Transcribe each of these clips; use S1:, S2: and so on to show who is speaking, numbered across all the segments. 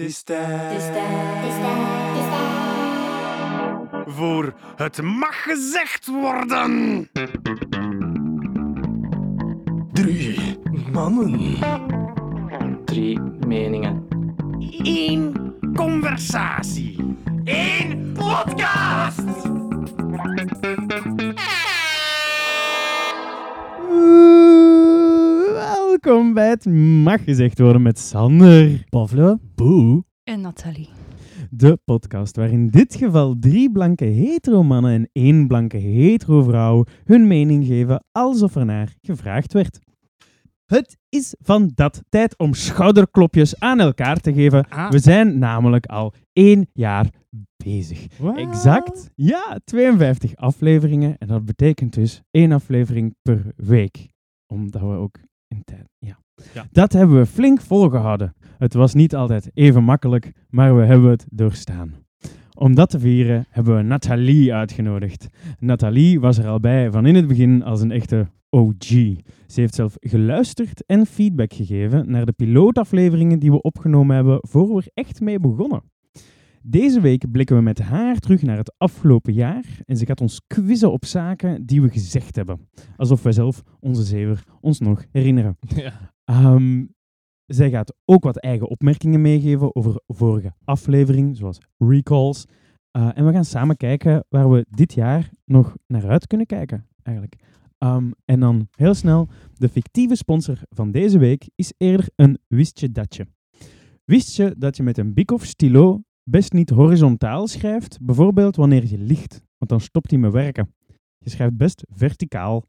S1: Het is Voor het mag gezegd worden.
S2: Drie mannen.
S3: drie meningen.
S1: Eén conversatie. Eén podcast.
S4: Oeh, Welkom bij het Mag Gezegd Worden met Sander, Pavlo, Boe,
S5: En Nathalie.
S4: de podcast waar in dit geval drie blanke hetero-mannen en één blanke hetero-vrouw hun mening geven alsof er naar gevraagd werd. Het is van dat tijd om schouderklopjes aan elkaar te geven.
S1: Ah.
S4: We zijn namelijk al één jaar bezig. Exact, ja, 52 afleveringen. En dat betekent dus één aflevering per week. Omdat we ook in tijd. Ja.
S1: Ja.
S4: Dat hebben we flink volgehouden. Het was niet altijd even makkelijk, maar we hebben het doorstaan. Om dat te vieren hebben we Nathalie uitgenodigd. Nathalie was er al bij van in het begin als een echte OG. Ze heeft zelf geluisterd en feedback gegeven naar de pilootafleveringen die we opgenomen hebben voor we er echt mee begonnen. Deze week blikken we met haar terug naar het afgelopen jaar en ze gaat ons quizzen op zaken die we gezegd hebben. Alsof wij zelf, onze zever, ons nog herinneren. Ehm, zij gaat ook wat eigen opmerkingen meegeven over vorige aflevering, zoals recalls. Eh, en we gaan samen kijken waar we dit jaar nog naar uit kunnen kijken, eigenlijk. Ehm, en dan heel snel, de fictieve sponsor van deze week is eerder een wist je datje. Wist je dat je met een Bic of stilo best niet horizontaal schrijft, bijvoorbeeld wanneer je ligt, want dan stopt hij met werken. Je schrijft best verticaal.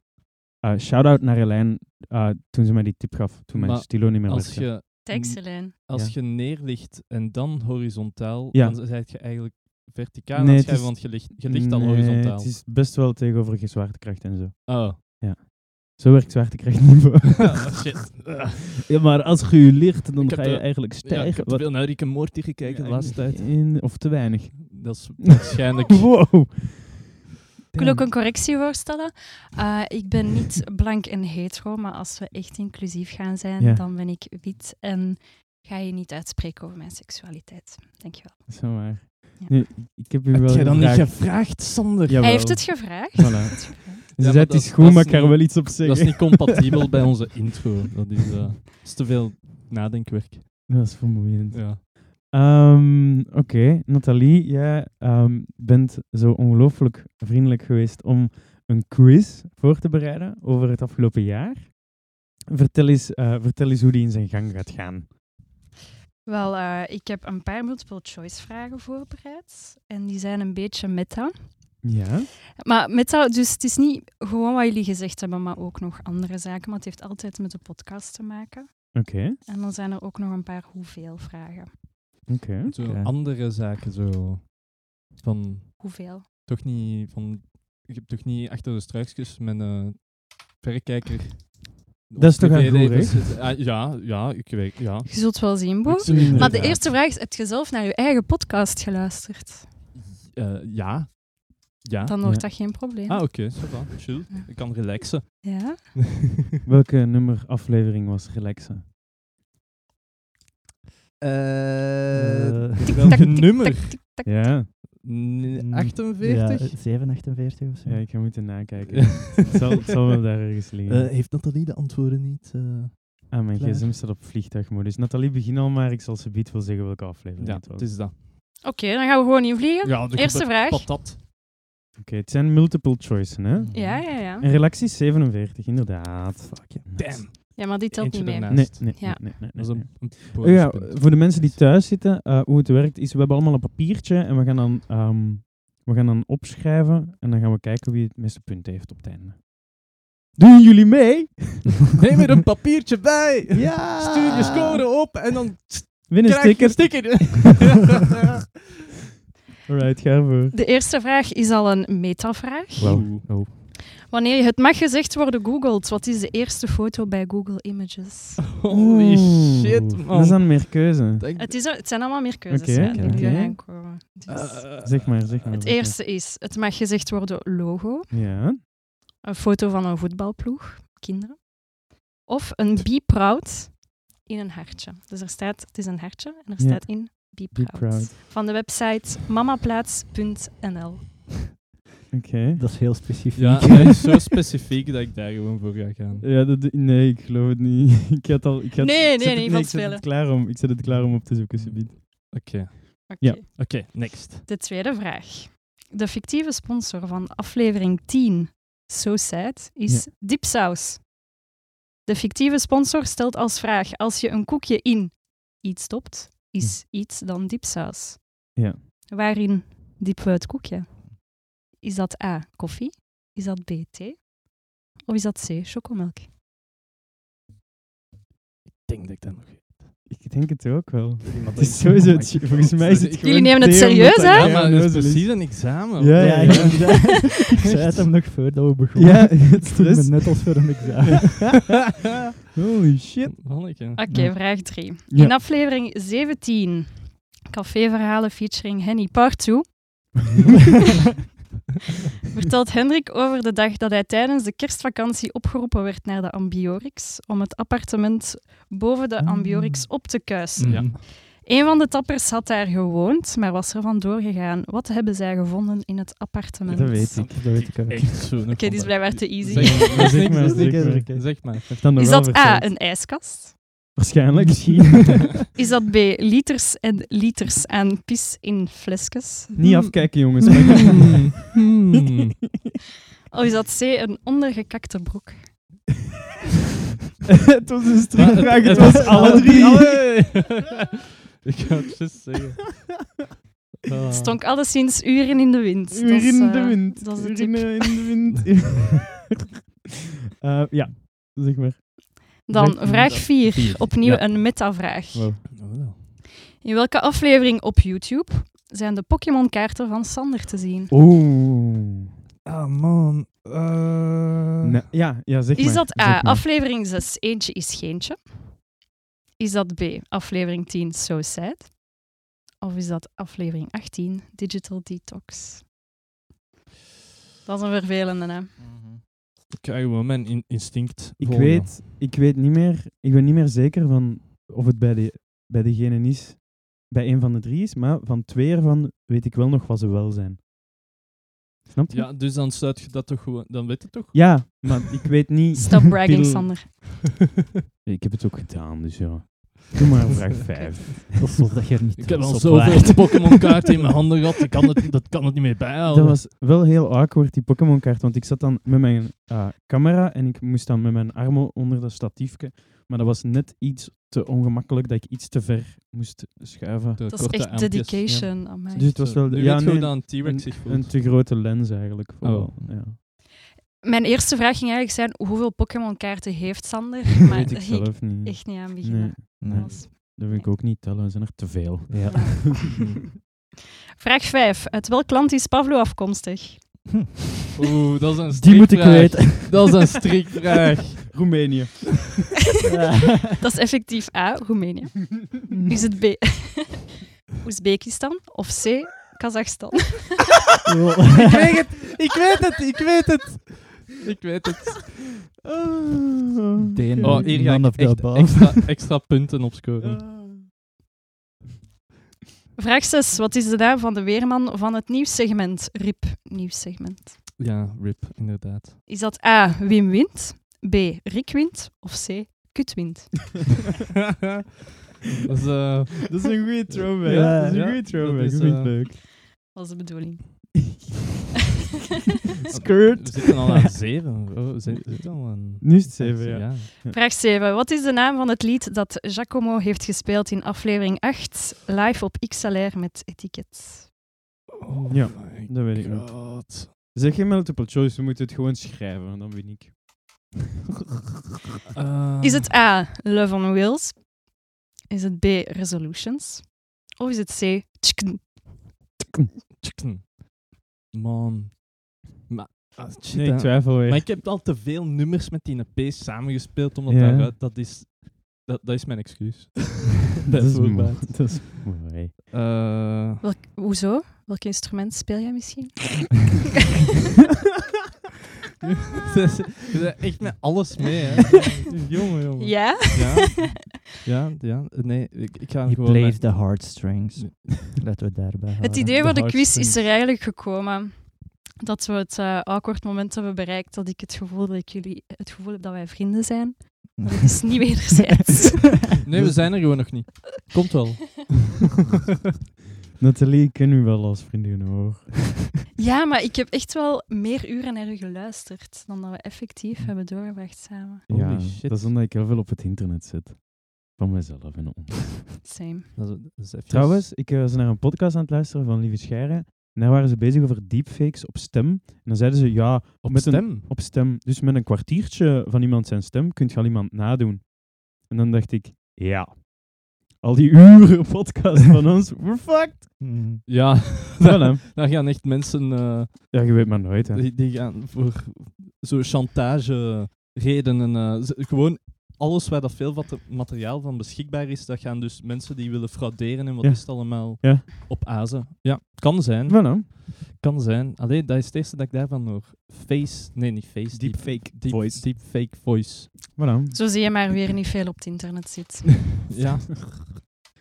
S4: Eh Shout-out naar Helijn eh, toen ze mij die tip gaf, toen mijn
S6: Maar
S4: stilo niet meer
S6: Als
S4: werkte.
S6: je,
S4: Mm.
S5: Tekselijn.
S6: als
S4: Ja.
S6: je neerligt en dan horizontaal,
S4: Ja.
S6: dan zijt je eigenlijk verticaal
S4: Nee,
S6: aan
S4: het
S6: het schrijven,
S4: is-
S6: want je ligt, je ligt al
S4: Nee,
S6: horizontaal.
S4: het is best wel tegenover je zwaartekracht en zo.
S6: Oh.
S4: Zo werkt zwaartekracht niet.
S6: Ah, shit. Ah.
S4: ja, maar als je je ligt, dan
S6: Ik heb
S4: ga je
S6: de-
S4: eigenlijk
S6: Ja, ik
S4: stijgen.
S6: heb te veel naar Rick en Morty gekeken de laatste tijd.
S4: In, of te weinig.
S6: Dat is waarschijnlijk...
S4: Wow.
S5: Ik wil ook een correctie voorstellen. Eh, ik ben niet blank en hetero, maar als we echt inclusief gaan zijn,
S4: Ja.
S5: dan ben ik wit en ga je niet uitspreken over mijn seksualiteit. Dankjewel.
S4: Zo maar.
S5: Ja.
S4: Nu, ik heb u wel
S6: Heb jij dan niet
S4: gevraagd-
S6: gevraagd, Sander?
S4: Jawel.
S5: Hij heeft het gevraagd.
S4: Voilà.
S5: Hij heeft het gevraagd.
S4: Ze
S6: maar
S4: zei, het
S6: dat
S4: is
S6: is-
S4: goed,
S6: dat
S4: maar
S6: is
S4: ik kan er
S6: niet-
S4: wel iets op zeggen.
S6: Dat is niet compatibel bij onze intro. Dat is, eh, is te veel nadenkwerk.
S4: Dat is vermoeiend.
S6: Ja.
S4: Ehm, Oké, Nathalie, jij ehm, bent zo ongelooflijk vriendelijk geweest om een quiz voor te bereiden over het afgelopen jaar. Vertel eens, eh, vertel eens hoe die in zijn gang gaat gaan.
S5: Wel, eh, ik heb een paar multiple choice vragen voorbereid. En die zijn een beetje meta.
S4: Ja?
S5: Maar meta, dus het is niet gewoon wat jullie gezegd hebben, maar ook nog andere zaken. Maar het heeft altijd met de podcast te maken.
S4: Oké.
S5: En dan zijn er ook nog een paar hoeveel vragen.
S4: Oké.
S6: Zo
S4: oké.
S6: andere zaken, zo... Van...
S5: Hoeveel?
S6: Toch niet... Van, je hebt toch niet achter de struikjes met een verrekijker...
S4: Dat is toch aan
S6: privéleven
S4: goed, hè?
S6: zitten? Ah, ja, ja, ik weet, ja.
S5: Je zult wel zien, Bo. Maar de eerste vraag is, heb je zelf naar je eigen podcast geluisterd?
S6: Eh, ja. Ah, Ja.
S5: Dan
S4: Ja.
S5: wordt dat geen probleem.
S6: Ah, oké. ça va, Chill.
S5: Ja.
S6: Ik kan relaxen.
S5: Ja?
S4: Welke nummer aflevering was relaxen?
S6: Eh,
S5: Tik,
S6: welke
S5: tak, tik,
S6: nummer?
S5: tak, tik, tak.
S4: Ja,
S6: N-
S2: Mm,
S6: 48?
S2: Ja, 748 of zo.
S4: ja ik ga moeten nakijken.
S6: Ja.
S4: Het, eh, zal, het zal wel daar ergens liggen.
S6: Eh, heeft Nathalie de antwoorden niet? eh?
S4: ah, mijn
S6: klaar.
S4: gsm staat op vliegtuigmodus. Nathalie, begin al maar. Ik zal ze wel zeggen welke aflevering
S6: ja,
S4: het was.
S6: het is dat.
S5: Oké, dan gaan we gewoon invliegen.
S6: Ja, de
S5: Eerste vraag.
S6: Patat.
S4: Oké, het zijn multiple choice, hè?
S5: Ja, ja, ja.
S4: En relaxie is 47, inderdaad.
S6: Fuck, ja. Damn.
S5: Ja, maar die telt
S6: Eentje
S5: niet mee.
S6: ernaast.
S4: Nee, nee,
S5: Ja.
S4: nee, nee, nee,
S6: Dat is
S4: nee.
S6: een, een
S4: Oh ja,
S6: bonuspunt.
S4: voor de mensen die thuis zitten, eh, hoe het werkt is, we hebben allemaal een papiertje en we gaan, dan, ehm, we gaan dan opschrijven en dan gaan we kijken wie het meeste punten heeft op het einde. Doen jullie mee?
S6: Neem er een papiertje bij.
S4: Ja!
S6: Stuur je score op en dan
S4: Win een
S6: krijg je
S4: sticker.
S6: een sticker.
S4: Alright, ga ervoor.
S5: De eerste vraag is al een metavraag.
S4: Wauw.
S6: Oh.
S5: Wanneer je het mag gezegd worden googelt, wat is de eerste foto bij Google Images?
S6: Holy shit,
S4: Dat is
S6: man.
S4: dan meer keuze.
S6: Denk-
S5: Het, is, al- het zijn allemaal meer keuzes
S4: Oké,
S5: ja, die
S4: oké.
S5: nu eraan komen. Dus
S6: Eh,
S4: Zeg maar, zeg maar.
S5: het
S4: zeg maar.
S5: eerste is, het mag gezegd worden logo,
S4: Ja.
S5: een foto van een voetbalploeg, kinderen. Of een be proud in een hartje. Dus er staat, het is een hartje en er
S4: Ja.
S5: staat in Be
S4: Be
S5: proud.
S4: proud.
S5: Van de website mamaplaats.nl.
S4: Oké.
S2: Dat is heel specifiek.
S6: Ja, dat is zo specifiek dat ik daar gewoon voor ga gaan.
S4: Ja, dat, nee, ik geloof het niet. ik had al, ik had,
S5: Nee,
S4: ik
S5: nee,
S4: zet
S5: nee,
S4: het,
S5: van
S4: ik zet
S5: spelen.
S4: het klaar om, Ik zet het klaar om op te zoeken, subiet.
S6: Oké, oké,
S5: Oké.
S4: Ja.
S6: next.
S5: De tweede vraag. De fictieve sponsor van aflevering 10, So Sad, is Dipsaus. De fictieve sponsor stelt als vraag: als je een koekje in iets stopt, is iets dan dipsaus?
S4: Hm. Ja.
S5: Waarin diepen we het koekje? Is dat A, koffie? Is dat B, thee? Of is dat C, chocomelk?
S6: Ik denk dat ik dat nog...
S4: Ik denk het ook wel.
S6: Iemand Oh
S4: Het is sowieso, het- volgens mij is het gewoon
S5: Oh Jullie nemen het
S4: thee omdat
S5: serieus,
S4: dat
S5: hè?
S6: Ja,
S4: gewoon
S6: maar dat is
S4: nozel is.
S6: precies een examen.
S4: Ja,
S2: Ja, ik, ik zei het hem nog voordat we begonnen.
S4: Ja, het
S2: het voelt me
S4: is-
S2: net als voor een examen.
S4: Holy shit.
S6: Manneke.
S5: Oké,
S4: Ja.
S5: vraag 3.
S4: Ja.
S5: In aflevering 17, caféverhalen featuring Henny Part 2, vertelt Hendrik over de dag dat hij tijdens de kerstvakantie opgeroepen werd naar de Ambiorix om het appartement boven de
S4: Ah.
S5: Ambiorix op te
S4: Mm.
S5: kuisen.
S6: Mhm. Ja.
S5: Een van de tappers had daar gewoond, maar was er vandoor gegaan. Wat hebben zij gevonden in het appartement?
S4: Dat weet ik. Dat weet ik ook.
S6: Echt zo. Oké,
S5: dit is blijkbaar te easy.
S6: Zeg
S4: Zeg
S6: maar, zeg
S4: maar,
S6: maar.
S4: zeg
S6: Zeg
S4: maar.
S6: maar. Zeg maar.
S4: Heeft dan nog
S5: Is
S4: wel
S5: dat A,
S4: verteld.
S5: een ijskast?
S4: Waarschijnlijk.
S5: Is dat B, liters en liters aan pis in flesjes?
S4: Niet afkijken, jongens. maar-
S6: Hmm.
S5: Of is dat C, een ondergekakte broek?
S4: het was een strikvraag. Het
S6: Maar
S4: was alle drie.
S6: Alle- ik ga het just zeggen. Ah.
S5: Stonk alleszins uren in de wind. Dat is,
S4: Uur in de
S5: eh,
S4: wind.
S5: Dat is de
S4: Uur
S5: tip.
S4: in de wind. Eh, ja, zeg maar.
S5: Dan
S4: Vraag-
S5: vraag 4.
S6: Vier,
S5: Opnieuw
S4: ja.
S5: een metavraag.
S4: Wow.
S6: Oh.
S5: In welke aflevering op YouTube zijn de Pokémon-kaarten van Sander te zien?
S4: Oeh.
S6: Ah, man. Eh,
S4: Nee, ja, ja, zeg maar.
S5: Is dat eh,
S4: zeg
S5: A,
S4: maar.
S5: aflevering 6, eentje is geentje? Is dat B, aflevering 10, so sad? Of is dat aflevering 18, digital detox? Dat is een vervelende naam.
S6: Ik ga gewoon mijn in- instinct
S4: Ik
S6: volgen.
S4: weet, ik weet niet meer, ik ben niet meer zeker van of het bij, de, bij degene is, bij een van de drie is, maar van twee ervan weet ik wel nog wat ze wel zijn. Snap je?
S6: Ja, dus dan sluit je dat toch gewoon... Dan weet je toch?
S4: Ja, maar ik weet niet...
S5: Stop bragging,
S4: Pil-
S5: Sander.
S4: Ik heb het ook gedaan, dus ja. Doe maar vraag
S6: Oké.
S4: vijf.
S2: Alsof dat je er niet
S6: Ik heb
S2: trots
S6: al
S2: op
S6: zoveel
S2: waart.
S6: Pokémon-kaarten in mijn handen gehad, ik kan het, dat kan het niet meer bijhouden.
S4: Dat was wel heel awkward, die Pokémon-kaart, want ik zat dan met mijn eh, camera en ik moest dan met mijn armen onder dat statiefje, maar dat was net iets te ongemakkelijk dat ik iets te ver moest schuiven.
S6: De
S5: Dat is
S6: korte
S5: echt
S6: armpjes.
S5: dedication aan mij.
S4: Dus het was wel...
S6: Nu
S4: ja,
S6: weet je
S4: nee,
S6: hoe dat een T-Rex zich
S4: Een
S6: voelt.
S4: te grote lens eigenlijk. vooral,
S6: Oh.
S4: Ja.
S5: Mijn eerste vraag ging eigenlijk zijn, hoeveel Pokémon-kaarten heeft Sander? Maar
S4: weet ik
S5: daar ging ik
S4: zelf niet.
S5: echt niet aan beginnen.
S4: nee, nee,
S5: Dat was-
S4: dat wil ik ook niet tellen. Er zijn er te veel.
S2: Ja.
S5: Vraag 5. Uit welk land is Pavlo afkomstig?
S6: Oeh, dat is een strikvraag.
S2: Die moet ik weten.
S6: Dat is een strikvraag.
S4: Roemenië.
S5: Dat is effectief A, Roemenië. Is het B, Oezbekistan? Of C, Kazachstan?
S4: ik weet het! Ik weet het! Ik weet het!
S6: Ik weet het.
S4: Ah.
S2: Denen.
S6: Oh, hier ga ik
S2: None of the
S6: echt
S2: above.
S6: extra, extra punten opscoren.
S4: Ah.
S5: Vraag 6. Wat is de naam van de weerman van het nieuwssegment? RIP, nieuwssegment.
S6: Ja, rip, inderdaad.
S5: Is dat A, Wim Wind? B, Rick Wind? Of C, Kutwind?
S6: dat is... eh,
S4: dat is een goede throwback.
S6: Ja,
S4: dat is een
S6: ja,
S4: goede throwback.
S6: dat
S4: Ik
S6: is,
S4: vind het
S6: eh,
S4: leuk.
S5: Dat is de bedoeling.
S6: We
S4: Skirt.
S6: zitten al aan zeven. Oh, we zitten we zitten al aan...
S4: Nu is het zeven, ja.
S5: Vraag 7. Wat is de naam van het lied dat Giacomo heeft gespeeld in aflevering 8, live op XLR met etiket?
S6: Oh
S4: Ja,
S6: my
S4: dat weet ik niet.
S6: god.
S4: Zeg geen multiple choice, we moeten het gewoon schrijven, dan win ik.
S6: Eh,
S5: Is het A, Love on Wheels? Is het B, Resolutions? Of is het C, Tschkn?
S6: Chicken. Man. Maar... ah, shit,
S4: Nee, ik
S6: hè.
S4: twijfel weer.
S6: Maar ik heb al te veel nummers met die P samengespeeld om dat
S4: Ja.
S6: daaruit... Dat is... Dat, dat is mijn excuus.
S4: dat is
S6: voorbaat.
S4: mooi. Dat is mooi.
S6: Eh,
S5: Welk, hoezo? Welk instrument speel jij misschien?
S6: Ze ze- ze zijn echt met alles mee, hè. jongen, jongen.
S5: Ja?
S6: Ja? Ja, ja. Nee, ik, ik ga hem
S2: He
S6: gewoon...
S2: played
S6: met-
S2: the heartstrings. Laten we daarbij
S5: Het
S2: houden.
S5: idee
S6: de
S5: voor de quiz
S6: hardste.
S5: is er eigenlijk gekomen dat we het eh, awkward moment hebben bereikt dat ik het gevoel dat ik jullie het gevoel heb dat wij vrienden zijn. Maar het is niet wederzijds.
S6: Nee, we zijn er gewoon nog niet. Komt wel.
S4: Nathalie ken u wel als vriendin hoor.
S5: ja, maar ik heb echt wel meer uren naar u geluisterd dan dat we effectief hebben doorgebracht samen.
S6: Holy
S4: ja,
S6: shit.
S4: dat is omdat ik heel veel op het internet zit. Van mezelf en ons.
S5: Same.
S6: Dat is, dat is even-
S4: Trouwens, ik eh, was naar een podcast aan het luisteren van Lieve Scheire. En daar waren ze bezig over deepfakes op stem. En dan zeiden ze, ja,
S6: op
S4: met een-
S6: stem.
S4: op stem. Dus met een kwartiertje van iemand zijn stem kun je al iemand nadoen. En dan dacht ik, ja. Al die uren podcast van ons, we're fucked.
S2: Mm.
S6: Ja,
S4: Wel, hè?
S6: daar gaan echt mensen eh,
S4: Ja, je weet maar nooit. Hè.
S6: die, die gaan voor zo'n chantage redenen. eh, ze- gewoon alles waar dat veel wat er- materiaal van beschikbaar is, dat gaan dus mensen die willen frauderen en wat
S4: Ja.
S6: is het allemaal
S4: Ja.
S6: op azen. Ja, kan zijn.
S4: Wel, hè?
S6: Kan zijn. Allee, dat is het eerste dat ik daarvan hoor. Face, nee niet face.
S4: Deepfake
S6: deep,
S4: voice.
S6: Deepfake voice.
S4: Voilà.
S5: Zo zie je maar weer niet veel op het internet zit.
S6: ja.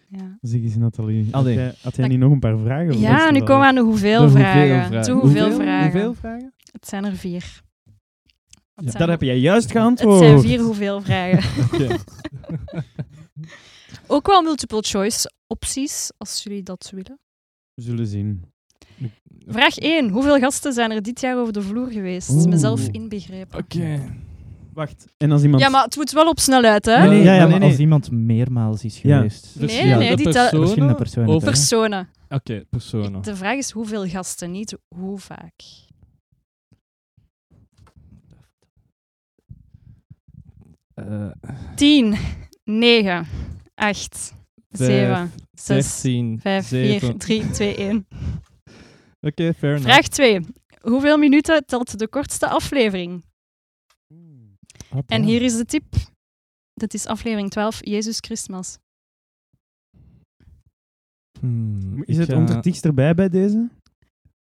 S5: Ja,
S4: Zeg eens, Nathalie. Had
S6: Allee.
S4: jij, had jij
S5: Dan-
S4: niet nog een paar vragen? Of was
S5: ja
S4: het
S5: nu
S4: wel-
S5: komen we aan de hoeveel,
S6: De hoeveel
S5: vragen.
S6: vragen.
S5: Toe, hoeveel,
S6: Hoeveel?
S5: vragen?
S6: Hoeveel
S5: vragen? Het zijn er vier. Het
S6: Ja.
S5: zijn
S4: Dat
S5: er-
S4: heb jij juist
S5: Het
S4: geantwoord.
S5: zijn vier hoeveel vragen.
S6: Oké.
S5: Ook wel multiple choice opties, als jullie dat willen.
S4: We zullen zien.
S5: Vraag 1. Hoeveel gasten zijn er dit jaar over de vloer geweest?
S4: Oeh.
S5: Mezelf inbegrepen.
S4: Wacht. En als iemand...
S5: Ja, maar het moet wel op snelheid, hè?
S4: Nee, nee,
S2: ja,
S4: ja,
S2: ja,
S4: nee,
S2: maar als
S4: nee.
S2: iemand meermaals is
S4: Ja.
S2: geweest.
S5: Dus Nee, ja, nee, de die tel-
S6: personen
S2: Verschillende personen.
S6: over-
S2: tellen.
S5: Personen.
S6: Oké, personen.
S5: De vraag is hoeveel gasten, niet hoe vaak.
S6: Eh,
S5: 10, 9, 8,
S6: Vijf,
S5: 7, 6,
S6: 13,
S5: 5, 4,
S6: zeven.
S5: 3, 2, 1.
S6: Oké, fair enough.
S5: Vraag 2. Hoeveel minuten telt de kortste aflevering? En
S6: Oh.
S5: hier is de tip. Dat is aflevering 12, Jezus Christmas.
S6: Hmm,
S4: Is
S6: ik
S4: het
S6: ga-
S4: ondertiks erbij bij deze?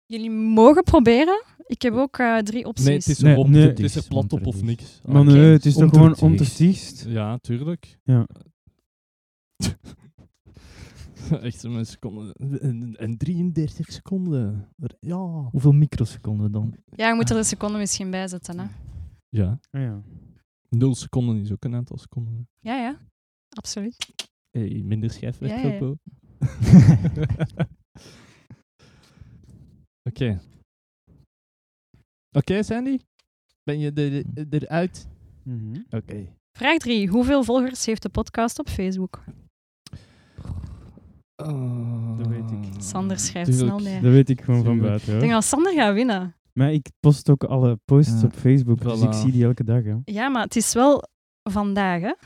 S5: Jullie mogen proberen. Ik heb ook eh, drie opties.
S6: Nee, het is
S4: Nee,
S6: op,
S4: nee.
S6: het is een plat op of niks.
S4: Maar
S5: Oké.
S4: nee, het is toch gewoon
S2: Ondertiks.
S4: ondertiks?
S6: Ja, tuurlijk.
S4: Ja.
S6: Echt zo mensen seconde. En, en 33 seconden. Ja.
S2: Hoeveel microseconden dan?
S5: Ja, je moet er een seconde misschien bij zetten. Hè?
S6: Ja.
S4: Ja.
S6: 0 seconden is ook een aantal seconden.
S5: Ja, ja. Absoluut.
S6: Hey, Eh, minder schijfwerk.
S5: Ja, ja.
S6: Oké. Oké, Sandy? Ben je er, eh, eruit? Oké.
S5: Vraag 3. Hoeveel volgers heeft de podcast op Facebook?
S4: Dat weet ik.
S5: Sander schrijft
S6: Mm, Tuurlijk.
S5: snel neer.
S4: Dat weet ik gewoon van
S6: Tuurlijk.
S4: buiten.
S5: Ik
S4: Hoor.
S5: denk dat Sander gaat winnen.
S4: Maar ik post ook alle posts
S2: Ja.
S4: op Facebook, dus ik
S6: Voilà.
S4: zie die elke dag. Hè.
S5: Ja, maar het is wel vandaag, hè?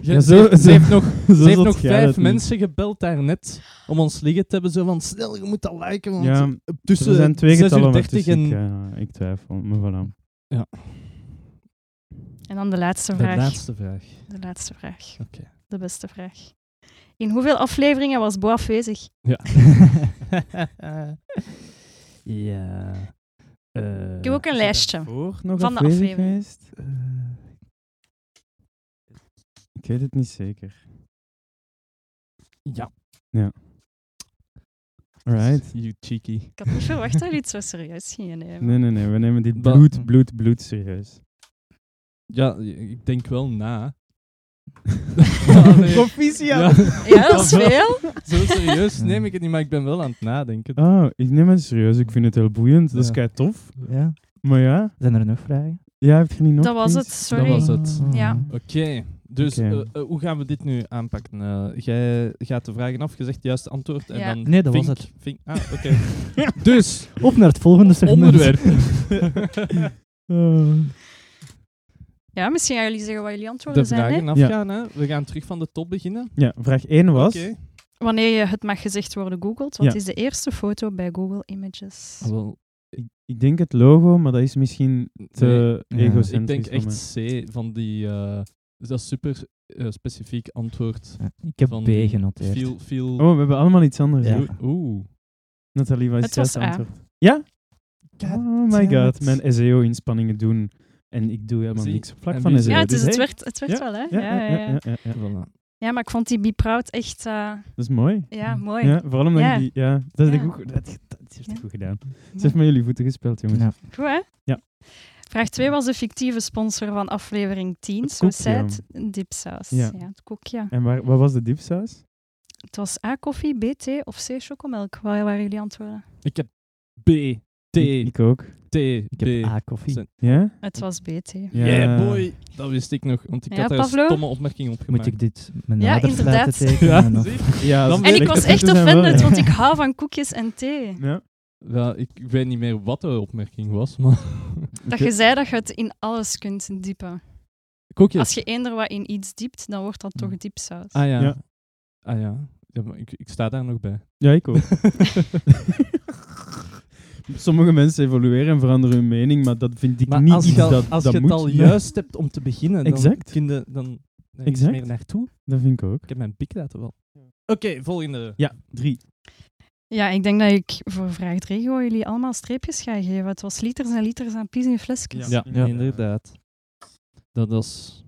S6: Ja,
S4: Ja,
S6: ze,
S4: zo-
S6: heeft- ze
S4: zo-
S6: heeft nog,
S4: Zo
S6: ze heeft
S4: zot
S6: nog
S4: jij
S6: vijf
S4: dat niet.
S6: mensen gebeld daarnet om ons liggen te hebben. Zo van, snel, je moet dat liken. Want
S4: Ja,
S6: tussen
S4: er zijn twee
S6: 6
S4: getallen
S6: uur
S4: maar
S6: 30
S4: tussen.
S6: en...
S4: Ik, eh, ik twijfel, maar voilà.
S5: En dan de laatste
S6: De
S5: vraag.
S6: laatste vraag.
S5: De laatste vraag.
S6: Oké.
S5: De beste vraag. In hoeveel afleveringen was Bo afwezig?
S6: ja. Eh,
S5: Ik heb ook een lijstje.
S4: Voor nog
S5: Van de
S4: afwezig
S5: aflevering.
S4: geweest? Eh, Ik weet het niet zeker.
S6: Ja.
S4: Alright.
S6: You cheeky.
S5: Ik had niet verwacht dat jullie het zo serieus gingen nemen.
S4: Nee, nee, nee. We nemen dit
S6: Ba-
S4: bloed, bloed, bloed serieus.
S6: Ja, ik denk wel na.
S4: Proficiat!
S5: Ja, dat is veel.
S6: Zo serieus neem ik het niet, maar ik ben wel aan het nadenken.
S4: Oh, ik neem het serieus. Ik vind het heel boeiend. Dat is
S6: Ja.
S4: kei tof.
S2: Ja.
S4: Maar ja,
S2: Zijn er nog vragen?
S4: jij hebt er niet nog
S5: Dat was
S4: iets?
S5: het, sorry.
S6: Dat was het.
S2: Ah.
S5: Ja.
S6: Oké, dus
S4: Oké.
S6: eh, eh, hoe gaan we dit nu aanpakken? Eh, jij gaat de vragen af, je zegt het juiste antwoord en
S5: Ja.
S6: dan...
S2: Nee, dat was
S6: vink-
S2: het.
S6: vink- ah, oké. dus,
S2: Op naar het volgende segment.
S6: onderwerp.
S2: Eh,
S5: Ja, misschien gaan jullie zeggen wat jullie
S6: de
S5: antwoorden zijn. Hè?
S6: vragen afgaan, hè. We gaan terug van de top beginnen.
S4: Ja, vraag 1 was...
S6: Oké.
S5: Wanneer je het mag gezegd worden googelt, wat
S4: Ja.
S5: is de eerste foto bij Google Images?
S4: Ah,
S6: Wel,
S4: Ik, ik denk het logo, maar dat is misschien te
S2: Nee, ja.
S4: egocentrisch
S6: ik denk
S4: van mij.
S6: echt C van die... eh, dat is super eh, specifiek antwoord.
S2: ik heb
S6: Van
S2: B
S6: die
S2: genoteerd.
S6: Veel, veel...
S4: Oh, we hebben allemaal iets anders.
S2: Ja.
S6: Oeh, Oeh.
S4: Nathalie, wat is
S5: Het was
S4: juiste
S5: A.
S4: antwoord? Ja?
S2: God
S4: oh my
S2: damn
S4: god,
S2: it.
S4: mijn SEO-inspanningen doen En ik doe helemaal
S6: Zie,
S4: niks op vlak
S6: en
S4: van
S6: wie
S4: SEO.
S5: Ja, het, is,
S4: Dus,
S5: het
S4: hey,
S5: werkt, het werkt
S4: Ja,
S5: wel, hè?
S4: ja, ja, ja, ja, ja, ja.
S6: Voilà.
S5: Ja, maar ik vond die Be Proud echt eh,
S4: Dat is mooi.
S5: ja, mooi.
S4: Mm. Ja, vooral omdat
S5: Ja.
S4: je die... Ja, dat, is
S5: Ja.
S4: Goed, dat, dat heeft
S5: Ja.
S4: goed gedaan. Ze
S5: Ja.
S4: heeft met jullie voeten gespeeld, jongens.
S2: Ja.
S5: Goed, hè?
S4: Ja.
S5: Vraag 2 was de fictieve sponsor van aflevering 10,
S4: Het
S5: zo
S4: koekje.
S5: zei het, dipsaus.
S4: Ja.
S5: Ja. het koekje.
S4: En waar, wat was de dipsaus?
S5: Het was A, koffie, B, thee of C, chocomelk. Waar waren jullie antwoorden?
S6: Ik heb B, T,
S4: Ik, ik ook.
S6: T,
S2: Ik
S6: B.
S2: heb A-koffie.
S6: Zijn-
S4: Ja?
S5: Het was B, thee.
S4: Ja,
S6: Yeah, boy. Dat wist ik nog, want ik
S5: Ja,
S6: had daar
S5: Pavlo?
S6: een stomme opmerking op gemaakt.
S2: Moet ik dit mijn
S5: Ja,
S2: nader laten
S5: inderdaad.
S2: tekenen?
S4: Ja,
S2: of-
S6: Zie?
S4: Ja,
S6: Dan
S4: ze-
S5: En ik
S6: Lekker
S5: was
S4: slechte
S5: echt
S4: punten zijn wel,
S5: offended,
S4: ja.
S5: want ik hou van koekjes en thee.
S4: Ja.
S6: Ja, ik weet niet meer wat de opmerking was, maar...
S5: Dat je zei dat je het in alles kunt diepen.
S6: Koekjes.
S5: Als je eender wat in iets diept, dan wordt dat toch dipsaus.
S6: Ah ja.
S4: Ja.
S6: Ah ja. ja maar ik, ik sta daar nog bij.
S4: Ja, ik ook. Sommige mensen evolueren en veranderen hun mening, maar dat vind ik
S6: Maar
S4: niet
S6: als
S4: iets
S6: je, al-
S4: dat,
S6: als
S4: dat
S6: je
S4: moet.
S6: het al
S4: Nee,
S6: juist hebt om te beginnen, dan
S4: Exact.
S6: kun je dan nergens
S4: Exact.
S6: meer naartoe.
S4: Dat vind ik ook.
S6: Ik heb mijn pik laten wel. Oké, volgende.
S4: Ja, drie.
S5: Ja, ik denk dat ik voor vraag 3 gewoon jullie allemaal streepjes ga geven. Het was liters en liters aan pies in flesjes.
S4: Ja. Ja.
S6: inderdaad. Dat was...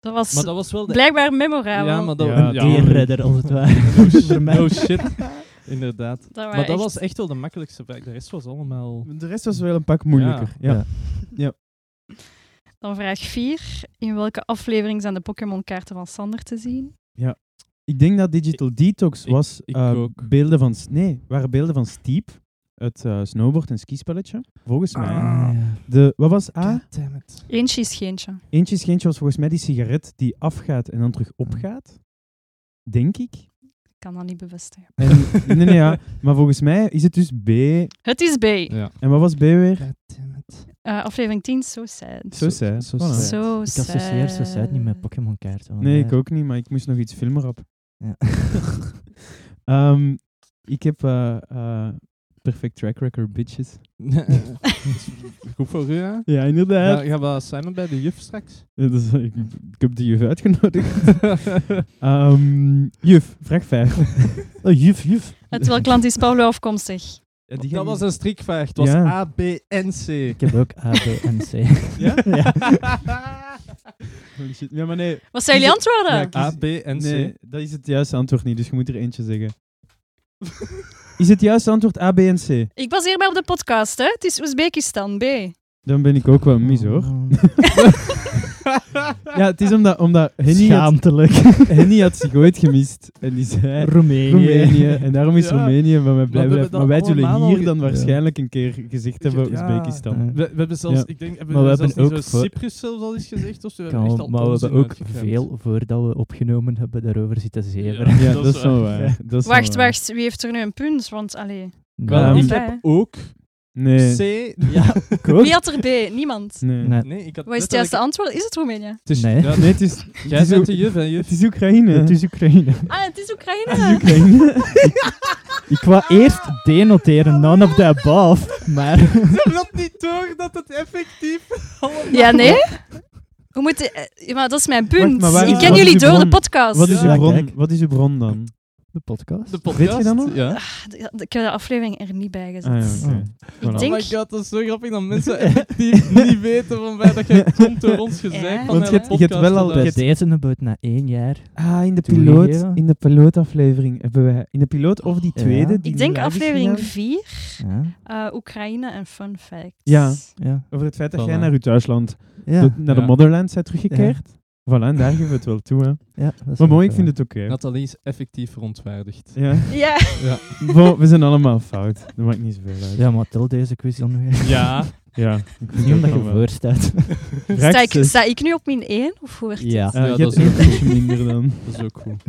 S5: Dat was
S6: Maar dat was wel de...
S5: blijkbaar memorabel.
S6: ja, maar dat...
S4: Ja,
S2: Een dierredder, als het ware.
S6: No shit.
S2: Voor mij.
S6: no Oh, shit. Inderdaad.
S5: Dat waren
S6: maar dat
S5: echt-
S6: was echt wel de makkelijkste vraag. De rest was allemaal...
S4: De rest was wel een pak moeilijker. Ja.
S2: Ja.
S5: Dan vraag 4. In welke aflevering zijn de Pokémon-kaarten van Sander te zien?
S4: Ik denk dat Digital Detox
S6: ik-
S4: was
S6: ik
S4: eh,
S6: ook.
S4: beelden van... s- Nee, waren beelden van Steep, het eh, snowboard- en skispelletje. Volgens mij.
S2: Ah, ja.
S4: De, wat was A?
S6: God damn it.
S5: Eentje is geentje.
S4: Eentje is geentje was volgens mij die sigaret die afgaat en dan terug opgaat. Denk ik.
S5: Ik kan dat niet bevestigen.
S4: En, nee, nee, ja. Maar volgens mij is het dus B.
S5: Het is B.
S6: Ja.
S4: En wat was B weer?
S6: God damn it.
S5: Eh, aflevering 10, So Sad.
S4: Zo sad.
S6: zo
S4: Voilà.
S6: sad.
S5: So
S2: Ik associeer
S5: sad.
S2: Society niet met Pokémon kaarten. want
S4: Nee,
S2: daar-
S4: ik ook niet, maar ik moest nog iets filmen op.
S2: Ja.
S4: Ehm, ik heb eh, eh, perfect track record, bitches.
S6: Goed voor u, hè?
S4: Ja,
S6: Ga,
S4: inderdaad.
S2: Eh.
S6: gaan we samen bij de juf straks?
S4: Dat is- dus, eh, ik, ik heb de juf uitgenodigd. Ehm, juf, vraag 5.
S2: Oh, juf, juf.
S5: Uit welk land is Pablo afkomstig?
S6: dat was een strikvraag. Het was
S4: Ja.
S6: A, B en C.
S2: Ik heb ook A, B en C.
S4: Ja?
S2: Ja.
S4: Holy shit. Ja, maar nee.
S5: Wat zijn jullie antwoorden?
S4: Ja, kies-
S6: A, B en C.
S4: nee, dat is het juiste antwoord niet, dus je moet er eentje zeggen. Is het juiste antwoord A, B en C?
S5: Ik baseer mij op de podcast, hè. Het is Oezbekistan, B.
S4: Dan ben ik ook wel mis, hoor.
S2: Oh,
S4: Ja, het is omdat, omdat Henny, had,
S2: Schaamtelijk.
S4: Henny had zich ooit gemist. En die zei...
S2: Roemenië.
S4: Eh, Roemenië. En daarom is
S6: Ja.
S4: Roemenië bij mij blij
S6: hebben
S4: blijft.
S6: dat
S4: Maar wij zullen
S6: allemaal
S4: hier
S6: al
S4: dan
S6: ge-
S4: waarschijnlijk een keer gezegd hebben
S6: Ja.
S4: Oezbekistan.
S2: Ja.
S6: We, we hebben zelfs,
S4: Ja.
S6: ik denk, hebben
S2: Maar
S6: we
S2: we
S6: zelfs
S2: hebben
S6: niet
S2: ook
S6: zo
S2: voor-
S6: Cyprus zelfs al eens gezegd of zo. We hebben echt al
S2: Kan, maar we hebben
S6: onzin
S2: ook
S6: uitgeklemd.
S2: veel voordat we opgenomen hebben daarover zitten zeveren.
S4: Ja,
S6: Dat
S4: dat,
S6: is
S4: is wel
S2: waar.
S4: waar. Dat is wel
S5: Wacht,
S4: waar.
S5: wacht. Wie heeft er nu een punt? Want, allee.
S4: Wel,
S2: Nou,
S4: ik
S5: Of
S2: nee.
S5: wij, hè?
S6: Ook
S4: Nee.
S6: C.
S2: Ja.
S4: Ik ook?
S5: Wie had er B? Niemand.
S4: Nee.
S2: Nee.
S6: Nee, ik had
S5: Wat is het
S6: letterlijk-
S5: juiste antwoord? Is het Roemenië?
S6: Het is-
S2: Nee.
S6: ja,
S4: Nee, het is,
S6: Jij
S4: is
S6: bent
S4: ook-
S6: de juf, hè, juf?
S4: het is Oekraïne.
S2: Het is Oekraïne.
S5: Ah, het is Oekraïne.
S4: Het is Oekraïne.
S2: Ik wou
S6: Ah.
S2: eerst D noteren, none of the above. Maar
S6: Ik had niet door dat het effectief allemaal...
S5: Ja, nee. We moeten... eh, Maar dat is mijn punt.
S4: maar waar-
S5: ik ken
S4: wat is
S5: jullie
S4: uw
S5: door de
S4: bron?
S5: podcast.
S4: Wat is,
S6: Ja,
S4: uw bron,
S2: kijk.
S4: wat is uw bron dan?
S2: de podcast.
S6: De podcast?
S4: Weet je dat nog?
S6: Ja.
S5: Ah, Ik heb de aflevering er niet bij gezet.
S4: Ah, ja, oké.
S5: Ik
S4: Voilà.
S5: denk...
S6: Oh my god, dat is zo grappig dat mensen effectief niet weten van waar dat jij komt door ons gezegd.
S5: Ja.
S6: van
S5: Want
S4: je
S6: naar de
S4: hebt- je hebt
S6: podcast
S4: wel al-
S6: te
S2: Bij
S6: luisteren.
S2: deze about na één jaar.
S4: Ah, in de,
S2: Toegegeven.
S4: piloot, in de pilootaflevering hebben wij... In de piloot of die
S2: Ja.
S4: tweede? die
S5: Ik denk
S4: live is
S5: aflevering
S4: gegaan?
S5: 4,
S2: Ja,
S5: eh, Oekraïne en fun facts.
S4: Ja.
S2: ja.
S4: Over het feit dat
S6: Voilà.
S4: jij naar uw thuisland,
S2: Ja,
S4: de- naar de
S6: Ja.
S4: motherland, bent teruggekeerd. Voilà, en daar geven we het wel toe, hè.
S2: ja dat is
S4: Maar
S2: wel
S4: mooi, ik
S2: waar.
S4: vind het oké.
S6: Nathalie is effectief verontwaardigd.
S4: Ja.
S5: Ja.
S6: Ja.
S4: Bon, we zijn allemaal fout. Dat maakt niet zoveel uit.
S2: Ja, maar tel deze quiz dan weer.
S6: Ja.
S4: Ja, ik vind het
S2: Niet omdat
S4: ook
S2: je
S4: wel.
S2: voor staat.
S4: Vraag
S5: Sta, ik,
S4: zes.
S5: sta ik nu op min 1? Of hoe werkt het?
S2: Ja.
S4: dus. Ja,
S6: Ja,
S4: je
S6: dat
S4: hebt
S6: is
S4: één
S6: ook
S4: puntje minder dan.
S6: Dat is ook goed.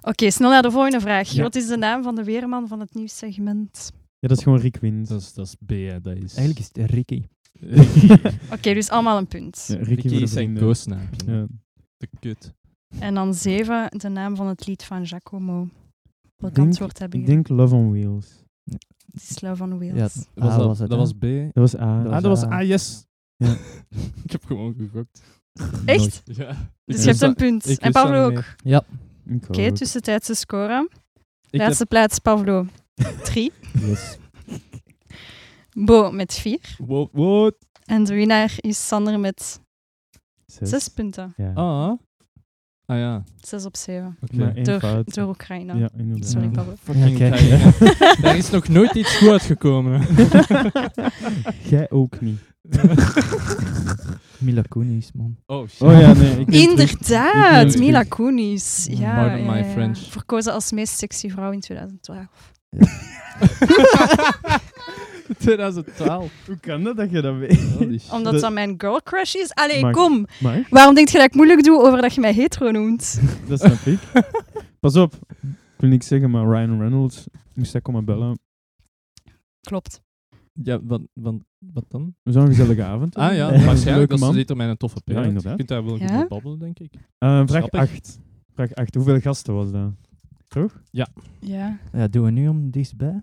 S5: Oké, snel naar de volgende vraag.
S4: Ja.
S5: Wat is de naam van de weerman van het nieuwssegment?
S4: Ja, dat is gewoon Rick Wind.
S6: Dat is, dat is B, hè, dat is...
S2: Eigenlijk is het Ricky.
S5: Oké, dus allemaal een punt.
S4: Ja, Ricky
S6: Ricky
S4: voor de
S6: is zijn Ah,
S4: vrienden.
S6: koosnaam.
S4: Ja.
S6: De kut.
S5: En dan 7, de naam van het lied van Giacomo. Welk
S4: denk-
S5: antwoord hebben
S4: Ik
S5: jullie?
S4: denk Love on Wheels.
S5: Het is Love on Wheels.
S2: Ja.
S6: Was
S2: Ah,
S6: dat,
S2: was het,
S6: dat
S2: hè?
S6: was B.
S4: Dat was A.
S2: Dat
S6: ah, dat was
S2: A.
S6: A, yes.
S4: Ja.
S6: ik heb gewoon gegokt.
S5: Echt?
S2: Nooit.
S6: Ja.
S5: Dus je hebt een punt. En Pablo ook. Oké,
S2: Ja.
S4: Oké,
S5: tussentijdse score.
S6: Ik heb,
S5: Laatste plaats, Pablo. 3.
S2: Yes.
S5: Bo met 4.
S6: wow, wow,
S5: En de winnaar is Sander met zes punten.
S4: Ja.
S6: Ah. Ah ja.
S5: Zes op zeven.
S6: Oké.
S4: Maar één
S5: Door,
S4: fout.
S5: door Oekraïne.
S4: Ja, inderdaad.
S5: Sorry,
S6: Ja.
S5: papa.
S6: Fucking
S4: Ja, kijk.
S6: Oekraïne. Daar is nog nooit iets goed uitgekomen. hè.
S4: Jij ook niet.
S2: Mila Kunis, man.
S6: Oh shit.
S4: Oh ja, nee. Ik
S5: Inderdaad,
S6: Ik-
S5: Mila Kunis. Ja,
S6: Pardon
S5: ja,
S6: my
S5: ja.
S6: French.
S5: Verkozen als meest sexy vrouw in 2012.
S6: 2012.
S4: Hoe kan dat dat je dat weet?
S6: Holy shit.
S5: Omdat
S4: Dat-
S5: dat, mijn girl crush is? Allee,
S4: Maar-
S5: kom.
S4: Maar,
S5: Waarom denk je dat ik moeilijk doe over dat je mij hetero noemt?
S4: dat snap ik. Pas op. Ik wil niks zeggen, maar Ryan Reynolds moest hij komen bellen.
S5: Klopt.
S6: Ja, wat, wat, wat dan?
S4: We zo'n gezellige avond.
S6: Ah ja,
S4: Een
S6: waarschijnlijk.
S4: leuke
S6: Dat
S4: man.
S6: zit er mijn een toffe
S4: Ja,
S6: periode.
S4: inderdaad.
S6: Je kunt daar wel goed
S5: Ja?
S6: mee babbelen, denk ik.
S4: Eh, vraag
S6: Grappig.
S4: 8. Vraag 8. Hoeveel gasten was dat?
S5: Ja.
S2: Ja, doen we nu om dichtstbij?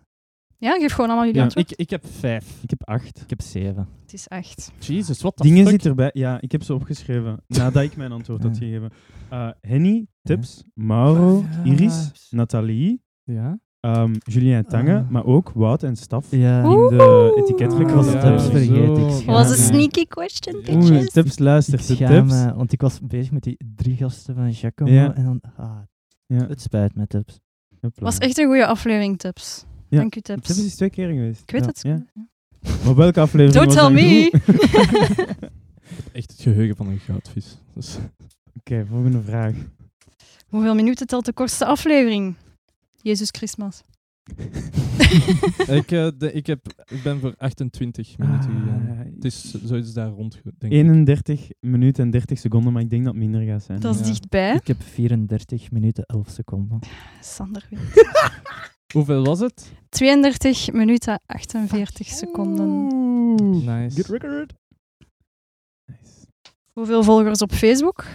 S5: Ja, geef gewoon allemaal jullie
S4: Ja,
S5: antwoord.
S6: Ik, ik heb vijf.
S4: Ik heb 8.
S2: Ik heb zeven.
S5: Het is echt.
S6: Jezus, wat de
S4: Dingen
S6: fuck?
S4: zitten erbij. Ja, ik heb ze opgeschreven nadat ik mijn antwoord had
S2: Ja.
S4: gegeven. Eh, Henny, Tips, Mauro,
S6: Ja.
S4: Iris, Nathalie,
S6: Ja?
S4: ehm, Julien Tange,
S2: Ah.
S4: maar ook Wout en Staf.
S2: Ja.
S5: Oeh.
S4: In de etikettelijke
S2: Ah,
S4: was
S2: ja, tips
S4: Tips.
S2: vergeet ik.
S6: zo.
S2: Ja,
S5: was
S2: nee.
S5: een sneaky question,
S6: Oeh,
S4: Oeh,
S5: bitches.
S4: Tips
S2: Ik
S4: luistert de
S2: schaam
S4: Tips.
S2: me, want ik was bezig met die drie gasten van Giacomo
S4: Ja.
S2: en dan... Ah,
S4: Ja.
S2: het spijt me, tips.
S4: Hopla.
S5: was echt een goede aflevering, tips.
S4: Ja.
S5: Dank u, tips.
S4: Tips is twee keer geweest.
S5: Ik weet
S4: Ja.
S5: het.
S4: Ja. Maar welke aflevering
S5: Don't
S4: was dan
S5: tell
S4: goed?
S5: me.
S6: Echt het geheugen van een goudvis. Dus-
S4: Oké, volgende vraag.
S5: Hoeveel minuten telt de kortste aflevering? Jezus Christmas.
S6: ik, eh, de, ik, heb, ik ben voor 28 minuten gegaan.
S4: Ah,
S6: Het is zoiets daar rond, denk ik.
S4: 31 minuten en 30 seconden, maar ik denk dat het minder gaat zijn.
S5: Dat is
S6: Ja.
S5: dichtbij.
S2: Ik heb 34 minuten 11 seconden.
S5: Sander wint.
S6: Hoeveel was het?
S5: 32 minuten 48
S4: Ah.
S5: seconden.
S4: Oeh.
S6: Nice.
S4: Good record. Nice.
S5: Hoeveel volgers op Facebook?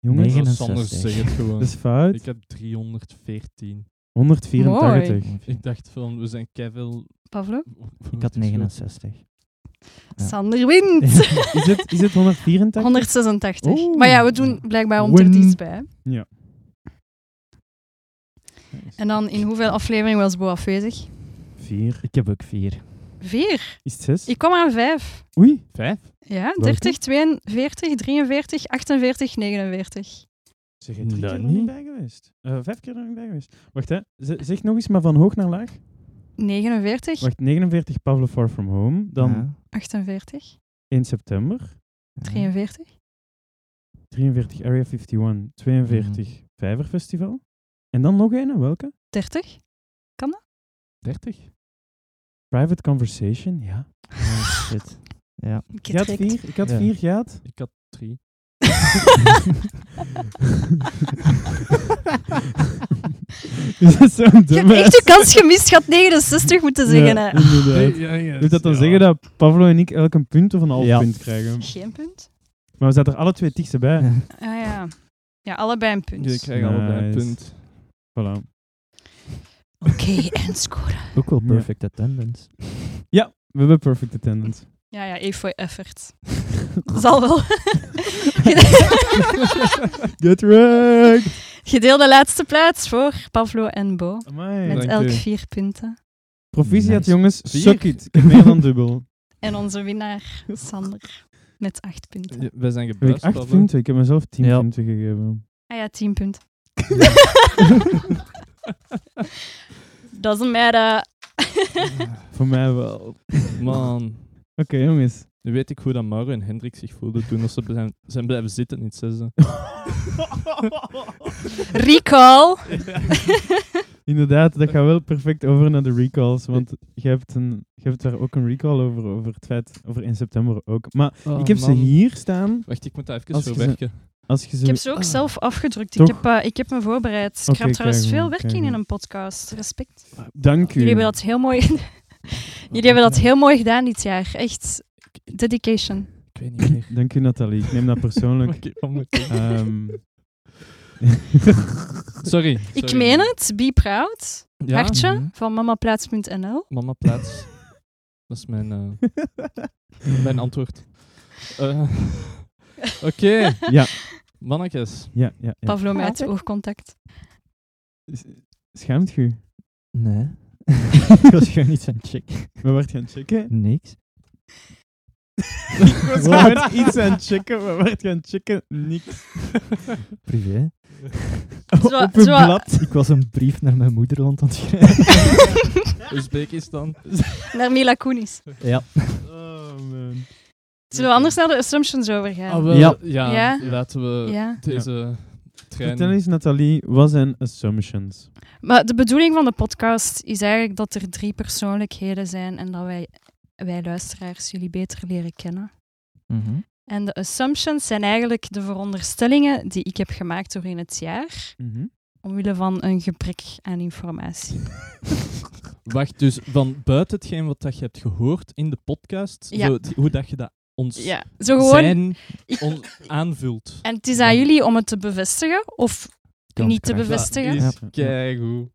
S4: Jongens,
S2: Negen.
S6: Jongens, Sander
S2: 69.
S6: zeg het gewoon.
S4: dat is fout.
S6: ik heb 314.
S4: 184.
S6: Ik dacht van, we zijn kevel.
S5: Pavlo?
S2: Ik had 69. Ja.
S5: Sander wint!
S4: Is het, is het 184?
S5: 186.
S4: Oeh.
S5: Maar ja, we doen blijkbaar om er
S4: Win.
S5: dichtst bij.
S4: Ja.
S5: En dan, in hoeveel afleveringen was Bo afwezig?
S4: 4.
S2: Ik heb ook 4.
S5: Vier.
S4: Is het 6?
S5: Ik kwam aan vijf.
S4: Oei.
S6: Vijf?
S5: Ja, 30, 42, 43, 48, 49.
S4: Zeg
S2: je drie
S4: drie
S2: keer
S4: keer
S2: nog niet
S4: bij geweest? Eh, vijf keer nog niet bij geweest. Wacht hè, Z- zeg nog eens maar van hoog naar laag.
S5: 49,
S4: Wacht, 49 Pavlov Far From Home, dan
S2: Ja,
S5: 48,
S4: 1 september,
S2: ja.
S5: 43.
S4: 43 Area 51, 42 Vijverfestival. En dan nog een, welke?
S5: 30?
S6: 30?
S4: Private Conversation, ja.
S2: Ja, shit. Ja.
S5: Ik
S4: Ik had
S5: heb
S4: vier, ik had
S2: Ja.
S4: vier gehad.
S6: Ik had drie.
S4: Is dat zo dom?
S5: Je hebt echt de kans gemist. Je had 69 moeten zeggen. hè.
S4: inderdaad. Moet dat dan zeggen dat Pavlo en ik elk een punt of een half
S2: Ja.
S4: punt krijgen?
S5: Geen punt?
S4: Maar we zaten er alle twee het dichtst bij.
S5: Ah ja. Ja, allebei een punt.
S6: Je krijgt allebei een
S4: Nice.
S6: punt.
S4: Voilà.
S5: Oké, en scoren.
S2: Ook wel
S4: Ja.
S2: perfect attendance.
S4: We hebben perfect attendance.
S5: Ja, ja, even voor effort. Zal wel.
S4: Get wrecked!
S5: Gedeelde laatste plaats voor Pavlo en Bo. Met
S4: Amai.
S6: Dank
S5: elk
S6: u.
S5: vier punten.
S4: Proficiat
S2: Nice.
S4: jongens,
S6: Vier.
S4: suck it. Ik heb meer dan dubbel.
S5: En onze winnaar, Sander, met acht punten.
S6: Ja, Wij zijn
S4: Heb ik
S6: gebuist.
S4: 8
S6: Pablo.
S4: punten? Ik heb mezelf 10
S2: Ja.
S4: punten gegeven.
S5: Ah ja, tien punten. Doesn't matter.
S4: Voor mij wel. Oké
S6: Man.
S4: jongens.
S6: Nu weet ik hoe dat Mauro en Hendrik zich voelden toen dat ze zijn, zijn blijven zitten in het zesde.
S5: Recall.
S4: Inderdaad, dat gaat wel perfect over naar de recalls. Want je hebt, een, je hebt daar ook een recall over, over het feit, over in september ook. Maar
S6: Oh,
S4: ik heb ze hier staan.
S6: Wacht, ik moet dat even
S4: Oh, Als je ze-
S6: verwerken.
S4: Als je ze...
S5: Ik heb ze ook zelf afgedrukt. Ik
S4: Dus- Ah. Toch?
S5: heb, eh, ik heb me voorbereid. Ik
S4: Oké,
S5: heb trouwens
S4: kijk,
S5: veel
S4: man,
S5: werk
S4: kijk,
S5: in in
S4: man.
S5: een podcast. Respect.
S4: Dank u.
S5: Jullie hebben dat heel mooi... Jullie hebben dat heel mooi gedaan dit jaar. Echt dedication.
S6: Ik weet niet meer.
S4: Dank u Nathalie. Ik neem dat persoonlijk.
S6: Oké, wat moet ik-
S4: Ehm,
S6: Sorry.
S5: Ik
S6: sorry.
S5: meen het. Be proud.
S6: Ja?
S5: Hartje
S2: Mhm.
S5: van mamaplaats.nl.
S6: Mama plaats. dat is mijn, eh, mijn antwoord. Eh, Oké.
S4: Ja.
S6: Mannetjes.
S4: ja, ja, ja.
S5: Pavlo met oogcontact.
S4: Schaamt u?
S2: Nee. ik was gewoon iets aan het checken.
S4: We waren gaan checken.
S2: Niks.
S4: We waren iets aan het checken, we waren gaan checken, niks.
S2: Privé.
S5: Zo-
S4: Op een
S5: zo-
S4: blad.
S2: Ik was een brief naar mijn moeder aan het schrijven.
S6: Uzbekistan.
S5: Naar Mila Kunis.
S2: Ja.
S4: Oh man.
S5: Zullen we anders naar de assumptions overgaan?
S6: Ah, we-
S4: Ja.
S6: ja.
S5: Ja?
S6: laten we
S5: Ja.
S6: deze trein...
S4: Vertel eens, Nathalie, wat zijn assumptions?
S5: Maar de bedoeling van de podcast is eigenlijk dat er drie persoonlijkheden zijn en dat wij, wij luisteraars jullie beter leren kennen.
S6: Mhm.
S5: En de assumptions zijn eigenlijk de veronderstellingen die ik heb gemaakt doorheen het jaar, omwille van een gebrek aan informatie.
S6: Wacht, dus van buiten hetgeen wat dat je hebt gehoord in de podcast,
S5: Ja.
S6: zo het- hoe dat je dat ons
S5: Ja, zo gewoon.
S6: zijn
S5: ik-
S6: ons aanvult.
S5: En het is aan jullie om het te bevestigen of niet te bevestigen.
S6: Dat is
S4: Ja.
S6: keigoed.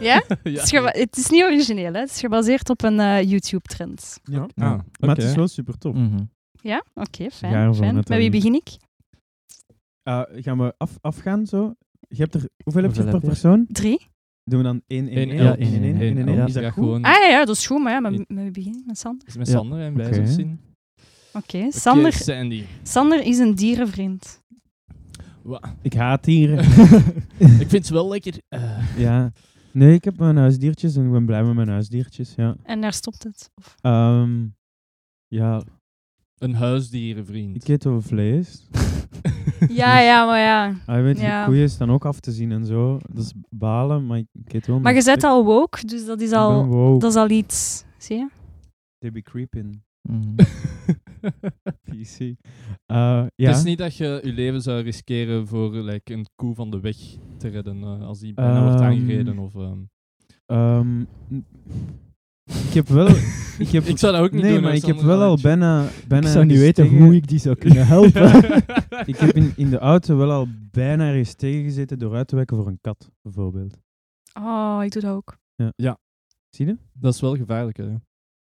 S5: Ja? Het,
S6: ja.
S5: is
S4: Ah,
S5: geba- het is niet origineel, hè? het is gebaseerd op een eh, YouTube-trend.
S4: Ja. Mm.
S6: Ah,
S4: Maar het
S6: oké.
S4: is wel super tof.
S2: Mhm.
S5: Ja, oké, fijn.
S4: Garen van
S5: fijn.
S4: het
S5: Met wie
S4: en-
S5: begin ik?
S4: Eh, gaan we af, afgaan zo? Je hebt er, hoeveel heb
S2: Hoeveel
S4: je per
S2: heb je?
S4: persoon?
S5: Drie?
S4: Doen we dan 1 1
S6: Eén,
S4: 1
S2: één,
S6: één,
S2: één, één,
S6: één,
S4: 1
S6: één.
S4: Is
S6: Ja,
S4: dat goed?
S6: gewoon
S5: Ah ja, ja, dat is goed, maar ja, met,
S6: Ja.
S5: met wie begin ik? Met Sander?
S6: met
S4: Ja.
S6: Sander en wij
S4: Oké.
S6: zijn zien.
S5: Oké, Sander,
S6: Oké, Sandy.
S5: Sander is een dierenvriend.
S6: Wa-
S4: Ik haat dieren.
S6: Ik vind ze wel lekker. eh,
S4: ja. Nee, ik heb mijn huisdiertjes en ik ben blij met mijn huisdiertjes. Ja.
S5: En daar stopt het. Of-
S4: Ehm, ja,
S6: een huisdierenvriend.
S4: ik eet wel vlees.
S5: Ja, ja, maar ja.
S4: Ah, je weet, die
S5: Ja.
S4: koeien staan ook af te zien en zo. Dat is balen, maar ik, ik eet wel.
S5: Maar je
S4: mijn
S5: zet
S4: stuk.
S5: al woke, dus dat is
S4: Ik ben
S5: al,
S4: woke.
S5: dat is al iets. Zie je?
S4: They be creeping.
S2: Mhm.
S4: PC. Eh, ja.
S6: Het is niet dat je je leven zou riskeren voor like, een koe van de weg te redden eh, als die bijna wordt
S4: Ehm,
S6: aangereden. Of, ehm.
S4: Ehm, n- ik heb wel. Ik, heb,
S6: ik zou dat ook niet
S4: nee,
S6: doen.
S4: maar
S6: hoor,
S4: ik heb
S6: Sander,
S4: wel al
S6: dat weet
S4: bijna.
S2: Ik
S4: bijna
S2: zou niet
S4: eens
S2: weten
S4: tegen-
S2: hoe ik die zou kunnen helpen.
S6: je.
S4: Ik heb in, in de auto wel al bijna eens tegengezeten door uit te wekken voor een kat, bijvoorbeeld.
S5: Oh, ik doe dat ook.
S4: Zie je?
S6: Dat is wel gevaarlijk. Hè.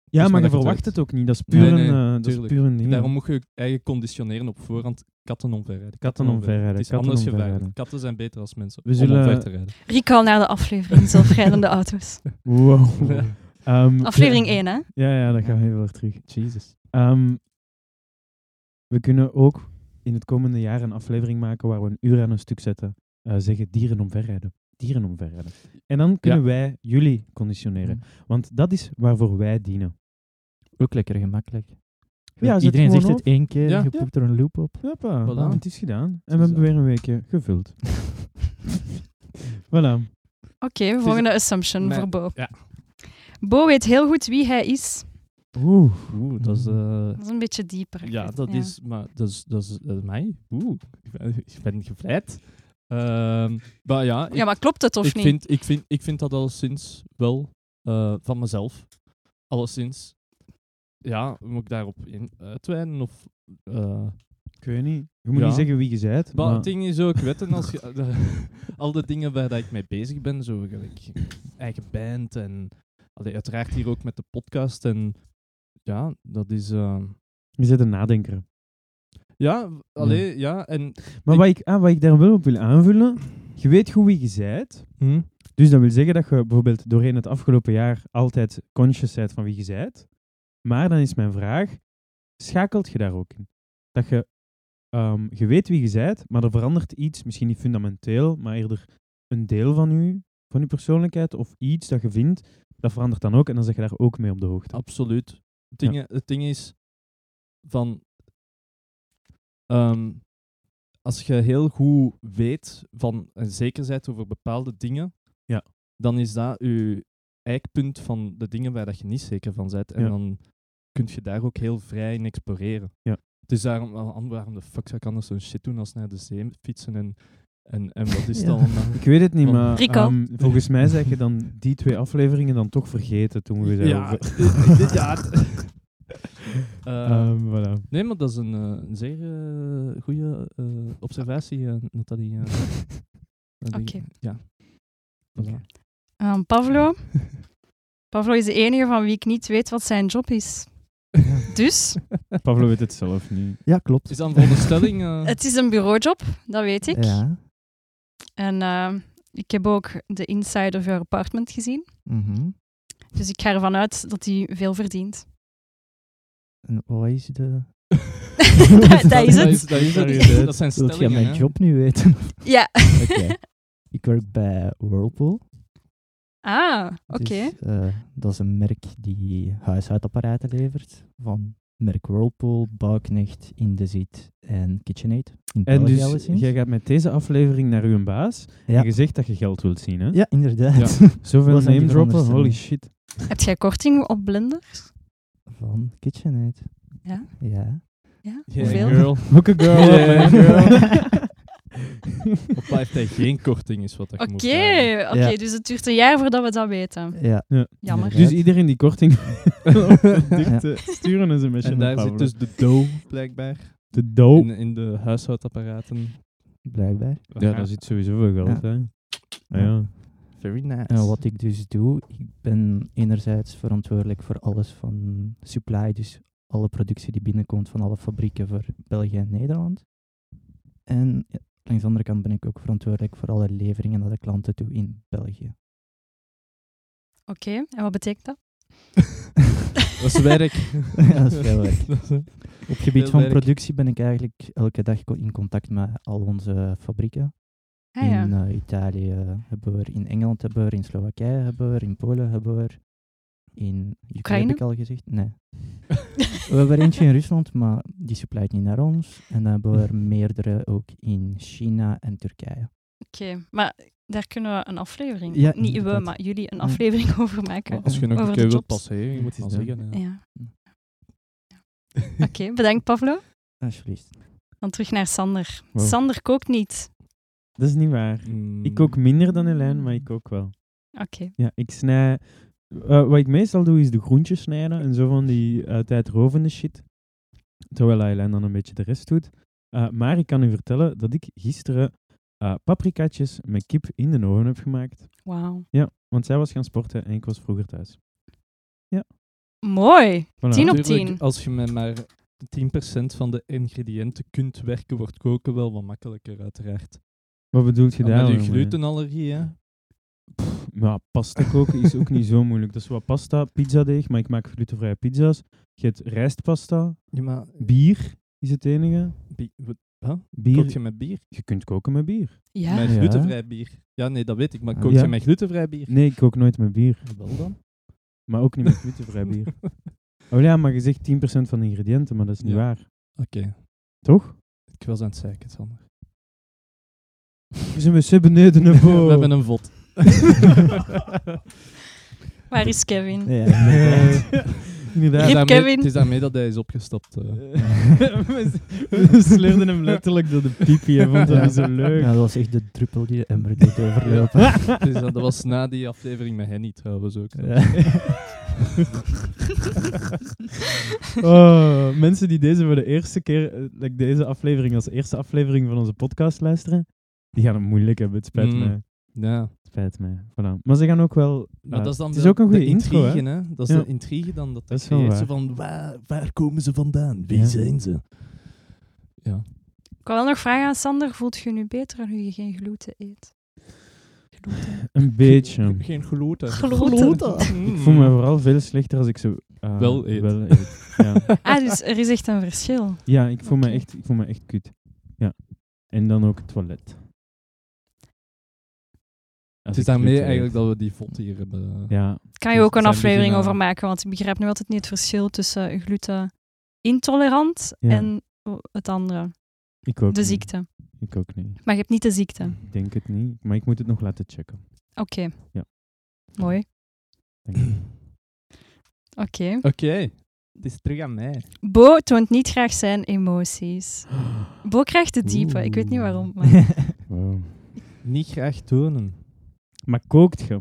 S4: Ja, maar je
S6: maar dat je het
S4: verwacht
S6: weet.
S4: het ook niet. Dat is
S6: Nee,
S4: puur een,
S6: nee,
S4: eh, dat is
S6: tuurlijk.
S4: puur een ding.
S6: Daarom moet je je eigen conditioneren op voorhand. Katten omverrijden.
S4: Katten omverrijden,
S6: Het is
S4: katten
S6: anders
S4: omverrijden.
S6: gevaarlijk. Katten zijn beter als mensen.
S4: We
S6: om
S4: zullen-
S6: omver te rijden.
S5: Recall naar de aflevering zelfrijdende auto's.
S4: Wow. Ehm,
S5: Aflevering 1, hè?
S4: Ja, ja, dan gaan we even weer terug. Jesus. Ehm, we kunnen ook in het komende jaar een aflevering maken waar we een uur aan een stuk zetten. eh, zeggen dieren omverrijden. Dieren omverrijden. En dan kunnen wij jullie conditioneren. Want dat is waarvoor wij dienen.
S2: Ook lekker gemakkelijk.
S4: Ja, zet
S2: Iedereen
S4: gewoon
S2: zegt het
S4: op.
S2: één keer,
S6: Ja.
S2: je poept er een loop op.
S4: Hoppa,
S6: Voilà.
S4: ah, het is gedaan. En we
S6: is
S4: hebben
S6: dat.
S4: weer een weekje gevuld. voilà.
S5: Oké, volgende assumption
S6: Nee,
S5: voor Bo.
S6: ja.
S5: Bo weet heel goed wie hij is.
S4: Oeh.
S6: Oeh, dat is... eh,
S5: Dat is een beetje dieper.
S6: Ja, dat is, maar dat is, dat is, dat is mij. Oeh, ik ben, ik ben gevleid. Ehm, maar ja, ik,
S5: Ja, maar klopt het of
S6: ik
S5: niet?
S6: vind, ik, vind, ik vind dat alleszins wel eh, van mezelf. Alleszins. Ja, moet ik daarop in uitweiden? Of, eh,
S4: Ik weet niet. Je moet
S6: Ja.
S4: niet zeggen wie je bent.
S6: maar
S4: Maar
S6: het ding is ook, weten als je, al de dingen waar dat ik mee bezig ben, zo gelijk eigen band en allee, uiteraard hier ook met de podcast en ja, dat is eh,
S4: je zit een nadenker.
S6: ja, alleen ja en
S4: Maar
S6: Ik-
S4: wat, ik, ah, wat ik daar wel op wil aanvullen. Je weet goed wie je bent.
S6: hm,
S4: Dus dat wil zeggen dat je bijvoorbeeld doorheen het afgelopen jaar altijd conscious bent van wie je bent. Maar dan is mijn vraag, schakelt je daar ook in? Dat je, ehm, je weet wie je bent, maar er verandert iets, misschien niet fundamenteel, maar eerder een deel van je, van je persoonlijkheid of iets dat je vindt, dat verandert dan ook en dan zeg je daar ook mee op de hoogte.
S6: Absoluut. Het ding, het ding is van ehm, als je heel goed weet van en zeker bent over bepaalde dingen,
S4: Ja.
S6: dan is dat je eikpunt van de dingen waar dat je niet zeker van bent. En
S4: Ja.
S6: dan kun je daar ook heel vrij in exploreren.
S4: Ja.
S6: Het is daarom wel an- waarom de fuck zou ik anders zo'n shit doen als naar de zee fietsen en, en, en wat is
S2: Ja.
S6: dat allemaal?
S4: Ik weet het niet,
S6: Want-
S4: maar
S5: Rico.
S4: ehm, volgens mij zijn je dan die twee afleveringen dan toch vergeten toen we
S6: Ja,
S4: daarover...
S6: dit- dit- ja, het- Eh,
S4: Ehm, voilà.
S6: Nee, maar dat is een, eh, een zeer eh, goede observatie, eh, Nathalie. eh. Dat die-
S5: Oké.
S6: Ja. Voilà.
S5: Ehm, Pavlo. Pavlo is de enige van wie ik niet weet wat zijn job is. Dus,
S4: Pavlo weet het zelf niet.
S2: Ja, klopt.
S6: Is dan voor de stelling... eh,
S5: het is een bureaujob, dat weet ik.
S2: Ja.
S5: En ehm, ik heb ook de inside of your apartment gezien.
S2: Mhm.
S5: Dus ik ga ervan uit dat hij veel verdient.
S7: En wat is de...
S5: dat, dat is
S6: Dat
S5: het.
S6: is, dat is het.
S7: Sorry,
S6: Dat zijn
S7: Wilt jij
S6: stellingen.
S7: mijn
S6: hè.
S7: job nu weten?
S5: Ja.
S7: Oké. Ik werk bij Whirlpool.
S5: Ah, oké.
S7: Dus, eh, dat is een merk die huishoudapparaten levert. Van merk Whirlpool, Bouwknecht, Indesit en KitchenAid. In
S4: En
S7: België
S4: dus
S7: alleszins.
S4: jij gaat met deze aflevering naar uw baas
S7: Ja.
S4: en je zegt dat je geld wilt zien, hè?
S7: Ja, inderdaad.
S4: Zoveel
S7: Wat zijn
S4: name droppen,
S7: die veronderstellingen?
S4: holy shit.
S5: Heb jij korting op blenders?
S7: Van KitchenAid.
S5: Ja?
S7: Ja.
S5: Ja?
S6: Yeah,
S5: Hoeveel?
S6: girl.
S4: Hook a girl up,
S6: Yeah,
S4: man.
S6: Op blijft hij geen korting is wat dat je
S5: Oké,
S6: moet vragen.
S5: oké,
S7: Ja.
S5: dus het duurt een jaar voordat we dat weten.
S7: Ja.
S4: Ja.
S5: Jammer.
S7: inderdaad.
S4: Dus iedereen die korting dikt, eh, sturen is een beetje
S6: En daar zit dus de dough, blijkbaar,
S4: de
S7: Oh.
S4: doop.
S6: in, in de huishoudapparaten.
S7: Blijkbaar.
S4: Ja, daar zit sowieso veel geld,
S7: Ja.
S4: hè. Ja.
S6: Very nice.
S7: En wat ik dus doe, ik ben enerzijds verantwoordelijk voor alles van supply, dus alle productie die binnenkomt van alle fabrieken voor België en Nederland. En ja, langs de andere kant ben ik ook verantwoordelijk voor alle leveringen naar de klanten toe in België.
S5: Oké, en wat betekent dat?
S6: Dat is werk.
S7: Ja, dat is veel werk.
S6: Dat is-
S7: Op gebied
S6: Veel
S7: van
S6: werk.
S7: productie ben ik eigenlijk elke dag co- in contact met al onze fabrieken.
S5: Ah, ja.
S7: In eh, Italië hebben we er, in Engeland hebben we er, in Slowakije hebben we er, in Polen hebben we er, in Ukraine
S5: Oekraïne?
S7: heb ik al gezegd. Nee. We hebben er eentje in Rusland, maar die supplyt niet naar ons. En dan hebben we er meerdere ook in China en Turkije.
S5: Oké, maar daar kunnen we een aflevering,
S7: Ja,
S5: niet we,
S7: inderdaad.
S5: maar jullie, een
S7: Ja.
S5: aflevering over maken.
S6: Als je nog
S5: Over
S6: een
S5: de
S6: keer wilt
S5: jobs.
S6: passeren, je moet het
S7: Het
S6: al
S7: is
S6: zeggen.
S5: Ja.
S6: ja.
S5: Oké, bedankt Pablo.
S7: Alsjeblieft.
S5: Dan terug naar Sander.
S4: Wow.
S5: Sander kookt niet.
S4: Dat is niet waar.
S6: Mm.
S4: Ik ook minder dan Helene, maar ik ook wel.
S5: Oké.
S4: Ja, ik snij... eh, wat ik meestal doe, is de groentjes snijden en zo van die uit tijdrovende shit. Terwijl Helene dan een beetje de rest doet. Eh, maar ik kan u vertellen dat ik gisteren eh paprikatjes met kip in de oven heb gemaakt.
S5: Wauw.
S4: Ja, want zij was gaan sporten en ik was vroeger thuis.
S5: Mooi.
S4: Voilà.
S5: Tien op
S6: Tuurlijk,
S5: tien.
S6: Als je met maar 10% van de ingrediënten kunt werken, wordt koken wel wat makkelijker, uiteraard.
S4: Wat bedoelt je
S6: Maar
S4: daar? eh,
S6: met je
S4: dan mee?
S6: glutenallergie, hè?
S4: Pff, Maar pasta koken is ook niet zo moeilijk. Dat is wat pasta, pizzadeeg, maar ik maak glutenvrije pizza's. Je hebt rijstpasta,
S6: Ja, maar eh,
S4: bier is het enige.
S6: bi- wat- huh? kook
S4: Bier,
S6: je met bier?
S4: je kunt koken met bier.
S5: Ja.
S6: Met
S7: Ja.
S6: glutenvrij bier? Ja, nee, dat weet ik, maar
S7: Ah.
S6: kook
S4: Ja.
S6: je met glutenvrij bier?
S4: Nee, ik kook nooit met bier.
S6: Wel dan?
S4: Maar ook niet met glutenvrij bier. Oh ja, maar je zegt 10% van de ingrediënten, maar dat is niet
S6: Ja.
S4: waar.
S6: Oké,
S4: Toch?
S6: ik was aan het zeiken, Sander.
S4: Dus We zijn met beneden naar
S6: We hebben een vod.
S5: Waar is Kevin?
S7: Ja,
S6: Het
S4: Inderdaad.
S6: is
S5: Rip
S6: daarmee-
S5: Kevin.
S6: Het is daarmee dat hij is opgestapt. eh.
S4: we, we sleurden hem letterlijk door de piepie, hij vond dat niet zo leuk.
S7: Ja, dat was echt de druppel die de emmer deed overlopen.
S6: Het is, Dus dat dat was na die aflevering met Henny trouwens ook.
S4: Oh, mensen die deze voor de eerste keer, eh, like deze aflevering als eerste aflevering van onze podcast luisteren, die gaan het moeilijk hebben. Het spijt
S6: Mm.
S4: mij.
S6: Ja.
S4: Het spijt mij. Voilà. Maar ze gaan ook wel.
S6: Maar
S4: ja,
S6: dat is dan
S4: het is
S6: de-
S4: ook een
S6: de
S4: goede intro. hè?
S6: intrige, hè? Dat is
S4: Ja.
S6: de intrige dan. Dat,
S4: Dat is
S6: je
S4: wel
S6: weet
S4: waar.
S6: zo van, waar, waar komen ze vandaan? Wie
S4: Ja.
S6: zijn ze? Ja.
S5: Ik wil wel nog vragen aan Sander. Voelt je je nu beter nu je geen gluten eet? Gluten.
S4: Een beetje.
S6: Geen, Hmm. geen gloten.
S5: Gloten.
S4: Ik voel me vooral veel slechter als ik ze eh,
S6: Wel eet.
S4: Hmm. eet. Ja.
S5: Ah, dus er is echt een verschil.
S4: ja, ik voel,
S5: Oké.
S4: me echt, ik voel me echt kut. Ja. En dan ook het toilet.
S6: Het
S4: Als
S6: is
S4: ik
S6: daarmee
S4: gluten eet.
S6: eigenlijk dat we die vod hier hebben.
S4: Ja,
S5: Kan je
S6: Dus
S5: ook een
S6: zijn
S5: aflevering
S6: beginnen-
S5: over maken, want ik begrijp nu altijd niet het verschil tussen gluten intolerant
S4: Ja.
S5: en het andere,
S4: ik ook
S5: de
S4: niet.
S5: ziekte.
S4: Ik ook niet.
S5: Maar je hebt niet de ziekte. Oké,
S4: Ik denk het niet, maar ik moet het nog laten checken. Ja.
S5: mooi.
S4: Dank je.
S5: Oké.
S6: Oké. Het is terug aan mij.
S5: Bo toont niet graag zijn emoties. Bo krijgt de diepe, ik weet niet waarom. Maar...
S4: Wow.
S6: Niet graag tonen.
S4: Maar kookt je?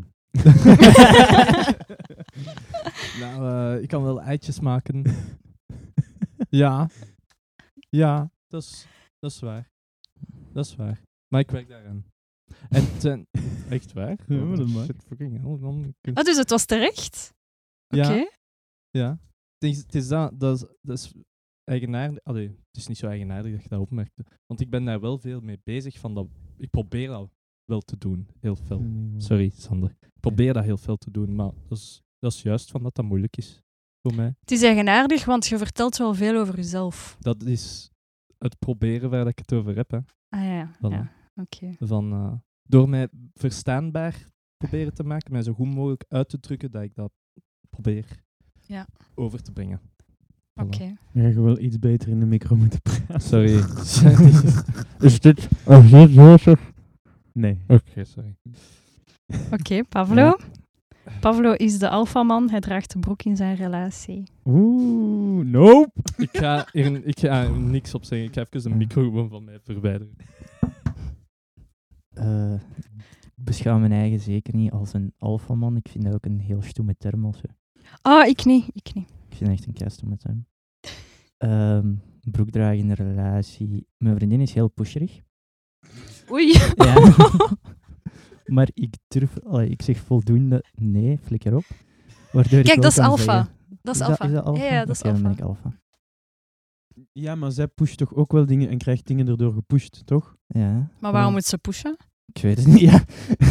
S6: nou, eh, ik kan wel eitjes maken. ja. Ja, dat is, dat is waar. Dat is waar. Maar ik werk daaraan. En het zijn... Echt waar? Oh,
S4: Ja, maar dat mag.
S6: Shit, fucking hell, man. Ik-
S5: Ah, dus het was terecht?
S6: Ja,
S5: Oké.
S6: ja. Het is, het is dat, dat is, dat is eigenaardig. Allee, het is niet zo eigenaardig dat je dat opmerkte. Want ik ben daar wel veel mee bezig. Van dat, ik probeer dat wel te doen, heel veel. Sorry, Sander. Ik probeer dat heel veel te doen, maar dat is, dat is juist van dat dat moeilijk is. voor mij.
S5: Het is eigenaardig, want je vertelt wel veel over jezelf.
S6: Dat is het proberen waar ik het over heb. Hè.
S5: Ah ja, ja.
S6: Voilà.
S5: ja. Oké.
S6: Van, eh, door mij verstaanbaar proberen te maken, mij zo goed mogelijk uit te drukken dat ik dat probeer
S5: Ja.
S6: over te brengen. Voilà.
S5: Oké.
S4: Ja, je wil iets beter in de micro moeten praten.
S6: Sorry.
S4: Is dit... Nee.
S6: Oké, sorry.
S5: Oké, Pavlo. Pavlo is de alfaman. Hij draagt de broek in zijn relatie.
S4: Oeh, nope.
S6: Ik ga hier ik ga er niks op zeggen. Ik ga even de micro gewoon van mij verwijderen.
S7: Eh, ik beschouw mijn eigen zeker niet als een alfaman. Ik vind dat ook een heel stoeme term. Als,
S5: Ah, ik niet. Ik niet.
S7: ik vind dat echt een keistoeme term. Ehm broek dragen in de relatie. Mijn vriendin is heel pusherig.
S5: Oei.
S7: Ja. maar ik durf... allee, ik zeg voldoende nee, flikker op. Waardoor ik
S5: Kijk,
S7: wel
S5: dat is
S7: kan
S5: alpha.
S7: zeggen-
S5: Dat is
S7: dat-
S5: alfa.
S7: dat alpha?
S5: Ja, ja, dat is
S7: Oké, dan ben
S5: alfa.
S7: ik alpha.
S4: Ja, maar zij pusht toch ook wel dingen en krijgt dingen erdoor gepusht, toch?
S7: Ja.
S5: Maar waarom
S7: Ja.
S5: moet ze pushen?
S7: Ik weet het niet, ja.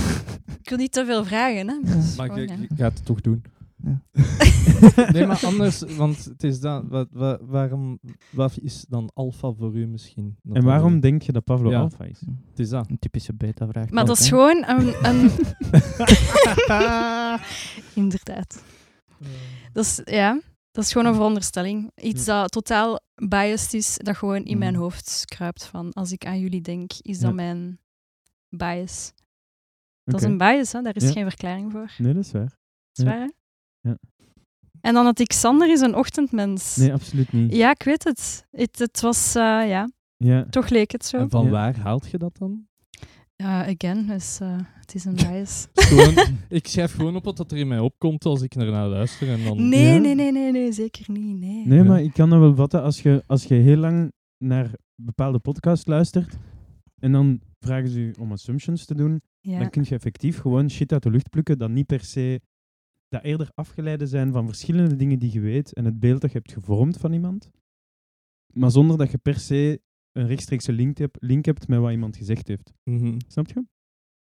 S5: Ik wil niet te veel vragen, hè.
S7: Ja.
S5: Dus
S6: Maar
S5: gewoon,
S6: ik,
S5: ja.
S6: ik ga het toch doen.
S7: Ja.
S6: Nee, maar anders, want het is dan, wat, wa- waarom, wat is dan alfa voor u misschien? Dat
S4: En
S6: dan
S4: waarom
S6: wel-
S4: denk je dat Pavlo
S6: Ja.
S4: alfa is?
S6: Het is dat.
S7: Een typische beta-vraag.
S5: Maar dat
S7: ook,
S5: is
S7: hè.
S5: gewoon een... een... Inderdaad. Dat is, ja, dat is gewoon een veronderstelling. Iets dat totaal biased is, dat gewoon in mijn
S7: Mhm.
S5: hoofd kruipt van als ik aan jullie denk, is dat
S4: Ja.
S5: mijn bias. Dat
S4: Oké.
S5: is een bias, hè? daar is
S4: Ja.
S5: geen verklaring voor.
S4: Nee, dat is waar.
S5: Dat is
S4: Ja.
S5: waar, hè?
S4: Ja.
S5: En dan had ik Sander is een ochtendmens.
S4: Nee, absoluut niet.
S5: Ja, ik weet het. Het, het was, eh, ja,
S4: Ja.
S5: toch leek het zo.
S6: En van
S4: Ja.
S6: waar haalt je dat dan?
S5: Ja, again, dus, eh, het is een bias.
S6: Gewoon, ik schrijf gewoon op wat er in mij opkomt als ik ernaar luister. En dan,
S5: Nee,
S4: Ja.
S5: nee, nee, nee, nee, zeker niet. Nee.
S4: Nee,
S6: Ja.
S4: maar ik kan dat wel vatten als je, als je heel lang naar bepaalde podcasts luistert en dan vragen ze je om assumptions te doen,
S5: Ja.
S4: dan kun je effectief gewoon shit uit de lucht plukken dat niet per se, dat eerder afgeleide zijn van verschillende dingen die je weet en het beeld dat je hebt gevormd van iemand, maar zonder dat je per se een rechtstreekse link hebt, link hebt met wat iemand gezegd heeft.
S6: Mhm.
S4: Snap je?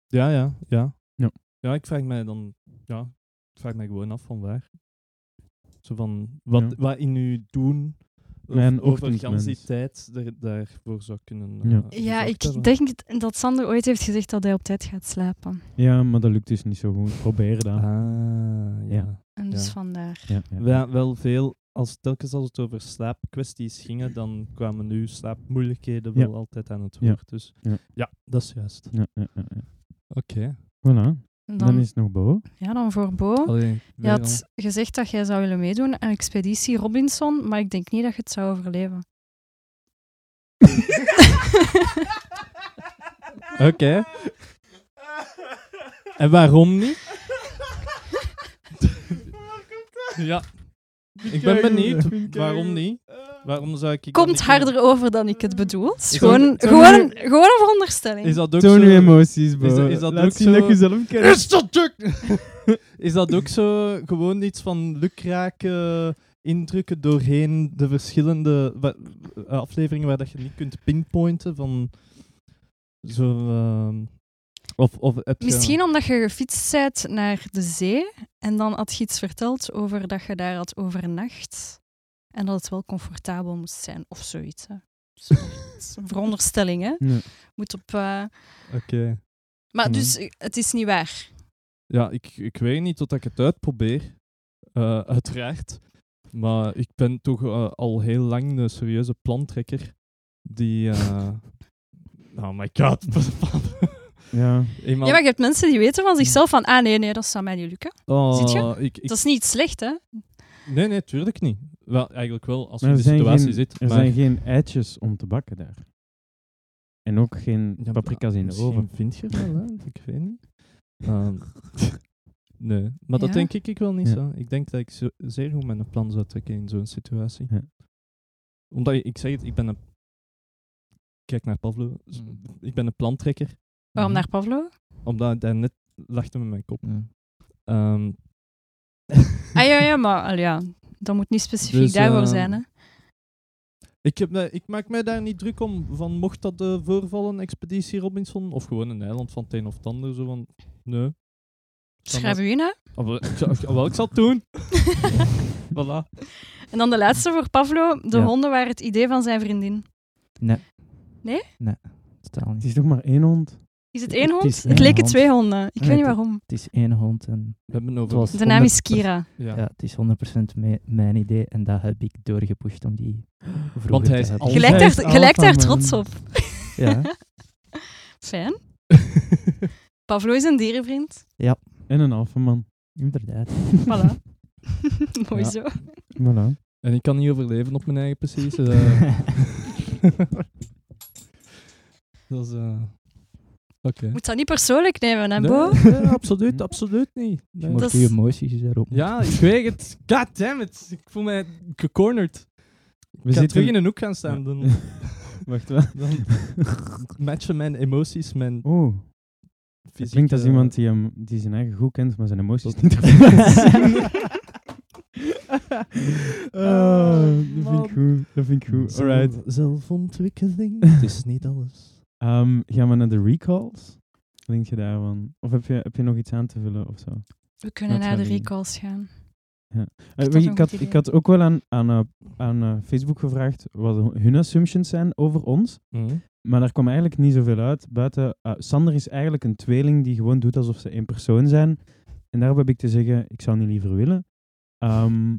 S6: Ja, ja, ja,
S4: Ja.
S6: Ja, ik vraag mij dan... Ja, ik vraag mij gewoon af van waar. Zo van, wat,
S4: Ja.
S6: wat in u doen... of
S4: Mijn
S6: over gans die
S4: ochtendmens.
S6: tijd daar, daarvoor zou kunnen...
S4: Ja.
S6: eh,
S5: Ja,
S6: gezorgd hebben.
S5: ik denk d- dat Sander ooit heeft gezegd dat hij op tijd gaat slapen.
S4: Ja, maar dat lukt dus niet zo goed. Probeer dat.
S6: Ah, ja.
S4: Ja.
S5: En dus
S6: Ja.
S5: vandaar.
S4: Ja, ja.
S6: Wel, wel veel, als telkens als het over slaapkwesties gingen, dan kwamen nu slaapmoeilijkheden wel altijd aan het
S4: Ja.
S6: woord. Dus
S4: Ja.
S6: ja. dat is juist.
S4: Ja, ja, ja, ja.
S6: Oké.
S4: Voilà.
S5: En
S4: Dan,
S5: Dan,
S4: is het nog Bo.
S5: Oh, Ja, dan voor Bo.
S6: Allee,
S5: Je had gezegd dat jij zou willen meedoen aan Expeditie Robinson, maar ik denk niet dat je het zou overleven.
S6: Oké. En waarom niet? ja. Ik ben benieuwd. Waarom niet? Waarom zou ik... ik dan
S5: Komt
S6: niet kunnen-
S5: harder over dan ik het bedoel. Het is
S6: Is dat-
S5: gewoon,
S6: zo-
S5: gewoon, een- gewoon een veronderstelling.
S6: Is dat ook
S4: Toon
S6: zo...
S4: je emoties, Bo.
S6: is dat- is dat
S4: Laat
S6: ook
S4: zien dat
S6: zo-
S4: je zelf kent.
S6: Is dat ook... is dat ook zo gewoon iets van lukrake indrukken doorheen de verschillende wa- eh, afleveringen waar dat je niet kunt pinpointen van zo... ehm, of, of heb je-
S5: Misschien omdat je gefietst bent naar de zee en dan had je iets verteld over dat je daar had overnacht en dat het wel comfortabel moest zijn of zoiets. Hè. Zo- het is een veronderstelling, hè?
S4: Nee.
S5: Moet op, eh,
S6: Oké.
S5: Maar
S4: Ja.
S5: dus, eh, het is niet waar.
S6: Ja, ik, ik weet niet tot ik het uitprobeer. eh, uiteraard. Maar ik ben toch eh, al heel lang een serieuze plantrekker. Die. eh, oh my god.
S4: Ja.
S6: Iemand,
S5: Ja, maar je hebt mensen die weten van zichzelf van, ah nee, nee, dat zou mij niet lukken.
S6: oh,
S5: ziet je?
S6: Ik, ik,
S5: Dat is niet slecht, hè?
S6: nee, nee, tuurlijk niet. Wel, eigenlijk wel, als je
S4: Maar
S6: in
S4: er zijn,
S6: de situatie
S4: geen,
S6: zit.
S4: er
S6: maar,
S4: zijn geen eitjes om te bakken daar. En ook geen
S6: Ja, maar
S4: paprika's in de
S6: misschien
S4: oven.
S6: vind je wel, hè? Ik weet niet. Ehm, nee, maar dat
S5: Ja.
S6: denk ik, ik wel niet
S4: Ja.
S6: zo. Ik denk dat ik zo, zeer goed mijn plan zou trekken in zo'n situatie.
S4: Ja.
S6: Omdat ik, ik zeg het, ik ben een... Kijk naar Pavlo. Z-
S7: Mm.
S6: Ik ben een plantrekker, Mhm.
S5: Waarom naar Pavlo?
S6: omdat hij net lachte met mijn kop.
S7: Ja.
S6: Ehm,
S5: Ah ja, ja, maar al ja, dat moet niet specifiek
S6: Dus,
S5: daarvoor
S6: eh,
S5: zijn, hè?
S6: ik, heb, daar- ik maak mij daar niet druk om, van mocht dat eh, voorvallen, Expeditie Robinson, of gewoon een eiland van het een of het ander, zo van, nee.
S5: Schrijf u in, hè?
S6: Ah, wel, ik zal- ah, wel, ik zal het doen. Voilà.
S5: En dan de laatste voor Pavlo. De
S7: Ja.
S5: honden waren het idee van zijn vriendin.
S7: Totaal
S4: Het
S7: niet.
S4: is toch maar één hond?
S5: Is het één hond?
S7: Het is
S5: Het,
S7: één
S5: leken
S7: hond.
S5: twee honden. Ik
S4: Ah,
S5: weet niet
S4: het-
S5: waarom.
S7: Het is één hond en
S6: We hebben
S7: het
S6: over.
S7: was...
S5: De naam is
S7: 100%
S5: Kira.
S6: Ja.
S7: Ja, het is 100% mij- mijn idee en dat heb ik doorgepusht om die vroeger
S6: Want hij
S7: te
S6: is
S7: hebben.
S6: al-
S5: Gelijk
S4: Zij is
S5: daar, gelijk daar
S4: alpha, man.
S5: trots op.
S7: Ja,
S5: Fijn. Pavlo is een dierenvriend.
S4: En een alfaman.
S7: inderdaad.
S5: Voilà. Mooi
S6: Ja.
S5: zo.
S4: Voilà.
S6: En ik kan niet overleven op mijn eigen precies. dus, eh, dat is... eh, Oké.
S5: Moet dat niet persoonlijk nemen, hè,
S6: Nee,
S5: Bo?
S6: nee, absoluut, absoluut niet.
S7: Je
S6: Nee.
S7: mocht
S5: Dat
S7: je
S5: is-
S7: emoties dus erop.
S6: Ja, ik weet het. God damn it. Ik voel mij gecornerd.
S4: We
S6: ik ga
S4: zitten
S6: terug in een hoek gaan staan.
S4: Ja.
S6: Dan,
S4: Wacht wel.
S6: dan matchen mijn emoties, mijn
S4: Oh, het
S6: fysiek. eh,
S4: klinkt als iemand die, hem, die zijn eigen goed kent, maar zijn emoties
S6: Dat-
S4: niet ervan
S6: Oh,
S4: Dat vind
S6: man.
S4: ik goed. Dat vind ik goed. Alright.
S6: Zelfontwikkeling. Het is niet alles.
S4: Ehm, gaan we naar de recalls? Wat denk je daarvan? Of heb je, heb je nog iets aan te vullen of zo?
S5: We kunnen
S4: Dat
S5: naar de
S4: zou ik-
S5: recalls gaan.
S4: Eh,
S5: dat
S4: weet je,
S5: een
S4: ik,
S5: goed
S4: had,
S5: idee?
S4: ik had ook wel aan, aan, eh, aan eh, Facebook gevraagd wat hun assumptions zijn over ons. Maar daar kwam eigenlijk niet zoveel uit. Buiten, eh, Sander is eigenlijk een tweeling die gewoon doet alsof ze één persoon zijn. En daarop heb ik te zeggen, ik zou niet liever willen. Ehm,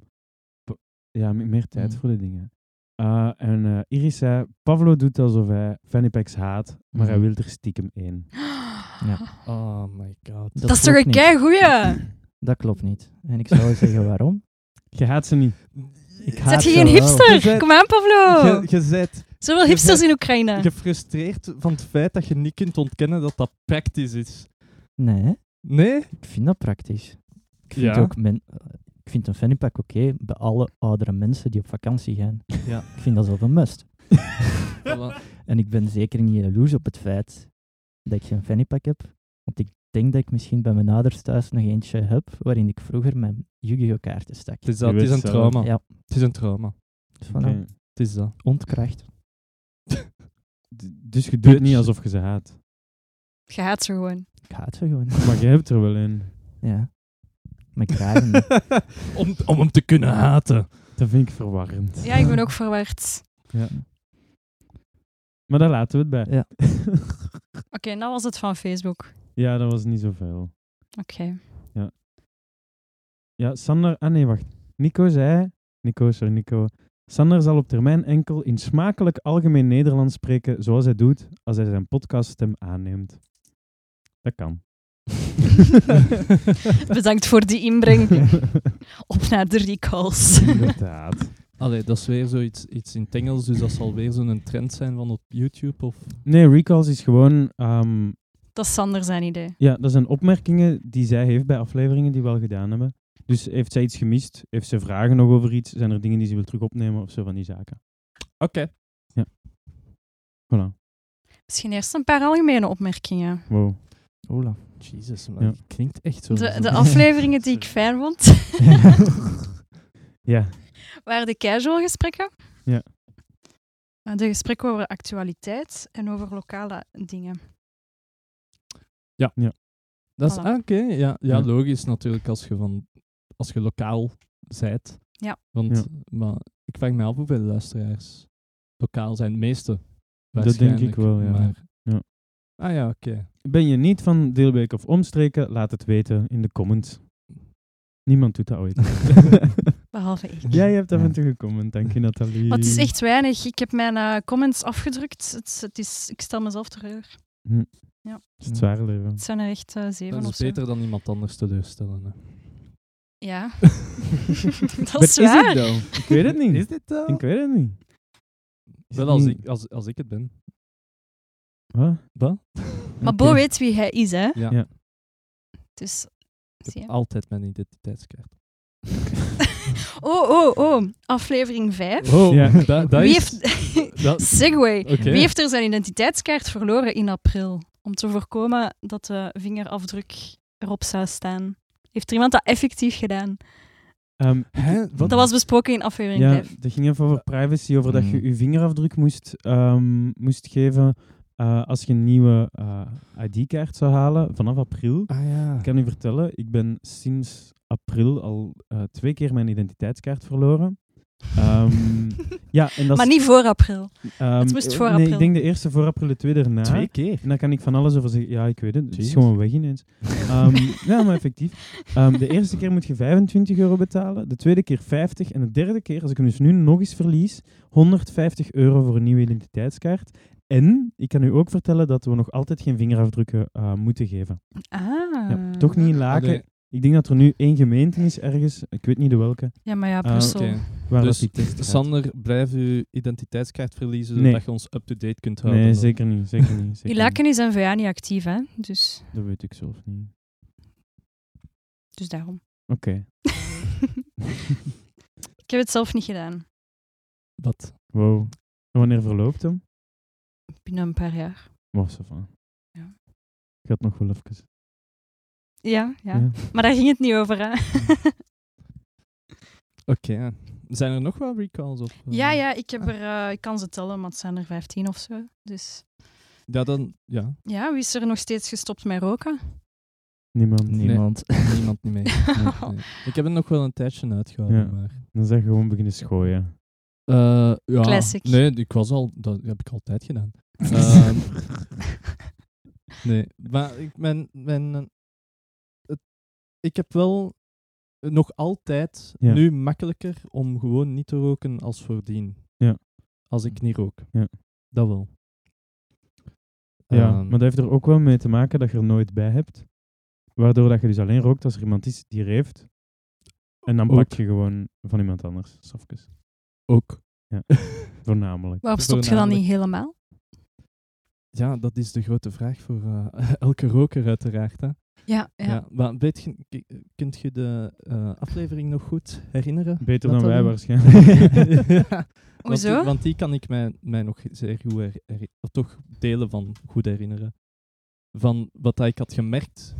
S4: p- ja, me- meer tijd
S7: Mhm.
S4: voor de dingen. Eh, en eh, Iris zei, Pavlo doet alsof hij Fannypacks haat, maar hij
S7: Mhm.
S4: wil er stiekem één.
S6: Oh my god.
S5: Dat, is toch
S7: klopt
S5: een
S7: niet.
S5: kei goeie?
S7: Dat klopt niet. En ik zou zeggen waarom.
S4: Je haat ze niet.
S7: Ik haat
S5: Zet je
S7: ze
S5: geen
S7: wel.
S5: hipster?
S6: Je bent-
S5: Kom aan, Pavlo.
S6: Je, je bent
S5: Zoveel hipsters
S6: bent-
S5: in Oekraïne.
S6: gefrustreerd van het feit dat je niet kunt ontkennen dat dat praktisch is.
S7: Nee,
S6: Nee?
S7: ik vind dat praktisch. Ik vind,
S6: Ja.
S7: ook men- eh, ik vind een fannypack oké bij alle oudere mensen die op vakantie gaan.
S6: Ja.
S7: Ik vind dat zelf een must.
S6: Voilà.
S7: En ik ben zeker niet jaloers op het feit dat ik geen fannypack heb. Want ik denk dat ik misschien bij mijn ouders thuis nog eentje heb waarin ik vroeger mijn Yu-Gi-Oh kaarten stak.
S6: Het is,
S4: Je
S6: dat, het is
S4: weet
S6: een
S4: zelf.
S6: trauma.
S7: Ja,
S6: Het is een trauma.
S7: dus van
S4: Oké.
S6: Het is dat.
S7: ontkracht.
S4: D- Dus je doet
S6: Bitch.
S4: niet alsof je ze haat.
S5: Je haat ze gewoon.
S7: Ik haat ze gewoon.
S4: Maar je hebt er wel een.
S7: Ja. Maar ik draag hem.
S6: om, om hem te kunnen haten.
S4: Dat vind ik verwarrend.
S5: Ja, ik ben ook verward.
S4: Maar daar laten we het bij.
S7: Ja.
S5: Oké, en dat was het van Facebook.
S4: Ja, dat was niet zoveel.
S5: Oké.
S4: Ja, Sander... Ah nee, wacht. Nico zei... Nico, sorry, Nico. Sander zal op termijn enkel in smakelijk algemeen Nederlands spreken zoals hij doet als hij zijn podcaststem aanneemt. Dat kan.
S5: Bedankt voor die inbreng. Op naar de recalls.
S4: Inderdaad.
S6: Allee, dat is weer zoiets iets in het Engels, dus dat zal weer zo'n trend zijn van op YouTube. Of...
S4: Nee, recalls is gewoon... ehm,
S5: Dat is Sander zijn idee.
S4: ja, dat zijn opmerkingen die zij heeft bij afleveringen die we al gedaan hebben. Dus heeft zij iets gemist? Heeft ze vragen nog over iets? Zijn er dingen die ze wil terug opnemen of zo van die zaken?
S6: Oké.
S4: Voilà.
S5: Misschien eerst een paar algemene opmerkingen.
S4: Wow.
S7: Ola.
S6: Jesus, man.
S4: Ja.
S6: dat klinkt echt zo.
S5: De,
S6: zo-
S5: de afleveringen die ik fijn vond,
S4: Ja.
S5: waren de casual gesprekken.
S4: Ja.
S5: Eh, De gesprekken over actualiteit en over lokale dingen.
S6: Dat is
S5: Voilà.
S6: ah, oké. Ja, ja,
S4: Ja.
S6: logisch natuurlijk als je, van, als je lokaal zijt.
S5: Ja.
S6: Want
S4: Ja.
S6: Maar, ik vraag me af hoeveel luisteraars lokaal zijn. De meeste.
S4: denk ik
S6: waarschijnlijk,
S4: wel, ja.
S6: Maar...
S4: Ja.
S6: Ah ja, oké.
S4: Ben je niet van Deelbeek of omstreken? Laat het weten in de comments. Niemand doet dat ooit.
S5: Behalve ik.
S4: Jij hebt af
S7: Ja.
S4: en toe gecomment, dank je Nathalie.
S5: Maar het is echt weinig. Ik heb mijn eh, comments afgedrukt. Het, het is, ik stel mezelf teleur.
S4: Het is het zware leven.
S5: Het zijn er echt eh, zeven
S6: Dat
S5: of
S6: is
S5: zo.
S6: beter dan iemand anders teleurstellen. Hè.
S5: Ja. dat is
S4: Maar
S5: waar.
S4: het dan? Ik weet het niet.
S6: dit dan?
S4: Ik weet het niet. Is
S6: Wel
S4: het
S6: als
S4: niet-
S6: ik, als, als ik het ben.
S4: Wat?
S6: Wat?
S5: Maar Bo
S4: Oké.
S5: weet wie hij is, hè?
S6: Ja.
S4: Ja.
S5: Dus.
S6: Ik
S5: zie
S6: heb
S5: je.
S6: altijd mijn identiteitskaart.
S5: Oh, oh, oh. Aflevering 5.
S6: Oh,
S4: Ja.
S6: da- dat
S5: Wie
S6: is...
S5: heeft.
S6: dat-
S5: Segway.
S6: Oké.
S5: Wie heeft er zijn identiteitskaart verloren in april? Om te voorkomen dat de vingerafdruk erop zou staan. Heeft er iemand dat effectief gedaan?
S4: Ehm,
S6: Hè? Wat?
S5: Dat was besproken in aflevering
S4: ja,
S5: 5.
S4: dat ging even over privacy, over dat je
S7: Mm.
S4: je vingerafdruk moest, ehm, moest geven eh, als je een nieuwe eh, ID-kaart zou halen vanaf april.
S6: Ah ja.
S4: Ik kan u vertellen, ik ben sinds april al eh, twee keer mijn identiteitskaart verloren. Ehm, ja, en dat
S5: Maar
S4: is,
S5: niet voor april.
S4: ehm,
S5: het moest voor
S4: nee,
S5: april.
S4: ik denk de eerste voor april, de tweede erna.
S6: Twee keer.
S4: En daar kan ik van alles over zeggen. Ja, ik weet het. Het is
S6: Jezus.
S4: gewoon weg ineens. Ehm ja, maar effectief. Ehm, de eerste keer moet je 25 euro betalen. De tweede keer 50. En de derde keer, als ik hem dus nu nog eens verlies, 150 euro voor een nieuwe identiteitskaart. En ik kan u ook vertellen dat we nog altijd geen vingerafdrukken eh, moeten geven.
S5: Ah.
S4: Ja, toch niet in laken.
S6: Allee.
S4: Ik denk dat er nu één gemeente is ergens, ik weet niet de welke,
S5: Ja, maar ja,
S4: Ah,
S5: Brussel.
S6: Oké.
S4: waar
S6: Dus
S4: dat die test gaat.
S6: Sander, blijf uw identiteitskaart verliezen,
S4: Nee.
S6: zodat je ons up-to-date kunt houden.
S4: Nee,
S6: dan.
S4: zeker niet. Zeker niet zeker
S5: Die laken is N-VA niet actief, hè? Dus,
S4: niet. Dat weet ik zelf niet.
S5: dus daarom.
S4: Oké.
S5: Ik heb het zelf niet gedaan.
S6: Wat?
S4: Wow. En wanneer verloopt hem?
S5: Binnen een paar jaar.
S4: Was van.
S5: Ja.
S4: Ik had nog wel even.
S5: Ja, ja.
S4: Ja.
S5: Maar daar ging het niet over, hè?
S6: Oké. Zijn er nog wel recalls? Of, eh?
S5: ja, ja, ik, heb er, eh, ik kan ze tellen, maar het zijn er 15 of zo. Dus
S6: Ja, dan... Ja,
S5: ja, wie is er nog steeds gestopt met roken?
S4: Niemand.
S7: Niemand.
S6: niemand niet mee. Nee. Ik heb het nog wel een tijdje uitgehouden,
S4: Ja.
S6: maar...
S4: Dan zeg je gewoon beginnen schooien.
S6: Eh, ja.
S5: Classic.
S6: Nee, ik was al... Dat heb ik altijd gedaan. Ehm, nee, maar ik ben... ben eh, het- ik heb wel nog altijd
S4: Ja.
S6: nu makkelijker om gewoon niet te roken als voordien.
S4: Ja.
S6: Als ik niet rook.
S4: Ja.
S6: Dat wel.
S4: ja,
S6: Ehm,
S4: maar dat heeft er ook wel mee te maken dat je er nooit bij hebt. Waardoor dat je dus alleen rookt als er iemand is die er heeft. En dan
S6: Ook.
S4: pak je gewoon van iemand anders. Safkes.
S6: ook.
S4: Ja. Voornamelijk.
S5: Waarom stopt je dan niet
S6: Voornamelijk.
S5: helemaal?
S6: Ja, dat is de grote vraag voor eh, elke roker uiteraard. Hè?
S5: Ja, ja.
S6: Ja. maar weet je, k- kunt je de eh, aflevering nog goed herinneren?
S4: Beter dan wij
S6: Nathalie?
S4: waarschijnlijk.
S6: Ja, want die-
S5: Hoezo?
S6: Want, die kan ik mij, mij nog zeer goed her- her- of toch delen van goed herinneren. Van wat dat ik had gemerkt,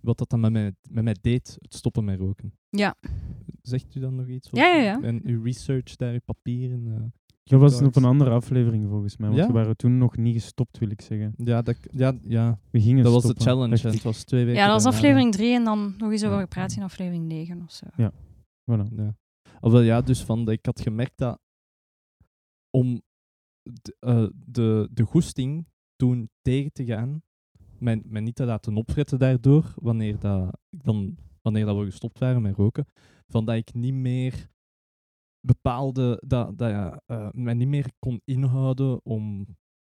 S6: wat dat dan met mij, met mij deed, het stoppen met roken.
S5: Ja.
S6: Zegt u dan nog iets?
S5: Ja, ja, ja.
S6: En uw research daar, uw papieren. eh,
S4: dat was
S6: cards.
S4: op een andere aflevering volgens mij. Want
S6: Ja?
S4: we waren toen nog niet gestopt, wil ik zeggen.
S6: Ja, dat, k- ja, ja.
S4: We gingen
S6: dat was de
S4: stoppen,
S6: challenge.
S4: dacht
S6: hè.
S4: ik.
S6: Het was twee weken.
S5: Ja, dat was
S6: daarna, hè.
S5: aflevering 3 en dan nog eens over
S4: Ja.
S5: gepraat in aflevering 9 of zo.
S4: Voilà.
S6: Ja. Ofwel ja, dus van, ik had gemerkt dat om de, eh, de, de goesting toen tegen te gaan, mij, mij niet te laten opfretten daardoor, wanneer, dat, ik dan, wanneer dat we gestopt waren met roken, van dat ik niet meer bepaalde, dat, dat ja, eh, mij niet meer kon inhouden om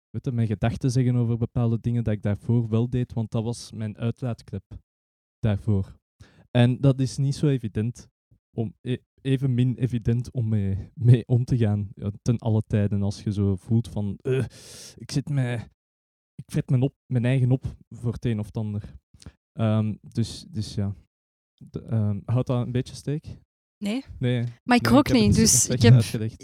S6: weet je, mijn gedachten te zeggen over bepaalde dingen dat ik daarvoor wel deed, want dat was mijn uitlaatklep daarvoor. En dat is niet zo evident om e- even min evident om mee, mee om te gaan. Ja, ten alle tijden als je zo voelt van eh, ik zit mij, ik vet mijn, op, mijn eigen op voor het een of het ander. Ehm, dus, dus ja. De, ehm, houdt dat een beetje steek?
S5: Nee,
S6: Nee.
S5: maar ik
S6: nee,
S5: rook
S6: heb
S5: niet,
S6: het
S5: dus ik
S6: slecht
S5: heb,
S6: uitgelegd.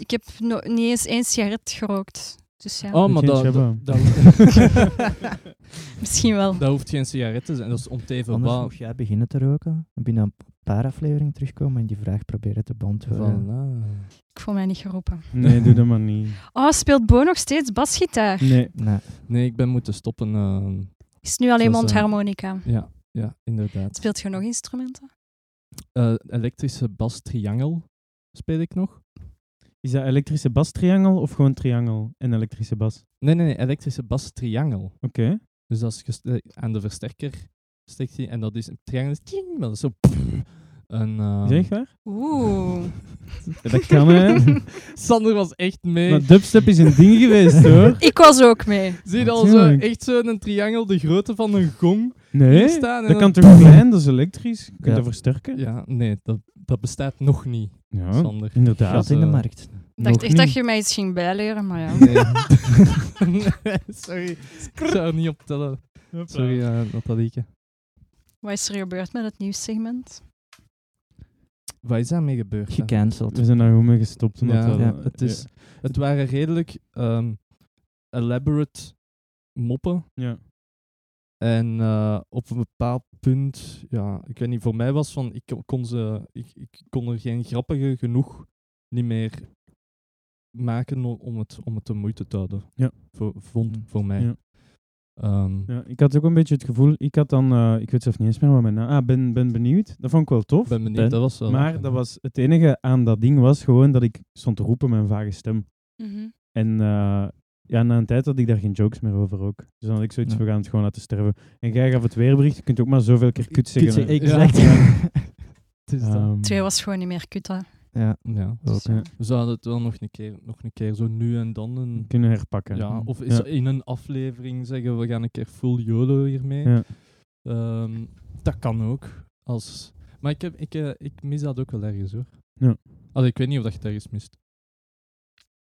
S5: ik heb no- niet eens één sigaret gerookt. Dus ja,
S6: Oh, maar
S4: Moet je
S6: dat,
S4: eentje
S6: dat,
S4: hebben?
S6: dat-
S5: misschien wel.
S6: dat hoeft geen sigaret te zijn. Dat is om te even
S7: Anders
S6: wa-
S7: moest jij beginnen te roken. En binnen een paar afleveringen terugkomen en die vraag proberen te beantwoorden.
S6: Voilà.
S5: Ik voel mij niet geroepen.
S4: Nee, doe dat maar niet.
S5: Oh, speelt Bo nog steeds basgitaar?
S4: Nee.
S7: Nee,
S6: Nee, ik ben moeten stoppen. ehm,
S5: Is het nu alleen
S6: Dat is, eh,
S5: mondharmonica?
S6: ja, ja, inderdaad.
S5: Speelt je nog instrumenten?
S6: Eh, elektrische bas triangel speel ik nog.
S4: Is dat elektrische bas triangel of gewoon triangel en elektrische bas?
S6: Nee, nee, nee, elektrische bas triangel.
S4: Oké.
S6: Dus dat is gest- eh, aan de versterker steekt hij en dat is een triangel. is ting, maar dat is zo. En, ehm,
S4: Zeg waar?
S5: Oeh.
S4: Dat kan hè.
S6: Sander was echt mee.
S4: Maar dubstep is een ding geweest hoor.
S5: Ik was ook mee.
S6: Zie je al zo
S4: Natuurlijk.
S6: echt zo'n triangel de grootte van een gong hier
S4: Nee.
S6: staan? en
S4: Dat kan
S6: dan-
S4: toch niet zijn, dat is elektrisch. Je kunt
S7: Ja.
S4: dat versterken.
S6: Ja, nee, dat, dat bestaat nog niet,
S4: Ja,
S6: Sander.
S4: inderdaad.
S7: gat in de
S6: eh,
S7: markt.
S5: Ik dacht
S4: Nog
S5: echt dat
S4: niet.
S5: je mij iets ging bijleren, maar ja.
S6: Nee. Nee, sorry. Ik zou er niet op tellen. Sorry, eh Nathalieke.
S5: Wat is er gebeurd met het nieuwssegment?
S6: Wat is daarmee gebeurd? hè?
S7: Gecanceld.
S4: We zijn daar gewoon mee gestopt. Omdat
S6: Ja,
S4: dat-
S7: ja,
S6: Het, is, het waren redelijk ehm, elaborate moppen.
S4: Ja.
S6: En eh, op een bepaald punt, ja, ik weet niet, voor mij was van, ik kon, ze, ik, ik kon er geen grappige genoeg niet meer maken o- om het, om het de moeite te houden.
S4: Ja.
S6: Voor, vond
S7: Mm.
S6: voor mij.
S4: Ja.
S6: Ehm,
S4: Ja, ik had ook een beetje het gevoel, ik had dan, eh, ik weet zelf niet eens meer wat mijn naam, ah, ben, ben benieuwd. Dat vond ik wel tof.
S6: ben benieuwd,
S4: Ben.
S6: dat was wel...
S4: maar dat was, het enige aan dat ding was gewoon dat ik stond te roepen met een vage stem. En eh, ja, na een tijd had ik daar geen jokes meer over ook. Dus dan had ik zoiets,
S7: Ja.
S4: we gaan het gewoon laten sterven. En jij gaf het weerbericht, je kunt ook maar zoveel keer kut zeggen.
S7: Kutse,
S4: hè.
S7: exact. Ah,
S6: Het is dat.
S4: Ehm,
S5: Twee was gewoon niet meer kut, hè. Dus, eh,
S7: ja,
S6: Ja.
S7: ook.
S4: ja.
S6: We zouden het wel nog een keer, nog een keer zo nu en dan. Een,
S4: kunnen herpakken.
S6: ja, of is
S4: Ja.
S6: in een aflevering zeggen we gaan een keer full YOLO hiermee.
S4: Ja.
S6: Ehm, dat kan ook. Als, maar ik, heb, ik, eh, ik mis dat ook wel ergens hoor.
S4: Ja.
S6: Allee, ik weet niet of dat je het ergens mist.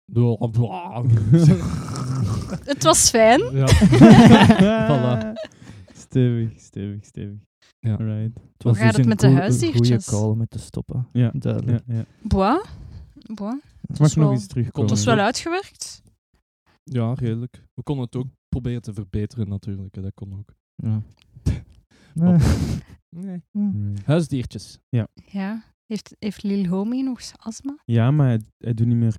S6: Doe-
S5: Het was fijn.
S6: ja. Voilà.
S4: Stevig, stevig, stevig.
S6: Ja.
S4: Alright.
S7: Het was
S5: gaat
S6: dus
S5: het
S7: een
S5: met de
S7: goe-
S5: huisdiertjes?
S7: Een goede call om het te stoppen.
S4: Ja,
S7: Duidelijk.
S4: Ja, ja.
S5: Boah. Boah.
S4: Het
S5: was
S4: mag nog
S5: wel-
S4: eens terugkomen.
S5: Het was wel uitgewerkt.
S6: ja, redelijk. We konden het ook proberen te verbeteren natuurlijk. hè, Dat kon ook.
S7: Ja.
S6: Nee.
S7: Ah.
S4: Alright.
S6: Huisdiertjes.
S5: Ja. Heeft, heeft Lil Homie nog z- astma?
S4: Ja, maar het, het doet niet meer.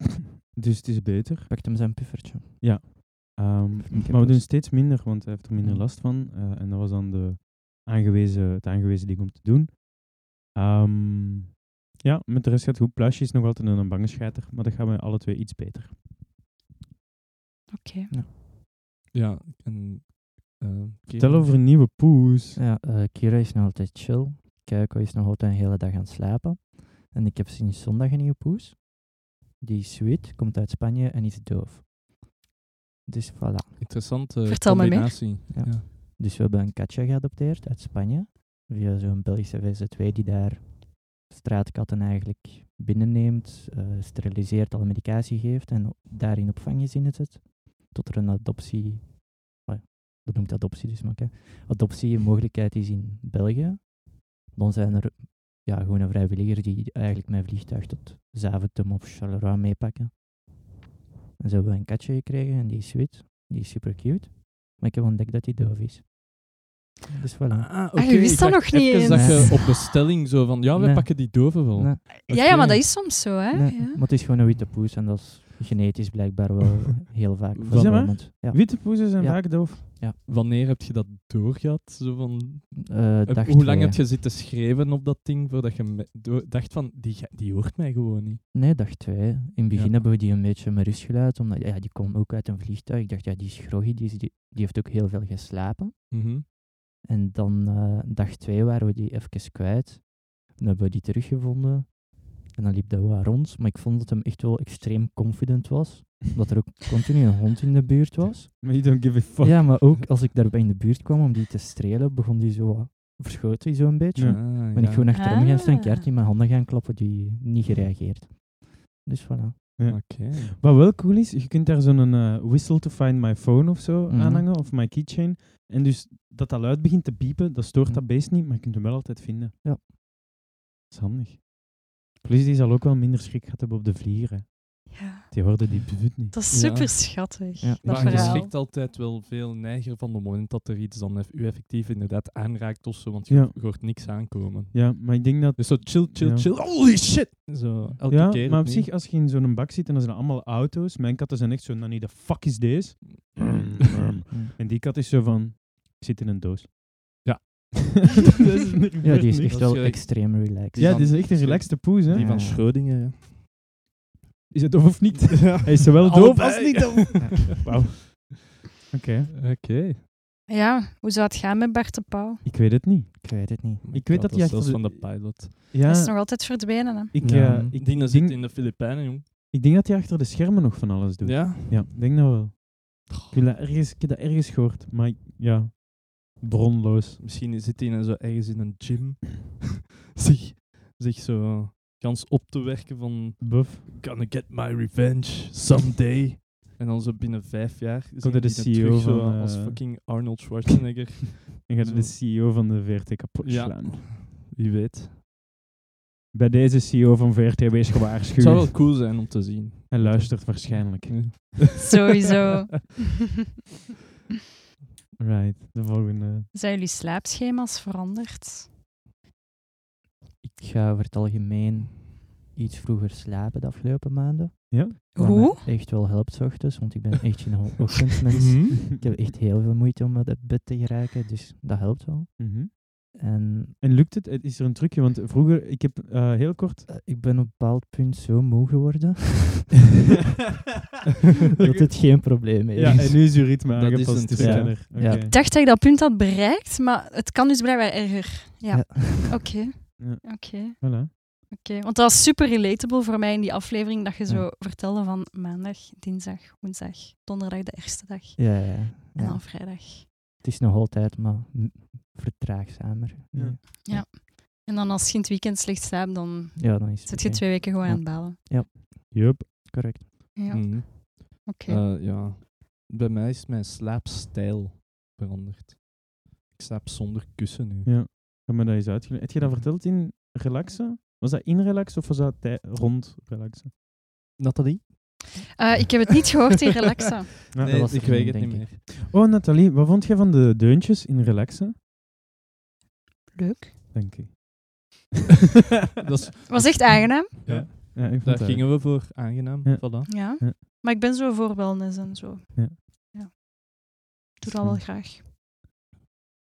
S4: Dus het is beter.
S7: Pakt hem zijn puffertje.
S4: Ehm,
S7: Of niet,
S4: maar we
S7: dus.
S4: doen steeds minder, want hij heeft er minder
S7: Ja.
S4: last van. Eh, en dat was dan de aangewezen, het aangewezen ding om te doen. Ehm, ja, met de rest gaat het goed. Pluisje is nog altijd een bange scheiter, maar dat gaan we alle twee iets beter.
S5: Oké.
S6: Ja. En, eh,
S4: Vertel over een nieuwe poes.
S7: Ja, eh, Kira is nog altijd chill. Keiko is nog altijd een hele dag aan het slapen. En ik heb sinds zondag een nieuwe poes. Die is sweet, komt uit Spanje en is doof. Dus voilà.
S6: Interessante
S5: Vertel maar meer.
S6: combinatie.
S7: Ja.
S6: Ja.
S7: Dus we hebben een katje geadopteerd uit Spanje. Via zo'n Belgische VZ2 die daar straatkatten eigenlijk binnenneemt, eh, steriliseert, alle medicatie geeft en o- daarin opvanggezinnen zet. Tot er een adoptie, ah, dat noemt adoptie dus maar, hè. adoptie een mogelijkheid is in België. Dan zijn er ja, gewoon een vrijwilliger die eigenlijk mijn vliegtuig tot Zaventem of Charleroi meepakken. En zo hebben we een katje gekregen en die is wit, die is super cute. Maar ik heb ontdekt dat hij doof is. Dus voilà.
S6: Ah,
S5: Ah, je
S6: oké,
S5: wist
S6: ik
S5: dat
S6: dacht
S5: nog niet
S6: even dat
S7: eens.
S6: je op bestelling zo van, ja, we
S7: Nee.
S6: pakken die doven wel.
S7: Nee.
S5: Ja, ja, maar
S6: Oké.
S5: dat is soms zo, hè.
S7: Nee,
S5: Ah, Ja.
S7: Maar het is gewoon een witte poes en dat is genetisch blijkbaar wel heel vaak
S6: Zeg maar.
S7: voorkomend. Ja.
S4: Witte poezen zijn
S7: Ja.
S4: vaak doof.
S6: Wanneer heb je dat doorgehad? Zo van,
S7: Eh,
S6: heb-
S7: dag
S6: hoe lang
S7: twee.
S6: heb je zitten schreven op dat ding voordat je me- do- dacht van, die, ga- die hoort mij gewoon niet?
S7: Nee, dag twee. In het begin hebben we die een beetje met rust gelaten, omdat ja, die komt ook uit een vliegtuig. Ik dacht, ja, die is groggy, die, is- die, die heeft ook heel veel geslapen.
S6: Mhm.
S7: En dan eh, dag twee waren we die even kwijt. Dan hebben we die teruggevonden. En dan liep dat wat rond, maar ik vond dat hem echt wel extreem confident was. Omdat er ook continu een hond in de buurt was.
S4: Maar you don't give a fuck.
S7: Ja, maar ook als ik daarbij in de buurt kwam om die te strelen, begon die zo wat- verschoten die zo een beetje.
S4: Ja.
S6: Ah,
S7: Ben ik
S6: ja.
S7: gewoon achterom gaan staan,
S5: Ah.
S7: keihard in mijn handen gaan klappen, die niet gereageerd. Dus voilà.
S6: Oké.
S4: Wat wel cool is, je kunt daar zo'n eh, whistle to find my phone of zo
S7: Mhm.
S4: aanhangen, of my keychain. En dus dat dat luid begint te piepen, dat stoort
S7: Mhm.
S4: dat beest niet, maar je kunt hem wel altijd vinden.
S7: Ja.
S4: Dat is handig. Plus, die zal ook wel minder schrik gehad hebben op de vlieren.
S5: Ja.
S4: Die hoorden die pvut niet.
S5: Dat is
S6: Ja.
S5: super schattig.
S7: Ja.
S5: Dat
S6: maar je
S5: verhaal.
S6: schrikt altijd wel veel neiger van het moment dat er iets dan eff- u effectief inderdaad aanraakt of zo, want je
S4: Ja.
S6: hoort niks aankomen.
S4: Ja, maar ik denk dat...
S6: Dus zo chill, chill,
S4: Ja.
S6: chill, holy shit! Zo, elke
S4: ja,
S6: keer
S4: maar op
S6: opnieuw.
S4: zich, als je in zo'n bak zit en dat zijn allemaal auto's, mijn katten zijn echt zo, Nanny, de fuck is deze? en die kat is zo van, ik zit in een doos.
S6: Ja.
S4: Dat is er
S7: Ja, die is
S4: niks.
S7: echt wel
S6: Waarschijnlijk-
S7: extreem relaxed.
S4: Ja, die is echt een relaxed poes, hè?
S7: Die van
S6: Schrödinger.
S4: Is het doof of niet? Hij is zowel doof als niet doof. Wauw. Oké,
S6: Oké.
S5: Ja, hoe zou het gaan met Bart de Pauw?
S4: ik weet het niet.
S7: Ik weet het niet.
S4: Ik weet dat die
S6: is
S4: echt
S6: zelfs
S4: als-
S6: van de pilot.
S4: Ja,
S5: Hij is nog altijd verdwenen, hè.
S4: ik,
S7: Ja.
S4: eh, ik,
S6: Die
S4: denk,
S6: zit in de Filipijnen, jong.
S4: ik denk dat hij achter de schermen nog van alles doet. Ja,
S6: Ja.
S4: ik denk dat wel. Ik, wil dat ergens, ik heb dat ergens gehoord, maar ik- ja, bronloos.
S6: Misschien zit hij dan zo ergens in een gym. zich, zich zo kans op te werken van...
S4: Buff.
S6: Gonna get my revenge someday. en dan zo binnen vijf jaar... zien
S4: Komt er de
S6: die dan
S4: CEO
S6: terug zo
S4: van,
S6: als
S4: eh,
S6: fucking Arnold Schwarzenegger.
S4: En gaat de
S6: Zo.
S4: CEO van de VRT kapot
S6: Ja.
S4: slaan.
S6: Wie weet.
S4: Bij deze CEO van VRT wees
S6: Het zou wel
S4: gewaarschuwd.
S6: cool zijn om te zien.
S4: Hij luistert waarschijnlijk.
S6: Ja.
S5: Sowieso.
S4: Right, de volgende.
S5: Zijn jullie slaapschema's veranderd?
S7: Ik ga over het algemeen iets vroeger slapen de afgelopen maanden. Wat mij
S5: Hoe?
S7: Echt wel helpt 's ochtends, want ik ben echt geen ochtendmens.
S4: Hm?
S7: Ik heb echt heel veel moeite om uit bed te geraken, dus dat helpt wel.
S4: Mhm.
S7: En
S4: En lukt het? Is er een trucje? Want vroeger, ik heb eh, heel kort...
S7: eh, ik ben op een bepaald punt zo moe geworden dat het geen probleem meer
S4: Ja,
S7: is.
S4: en nu is uw ritme
S6: Dat is
S4: aangepast.
S6: een
S4: dus
S6: truc.
S4: verder.
S7: Ja.
S4: Oké.
S5: Ik dacht dat ik dat punt had bereikt, maar het kan dus blijkbaar erger. Ja, oké.
S7: Ja.
S5: Oké,
S4: Ja.
S5: oké.
S4: Voilà.
S5: Want dat was super relatable voor mij in die aflevering, dat je zo vertelde van maandag, dinsdag, woensdag, donderdag de eerste dag
S7: Ja, ja, ja.
S5: en
S7: Ja.
S5: dan vrijdag.
S7: Het is nog altijd, maar m- vertraagzamer.
S4: Ja.
S7: Ja,
S5: En dan als je in het weekend slecht slaapt, dan
S7: ja dan is het
S5: zit je
S7: oké.
S5: twee weken gewoon
S7: Ja.
S5: aan het balen.
S4: Yup.
S7: Correct.
S5: Ja, oké.
S6: Mhm. Eh, ja. Bij mij is mijn slaapstijl veranderd. Ik slaap zonder kussen nu.
S4: Ja. Kan me dat eens uitgelegd? Heb je dat verteld in relaxen? Was dat in relaxen of was dat tij- rond relaxen?
S6: Nathalie?
S5: Eh, ik heb het niet gehoord in Relaxa.
S4: Ja,
S6: nee,
S7: was
S6: ik
S7: er
S6: weet
S7: een,
S6: het niet
S7: denk
S6: meer.
S4: Oh, Nathalie, wat vond jij van de deuntjes in relaxen?
S5: Leuk.
S4: Dank je.
S6: Dat is-
S5: Was echt aangenaam.
S4: Ja, ik vond
S6: daar
S4: dat
S6: gingen we voor, aangenaam.
S4: Ja.
S6: Voilà.
S5: Ja.
S4: Ja.
S5: Maar ik ben zo voor wellness en zo.
S4: Ja.
S5: Ja. Doe dat wel graag.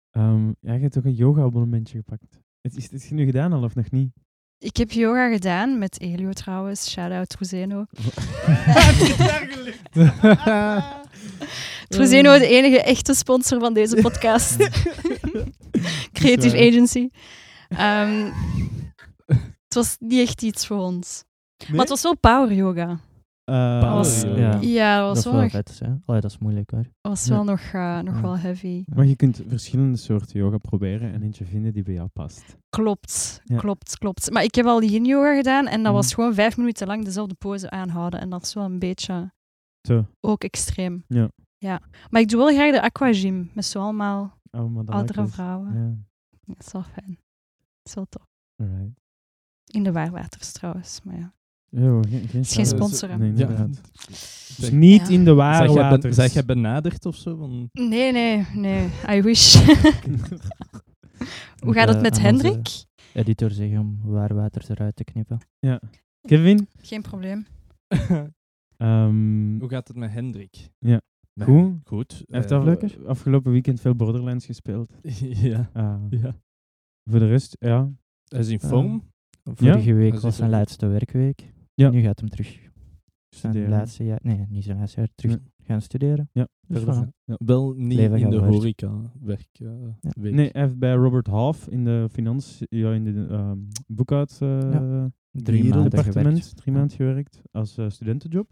S4: Ehm, ja, je hebt toch een yoga-abonnementje gepakt? Het is, het is nu gedaan al of nog niet?
S5: Ik heb yoga gedaan met Elio trouwens. Shout-out Truzeno. Truzeno, de enige echte sponsor van deze podcast. Creative Agency. Ehm, het was niet echt iets voor ons. Maar het was wel power yoga.
S4: Eh,
S5: Pas.
S4: eh,
S7: Ja.
S5: Ja, dat
S7: Dat
S5: was
S7: is
S5: wel,
S7: wel
S5: nog,
S7: vet, hè. Allee, dat is moeilijk, hoor.
S5: was wel nog, eh, nog
S7: Ja.
S5: wel heavy.
S4: Maar je kunt verschillende soorten yoga proberen en eentje vinden die bij jou past.
S5: Klopt,
S4: Ja.
S5: klopt, klopt. Maar ik heb al yin yoga gedaan en dat was
S4: Mhm.
S5: gewoon vijf minuten lang dezelfde pose aanhouden. En dat is wel een beetje
S4: Te.
S5: ook extreem.
S4: Ja.
S5: ja. Maar ik doe wel graag de aquagym met zo allemaal
S4: Oh, maar dat
S5: oudere
S4: is-
S5: vrouwen.
S4: Ja,
S5: Dat is wel fijn. Dat is wel tof.
S4: alright.
S5: In de waarwaters trouwens, maar ja.
S4: Yo, Oh, geen, geen
S5: Het is geen
S4: shout-out.
S5: sponsor. hè.
S4: Nee,
S6: Ja.
S4: inderdaad. Dus
S6: Zeg-
S4: niet
S5: Ja.
S4: in de
S6: Zijn
S4: ware
S6: jij, ben-
S4: waters.
S6: zijn jij benaderd of zo? Van,
S5: Nee, nee, nee. I wish. Hoe gaat het
S7: Eh,
S5: met
S7: aan
S5: Hendrik?
S7: onze Editor zeggen om waarwaters eruit te knippen.
S4: ja. Kevin?
S5: Geen probleem.
S4: ehm,
S6: Hoe gaat het met Hendrik?
S4: Ja.
S6: Nou,
S4: Goed.
S6: Goed.
S4: Hij heeft
S6: Eh,
S4: afgelopen- afgelopen weekend veel Borderlands gespeeld.
S6: ja.
S4: Ah,
S6: ja.
S4: Voor de rest, ja.
S6: Hij is in vorm.
S7: Vorige week
S6: Dat is
S7: was zijn
S6: wel-
S7: laatste werkweek.
S4: Ja.
S7: Nu gaat hem terug zijn
S4: Studeren.
S7: laatste jaar... Nee, niet zijn laatste jaar. Terug
S4: Nee.
S7: gaan studeren.
S4: Ja,
S7: Dus
S6: verder
S7: voilà.
S6: gaan. Wel niet
S7: Leven
S6: in
S7: gaat
S6: de
S7: hard.
S6: horeca werk. eh,
S7: Ja.
S6: week.
S4: Nee, hij heeft bij Robert Half in de finans, ja, in de ehm, boekhoud eh,
S7: Drie maanden gewerkt.
S4: departement drie maanden gewerkt als eh, studentenjob.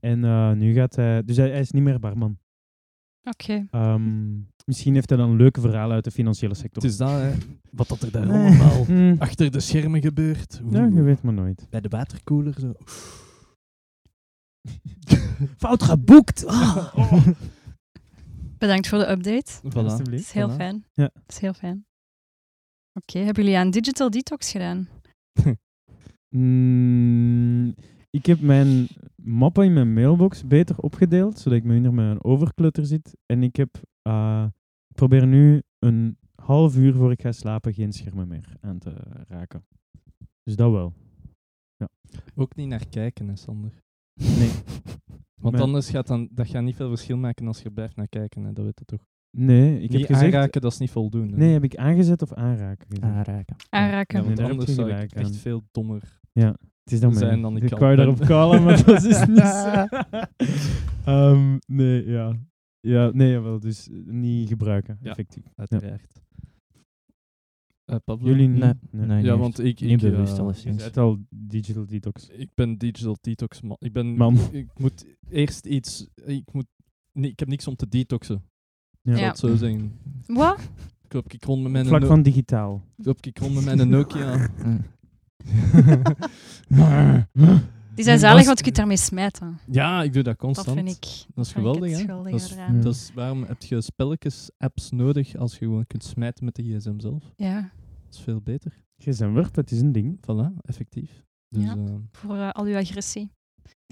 S4: En eh, nu gaat hij, dus hij, hij is niet meer barman.
S5: Oké.
S4: Ehm, misschien heeft hij dan leuke verhalen uit de financiële sector.
S6: Het is dat, hè, wat dat er daar
S7: Nee.
S6: allemaal
S4: Hmm,
S6: achter de schermen gebeurt. Oeh.
S4: ja, je weet maar nooit.
S6: Bij de waterkoeler zo.
S4: Fout geboekt! Ah.
S5: Bedankt voor de update.
S6: Voilà.
S5: Het is heel
S6: Voilà.
S5: fijn.
S4: Ja.
S5: Het is heel fijn. Oké, hebben jullie aan digital detox gedaan?
S4: Mm, ik heb mijn mappen in mijn mailbox beter opgedeeld, zodat ik minder met een overklutter zit. En ik, heb, eh, ik probeer nu een half uur voor ik ga slapen geen schermen meer aan te raken. Dus dat wel.
S6: Ook niet naar kijken, hè, Sander.
S4: Nee.
S6: Want
S4: Maar-
S6: anders gaat dan, dat gaat niet veel verschil maken als je er blijft naar kijken. Hè, dat weet je toch.
S4: Nee, ik
S6: niet
S4: heb gezegd...
S6: aanraken, Ah. dat is niet voldoende.
S4: Nee, heb ik aangezet of aanraken gezegd?
S7: Aanraken.
S6: Ja,
S5: Aanraken.
S6: want
S4: Nee, daar heb
S6: anders
S4: je
S6: zou
S4: gelijk
S6: ik echt
S4: aan.
S6: veel dommer.
S4: Het is dan
S6: zijn
S4: mijn-
S6: dan ik
S4: ik
S6: al
S4: wou
S6: ben.
S4: daarop callen, maar dat is niet zo. Ehm, nee, ja. Ja, nee, jawel, dus eh, niet gebruiken,
S6: Ja.
S4: effectief.
S6: Uiteraard. Eh, Pablo?
S4: Jullie niet?
S7: Nee, nee,
S6: Ja,
S7: niet.
S6: want ik... ik
S7: Niet bewust
S6: eh,
S4: Je
S7: alleszins.
S4: zet al digital detox.
S6: Ik ben digital detox man. Ik ben...
S4: Man.
S6: Ik moet eerst iets... Ik moet... Nee, ik heb niks om te detoxen.
S4: Ja.
S6: Ik zal het zo zeggen.
S5: Wat?
S6: Ik loop ik rond met mijn,
S4: Vlak
S6: no-
S4: van digitaal.
S6: loop ik rond met mijn Nokia.
S7: Eh,
S5: Die zijn zalig,
S6: Als-
S5: want je kunt daarmee smijten.
S6: ja, ik doe dat
S5: Dat
S6: constant.
S5: vind ik.
S6: Dat is
S5: vind ik
S6: geweldig,
S5: het
S6: hè?
S5: schuldige
S6: Dat is-
S5: eraan.
S6: Dat is- waarom heb je spelletjes-apps nodig als je gewoon kunt smijten met de gsm zelf?
S5: Ja,
S6: Dat is veel beter.
S4: Gsm-werp, het is een ding.
S6: Voilà, effectief. Dus,
S5: Ja.
S6: eh,
S5: voor eh, al uw agressie.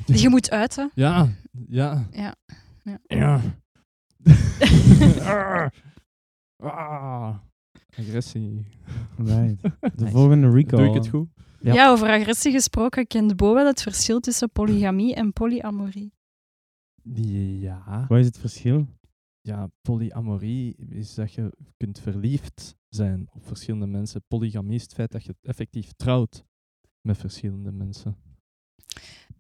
S5: Die je moet uiten.
S6: ja, ja.
S5: Ja. Ja.
S6: Ah. Ah. Agressie.
S4: Right. De
S7: Nice.
S4: volgende recall.
S6: Doe ik het goed?
S7: Ja.
S5: Ja. over agressie gesproken kent Bo wel het verschil tussen polygamie en polyamorie.
S6: Ja.
S4: Wat is het verschil?
S6: Ja, polyamorie is dat je kunt verliefd zijn op verschillende mensen. Polygamie is het feit dat je effectief trouwt met verschillende mensen.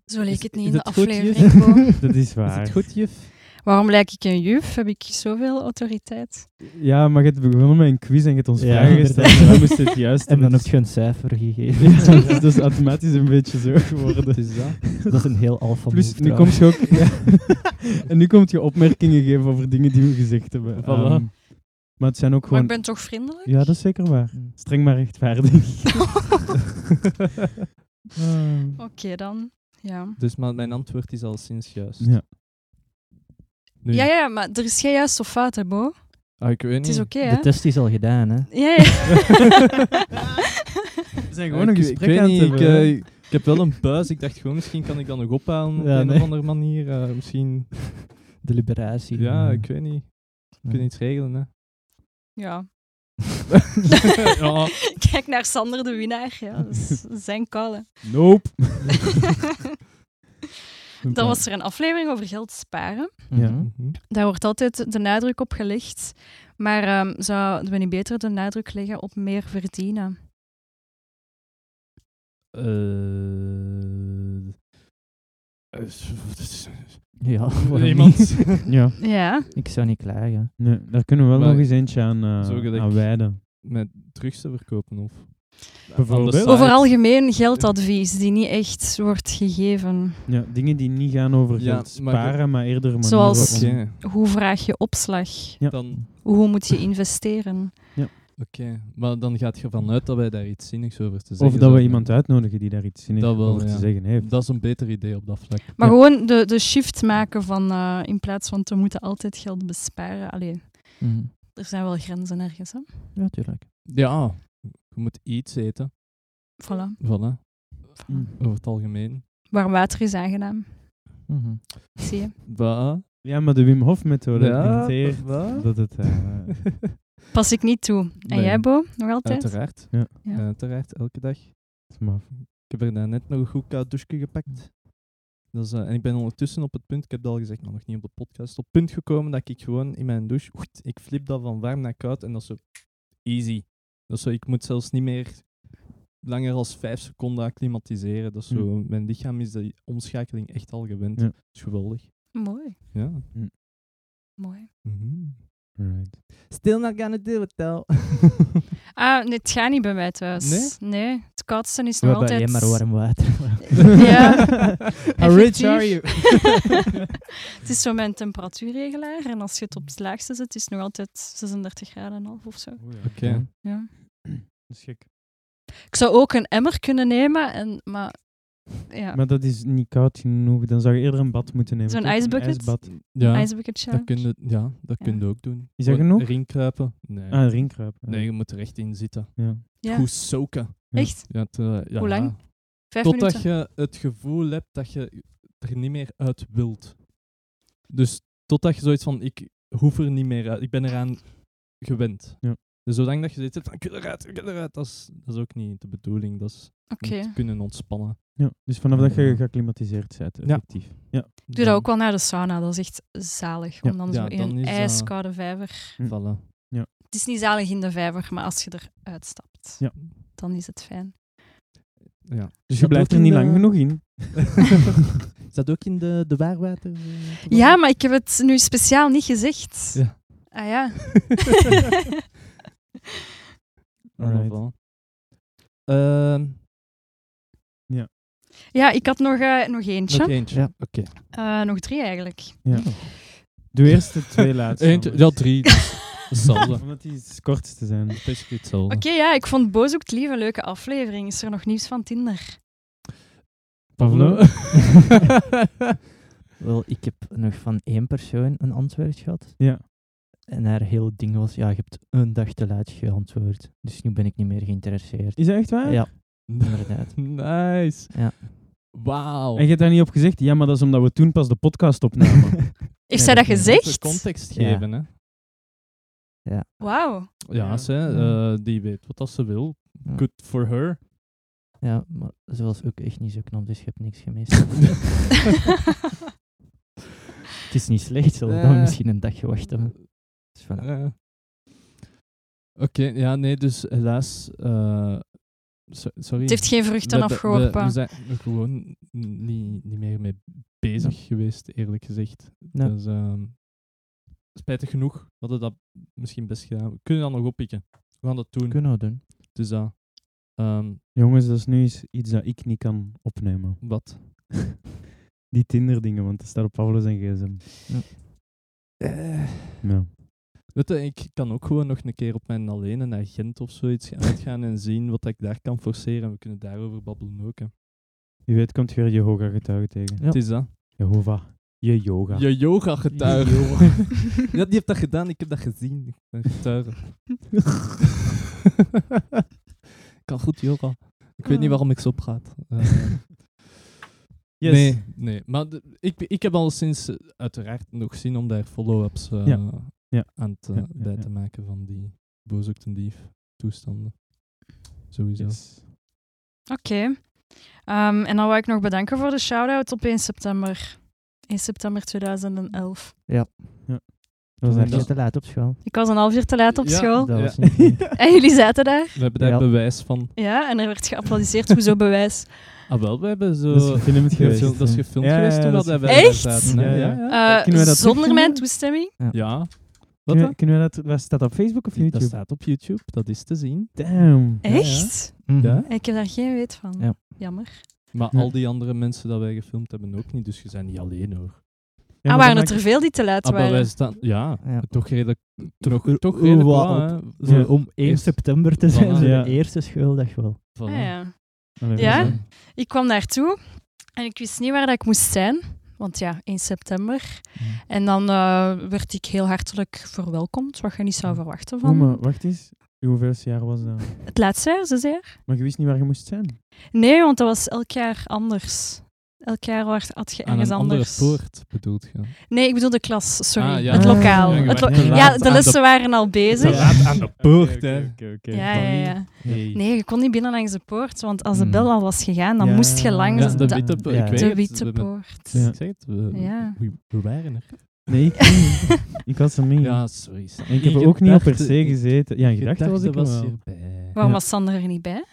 S5: Zo leek
S6: Is-
S5: het niet in
S6: is
S5: de
S6: het goed hier?
S5: aflevering, Bo.
S4: Dat is
S6: Is het
S4: waar.
S6: goed, juf?
S5: Waarom lijk ik een juf? Heb ik zoveel autoriteit?
S4: Ja, maar je hebt begonnen met een quiz en je hebt ons
S2: Ja,
S4: vragen gesteld.
S2: inderdaad.
S4: En wij moesten het juist
S7: En
S4: doen.
S7: dan heb
S4: Dus-
S7: je een cijfer gegeven.
S4: Ja, dus dat is- dat is automatisch een beetje zo geworden.
S6: Het is dat.
S7: Dat is een heel alfa
S4: Plus,
S7: move
S4: nu komt
S7: trouwens.
S4: je ook... en nu komt je opmerkingen geven over dingen die we gezegd hebben.
S6: Voilà.
S4: Ehm, maar het zijn ook
S5: Maar
S4: gewoon...
S5: ik ben toch vriendelijk?
S4: Ja, dat is zeker waar.
S7: Mm.
S4: Streng maar rechtvaardig. Ehm,
S5: Oké dan. Ja.
S6: Dus maar mijn antwoord is al sinds juist.
S4: ja.
S6: Nu,
S5: ja, ja, maar er is geen juist of fout, hè, Bo?
S6: Ah, ik weet
S5: Het
S6: niet.
S5: is oké,
S7: De
S5: hè?
S7: test is al gedaan, hè.
S5: Ja, ja.
S4: We zijn
S6: Ja,
S4: gewoon een
S6: ik-
S4: gesprek
S6: ik, weet
S4: aan
S6: niet,
S4: het
S6: ik,
S4: hebben.
S6: eh, ik heb wel een buis. Ik dacht gewoon, misschien kan ik dat nog ophalen op
S4: Ja,
S6: een
S4: nee.
S6: of andere manier. Eh, misschien,
S7: De liberatie.
S6: ja,
S7: Eh,
S6: ik weet niet. Ik kan iets regelen, hè.
S5: ja.
S6: Ja.
S5: Kijk naar Sander de winnaar. Ja, dat is zijn call. hè.
S4: eh, Nope.
S5: Dan was er een aflevering over geld sparen.
S7: Mhm.
S4: Ja.
S6: Mhm.
S5: Daar wordt altijd de nadruk op gelegd. Maar ehm, zouden we niet beter de nadruk leggen op meer verdienen?
S6: Eh, eh,
S7: Ja, waarom
S6: Iemand?
S7: niet?
S4: Ja,
S5: Ja.
S7: Ik zou niet klagen.
S4: nee, daar kunnen we wel
S6: Maar-
S4: nog eens eentje aan, eh,
S6: Zo gelijk-
S4: aan wijden.
S6: Met drugs te verkopen, of?
S4: Bijvoorbeeld?
S6: Aan de
S5: Over
S6: site.
S5: algemeen geldadvies die niet echt wordt gegeven.
S4: Ja, dingen die niet gaan over
S6: Ja,
S4: geld
S6: maar ge-
S4: sparen, maar, eerder manieren
S5: Zoals-
S4: om-
S6: Oké,
S5: Hoe vraag je opslag?
S4: Ja.
S6: dan...
S5: Hoe moet je investeren?
S6: Oké, maar dan gaat je vanuit dat wij daar iets zinnigs over te zeggen
S4: Of dat we
S6: zouden
S4: iemand uitnodigen die daar iets in
S6: Dat wel,
S4: over
S6: ja.
S4: te zeggen heeft.
S6: hebben. Dat is een beter idee op dat vlak.
S5: Maar
S4: Ja.
S5: gewoon de, de shift maken van eh, in plaats van te moeten altijd geld besparen. Allee,
S7: Mhm.
S5: er zijn wel grenzen ergens. Hè?
S7: Ja, tuurlijk.
S6: Ja, je moet iets eten.
S5: Voilà.
S6: Voilà,
S5: voilà.
S4: Mm.
S6: over het algemeen.
S5: Warm water is aangenaam.
S7: Mhm.
S5: Zie je?
S6: Wat?
S4: Ja, maar de Wim Hof methode
S6: Ja,
S4: dicteert
S6: wat?
S4: dat het... eh,
S5: Pas ik niet toe. En
S6: Nee.
S5: jij, Bo? Nog altijd?
S6: Uiteraard.
S4: Ja.
S5: Ja.
S6: Uiteraard, elke dag.
S4: is maf.
S6: Ik heb er daarnet nog een goed koud douche gepakt. Dat is, eh, en ik ben ondertussen op het punt, ik heb dat al gezegd, maar nog niet op de podcast, op het punt gekomen dat ik gewoon in mijn douche, oeit, ik flip dat van warm naar koud en dat is zo easy. Dat is zo, ik moet zelfs niet meer langer als vijf seconden acclimatiseren. Dat is zo, Mijn lichaam is die omschakeling echt al gewend.
S4: Hmm. Ja.
S6: Dat is geweldig.
S5: Mooi,
S6: Ja.
S5: mooi.
S4: Mhm. Right.
S6: Still not gonna do it though.
S5: Ah, nee, het gaat niet bij mij thuis.
S6: Nee?
S5: het koudste is nog
S7: Waarbij jij
S5: altijd...
S7: maar warm water.
S5: Ja,
S4: How rich
S5: effectief.
S4: are you?
S5: het is zo mijn temperatuurregelaar. En als je het op het laagste zet, is het nog altijd 36 graden en een half of zo.
S6: Oké.
S4: Ja,
S5: Ja.
S4: dat is gek.
S5: Ik zou ook een emmer kunnen nemen, en, maar... Ja,
S4: Maar dat is niet koud genoeg. Dan zou je eerder een bad moeten nemen.
S5: Zo'n
S4: toch? Een
S5: ijsbucket?
S4: ijsbad.
S6: Ja,
S5: ijsbucket
S6: dat
S5: challenge.
S6: kun je, ja, dat
S5: Ja.
S6: kun je ook doen.
S4: Is dat
S6: Gewoon
S4: genoeg?
S6: Erin kruipen? Nee.
S4: Ah, een ringkruip. Ja.
S6: Nee, je moet er echt in zitten.
S4: Ja.
S5: Ja,
S6: Goed soken.
S4: Ja.
S5: echt?
S6: Ja, het, eh, ja.
S5: Hoe lang? Vijf minuten?
S6: Totdat je het gevoel hebt dat je er niet meer uit wilt. Dus totdat je zoiets van, ik hoef er niet meer uit. Ik ben eraan gewend.
S4: Ja.
S6: Dus zolang dat je zoiets hebt van, ik wil eruit, ik wil eruit. Dat is, dat is ook niet de bedoeling. Dat is om
S5: Oké.
S6: te kunnen ontspannen.
S4: Ja, dus vanaf dat je
S6: Ja.
S4: geacclimatiseerd bent, effectief. Ja.
S5: Doe dat ook wel naar de sauna, dat is echt zalig.
S4: Ja.
S5: Om dan
S6: Ja,
S5: zo in
S6: dan
S5: een
S6: is dat-
S5: ijskoude vijver...
S6: Voilà.
S5: Het is niet zalig in de vijver, maar als je eruit stapt,
S4: Ja.
S5: dan is het fijn.
S6: Ja.
S4: Dus je blijft er niet lang genoeg in.
S6: eh, Is dat ook in de, de waarwater? eh, te
S5: Ja, maar ik heb het nu speciaal niet gezegd.
S6: Ja.
S5: Ah ja.
S6: worden?
S4: Alright.
S6: Ehm,
S5: ja, ik had nog, eh, nog eentje.
S6: nog eentje.
S7: Ja.
S6: Oké.
S5: Eh, nog drie eigenlijk.
S4: Ja. Doe eerst de twee laatste.
S6: Eentje, ja,
S4: jongens.
S6: drie. Hetzelfde.
S4: Omdat die het kortste zijn.
S6: Basically hetzelfde.
S5: Oké, ja, ik vond Boos ook het lief een leuke aflevering. Is er nog nieuws van Tinder?
S4: Pavlo?
S7: Wel, ik heb nog van één persoon een antwoord gehad.
S4: Ja.
S7: En haar heel ding was, ja, je hebt een dag te laat geantwoord. Dus nu ben ik niet meer geïnteresseerd.
S4: Is dat echt
S5: Ah.
S4: waar?
S7: Ja, inderdaad.
S6: nice.
S7: Ja.
S6: Wauw.
S4: En je hebt daar niet op gezegd? Ja, maar dat is omdat we toen pas de podcast
S7: Nou,
S4: opnamen.
S5: Heeft
S7: Nee,
S5: zij
S7: dat
S5: dat
S7: is
S6: Je moet de
S5: gezegd?
S6: context
S7: Ja.
S6: geven, hè.
S5: Wauw.
S6: Ja,
S4: Ja.
S6: Ze,
S7: Ja.
S6: eh, die weet wat dat ze wil.
S7: Ja.
S6: Good for her.
S7: Ja, maar ze was ook echt niet zo knap, dus je hebt niks gemist. het is niet slecht, ze hadden dan
S6: Eh.
S7: misschien een dag gewacht hebben. Dus voilà.
S6: Eh. Oké, ja, nee, dus helaas. eh, so- sorry.
S5: Het heeft geen vruchten
S6: We- we- We, we
S5: afgeworpen.
S6: zijn er gewoon n- niet, niet meer mee bezig geweest, eerlijk gezegd.
S7: Ja.
S6: Dus, ehm, spijtig genoeg, we hadden dat misschien best gedaan. We kunnen dat nog oppikken. We gaan dat doen.
S7: Kunnen we doen.
S6: Dus dat. ehm,
S4: Jongens, dat is nu eens iets dat ik niet kan opnemen.
S6: wat?
S4: Die Tinder-dingen, want dat staat op Paulus en gsm. Ja.
S6: Weet je, ik kan ook gewoon nog een keer op mijn alleen naar Gent of zoiets gaan uitgaan en zien wat ik daar kan forceren. We kunnen daarover babbelen ook. Hè.
S4: Wie weet komt je weer Jehovah getuigen tegen.
S7: Ja.
S6: Het is dat.
S4: Jehovah. Je yoga.
S6: Je yoga getuige.
S7: Yo.
S6: ja, die heeft dat gedaan, ik heb dat gezien. Ik ben getuige. ik kan goed yoga. Ik
S5: Ah.
S6: weet niet waarom ik zo praat. Eh,
S4: Yes.
S6: Nee, nee. Maar de- ik, ik heb al sinds eh, uiteraard nog zin om daar follow-ups eh,
S4: Ja. Ja.
S6: aan te,
S4: Ja, ja,
S6: bij
S4: ja.
S6: te maken van die booshoek en dief toestanden. Sowieso.
S4: Yes.
S5: Oké. Ehm, en dan wou ik nog bedanken voor de shout-out op 1 september. 1 september 2011.
S4: Dat
S7: Toen
S4: was
S7: was je
S4: echt...
S7: te laat op school.
S5: Ik was een half uur te laat op
S6: Ja.
S5: school.
S7: Dat
S6: Ja.
S7: was niet goed.
S5: En jullie zaten daar.
S6: We hebben daar
S7: Ja.
S6: bewijs van.
S5: Ja, en er werd geapplaudiseerd. Hoezo bewijs?
S6: Ah wel, we hebben zo...
S4: Dat is gefilmd
S6: gefilmd-
S4: geweest.
S6: dat is
S4: hè.
S6: gefilmd
S4: Ja,
S6: geweest
S4: ja,
S6: toen
S4: dat
S6: dat
S4: is
S6: wij
S5: gefilmd.
S6: daar
S5: Echt?
S6: zaten. hè?
S4: Ja, ja.
S6: ja.
S5: Eh,
S4: Kunnen we dat
S5: zonder
S4: terugvinden?
S5: mijn toestemming?
S6: Ja. Wat
S4: Kunnen,
S6: dan?
S4: we- kunnen we dat... Waar staat dat op Facebook of YouTube?
S6: Dat staat op YouTube, dat is te zien.
S4: Damn.
S6: ja.
S5: Echt?
S7: Mhm.
S6: Ja.
S5: Ik heb daar geen weet van.
S7: Ja.
S5: Jammer.
S6: Maar
S4: Ja.
S6: al die andere mensen dat wij gefilmd hebben ook niet, dus je bent niet alleen hoor.
S4: Ja,
S5: ah,
S4: maar
S5: waren
S4: dat
S5: het er veel die te laat
S6: Ah, maar wij
S5: waren?
S6: staan... Ja,
S7: Ja.
S6: toch redelijk... Toch,
S7: Hoe-
S6: toch
S7: hoe
S6: redelijk
S7: wat
S6: wel, hè.
S7: Zo,
S4: Ja.
S7: Om 1
S6: Eerst-
S7: september te zijn,
S6: Voilà.
S7: zo
S4: Ja.
S7: de eerste schooldag wel.
S6: Voilà.
S5: Ah, ja.
S4: maakt-
S5: Ja?
S4: Allee,
S5: Ik kwam daartoe en ik wist niet waar dat ik moest zijn. Want ja, 1 september. En dan eh, werd ik heel hartelijk verwelkomd, wat je niet zou verwachten
S4: Oh,
S5: van
S4: maar wacht eens. Hoeveel jaar was dat?
S5: het laatste jaar, zes jaar.
S4: Maar je wist niet waar je moest zijn.
S5: Nee, want dat was elk jaar anders. Elk jaar werd- had je
S6: Aan
S5: ergens
S6: een andere
S5: anders.
S6: poort bedoelt je.
S5: Nee, ik bedoel de klas, sorry.
S6: Ah, ja. Ah,
S5: Het
S4: Ah.
S5: lokaal.
S4: Ja, je
S5: het lo-
S4: werd te laat
S5: ja
S4: aan
S5: de
S4: de-
S5: lessen waren al bezig.
S6: laat aan de poort, hè.
S4: Oké, oké.
S5: Ja, ja, ja.
S4: Hey.
S5: Nee, je kon niet binnen langs de poort, want als de
S7: Mm.
S5: bel al was gegaan, dan
S4: Hmm. Ja.
S5: moest je langs
S6: Ja,
S5: de,
S6: de witte poort.
S7: ja.
S5: de
S6: Ik weet het,
S5: witte
S6: we hebben-
S5: poort.
S4: Ja.
S6: Ik zeg het, we,
S5: Ja.
S6: we, we waren er.
S4: Nee, ik, ik was er niet.
S6: Ja, sorry. Sam.
S4: En ik heb
S6: In
S4: er ook niet op per
S6: gedachten-
S4: se gezeten. Ja, in
S6: in
S4: gedachten was ik er
S6: was
S4: wel.
S6: hierbij.
S5: Waarom
S4: Ja.
S5: was Sander er niet bij?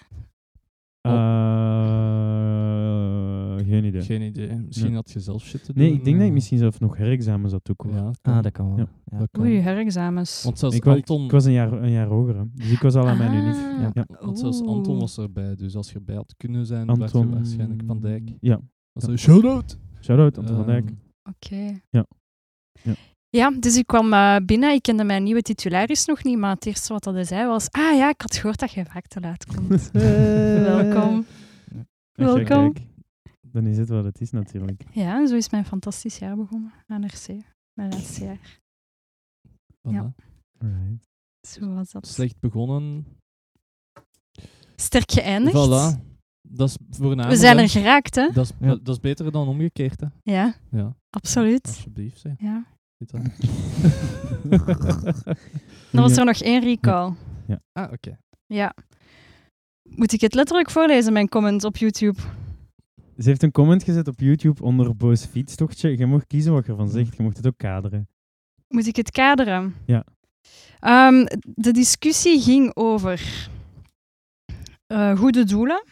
S4: Eh, geen idee.
S6: Oh. Geen idee. Misschien
S4: Ja.
S6: had je zelf shit te doen.
S4: Nee, ik denk dat ik
S6: eh.
S4: misschien zelf nog herexamen zat ook. hoor.
S6: Ja,
S7: Ah, dat kan wel.
S4: Ja.
S7: Ja.
S6: dat kan.
S5: Oei, herexamens.
S6: Want zelfs
S4: Ik wou-
S6: Anton...
S4: Ik was een jaar, een jaar hoger, hè. dus ik was al aan mijn
S5: Ah.
S4: unief.
S5: Ja.
S4: Ja.
S6: Want zelfs Anton was erbij, dus als je erbij had kunnen zijn, Anton... werd je
S4: Anton-
S6: waarschijnlijk van Dijk.
S5: Mm.
S4: Ja,
S6: Dat is een shout-out!
S4: shout-out Anton van Dijk.
S6: Ehm,
S5: Oké.
S4: Ja.
S5: Ja.
S4: Ja.
S5: dus ik kwam eh, binnen. Ik kende mijn nieuwe titularis nog niet, maar het eerste wat hij zei was... Ah ja, ik had gehoord dat jij vaak te laat komt.
S6: Ehm,
S4: Eh,
S5: Welkom.
S4: En kijk,
S5: welkom.
S4: kijk, Dan is het wat het is natuurlijk.
S5: Ja, en zo is mijn fantastisch jaar begonnen aan RC. Mijn laatste jaar. Ja.
S6: voilà.
S4: Alright.
S5: Zo was dat.
S6: Slecht begonnen.
S5: Sterk geëindigd.
S6: Voilà. Dat is voornamelijk...
S5: We zijn er geraakt, hè?
S6: Dat is,
S7: Ja.
S6: dat, dat is beter dan omgekeerd, hè.
S5: Ja,
S6: Ja.
S5: absoluut.
S6: Alsjeblieft, zeg.
S5: Ja.
S6: Dit dan.
S5: Dan was er nog één recall.
S6: ah, oké.
S5: Ja. Moet ik het letterlijk voorlezen, mijn comment op YouTube?
S4: Ze heeft een comment gezet op YouTube onder boos fietstochtje. Je mocht kiezen wat je ervan zegt. Je mocht het ook kaderen.
S5: Moet ik het kaderen?
S4: Ja.
S5: Ehm, de discussie ging over eh, goede doelen.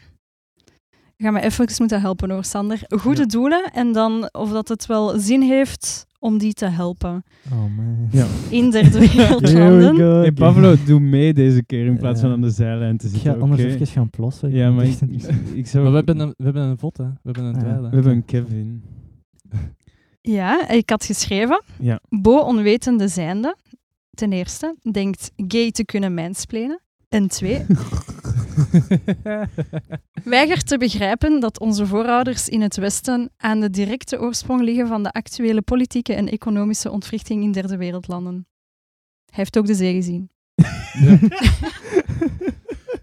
S5: Ik ga me even moeten helpen hoor, Sander. Goede doelen en dan of dat het wel zin heeft om die te helpen
S7: Oh man.
S4: Ja.
S5: in derde wereldlanden.
S4: Hey Pablo, doe mee deze keer in plaats van
S7: Ja.
S4: aan de zijlijn te
S7: Ik
S4: zitten.
S7: ga anders
S4: oké?
S7: even gaan plassen.
S4: Ja,
S7: moet
S4: maar ik,
S7: echt een-
S4: ik, ik zou...
S6: Maar we hebben, een, we hebben een vod, hè. We hebben een
S7: Ah, ja.
S6: dweil, hè.
S4: we hebben een Kevin.
S5: Ja, ik had geschreven.
S4: Ja.
S5: Bo onwetende zijnde, ten eerste, denkt gay te kunnen mansplainen. En twee, weigert te begrijpen dat onze voorouders in het Westen aan de directe oorsprong liggen van de actuele politieke en economische ontwrichting in derde wereldlanden. Hij heeft ook de zee gezien.
S4: Dat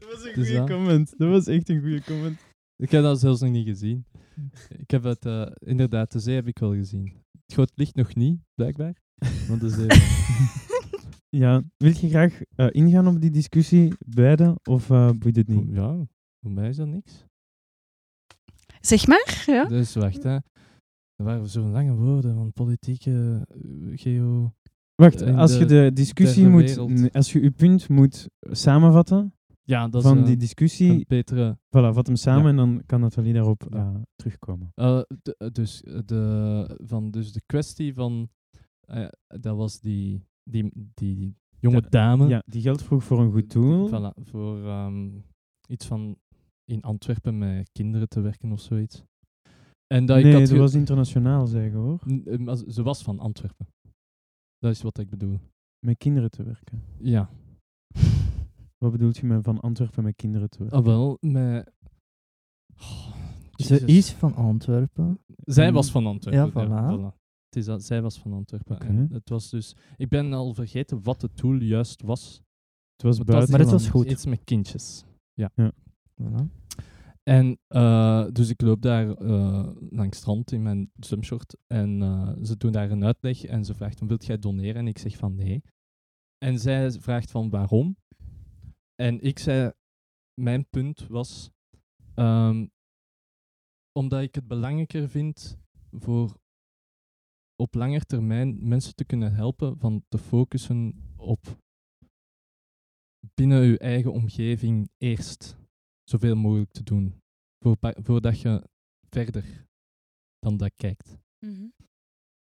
S4: was een
S6: Dus
S4: goede
S6: dat.
S4: comment. Dat was echt een goede comment.
S6: Ik heb dat zelfs nog niet gezien. Ik heb het, eh, inderdaad, de zee heb ik wel gezien. Het groot licht nog niet, blijkbaar. Want de zee...
S4: Ja, wil je graag eh, ingaan op die discussie, beide, of eh boeit het niet?
S6: Ja, voor mij is dat niks.
S5: Zeg maar, ja.
S6: Dus wacht, hè. Er waren zo'n lange woorden van politieke, eh, geo...
S4: Wacht,
S6: In
S4: als
S6: de
S4: je de discussie
S6: derde
S4: moet,
S6: wereld.
S4: nee, als je je punt moet samenvatten
S6: Ja, dat
S4: van
S6: is eh,
S4: die
S6: een
S4: discussie,
S6: betere...
S4: voilà, vat hem samen
S6: Ja.
S4: en dan kan Nathalie daarop
S6: Ja.
S4: eh, terugkomen.
S6: Eh, de- eh, dus, eh, de, van, dus de kwestie van... eh, dat was die, die, die jonge
S4: Da-
S6: dame.
S4: Ja, die geld vroeg voor een goed doel.
S6: Voilà, voor ehm, iets van in Antwerpen met kinderen te werken of zoiets. En dat ik
S4: nee,
S6: had
S4: dat
S6: ge-
S4: was internationaal zeggen hoor.
S6: N- eh, maar ze- ze was van Antwerpen. Dat is wat ik bedoel.
S4: Met kinderen te werken.
S6: Ja.
S4: Wat bedoelt je met van Antwerpen met kinderen te werken?
S6: Ah, wel, met... Oh,
S7: Ze
S6: Jezus.
S7: is van Antwerpen.
S6: Zij was van Antwerpen.
S7: Ja, voilà.
S6: Het is dat, zij was van Antwerpen.
S4: Oké.
S6: En het was dus... Ik ben al vergeten wat het doel juist was.
S4: Het was
S6: Maar dat-
S4: buiten.
S7: maar het was goed.
S6: Iets met kindjes.
S7: Voilà.
S6: En eh, dus ik loop daar eh, langs het strand in mijn swimshort. En eh, ze doen daar een uitleg en ze vraagt: van, Wilt jij doneren? En ik zeg van nee. En zij vraagt van waarom. En ik zei: Mijn punt was. ehm, omdat ik het belangrijker vind voor op langer termijn mensen te kunnen helpen van te focussen op binnen uw eigen omgeving eerst zoveel mogelijk te doen. Voor, voordat je verder dan dat kijkt.
S5: Mhm.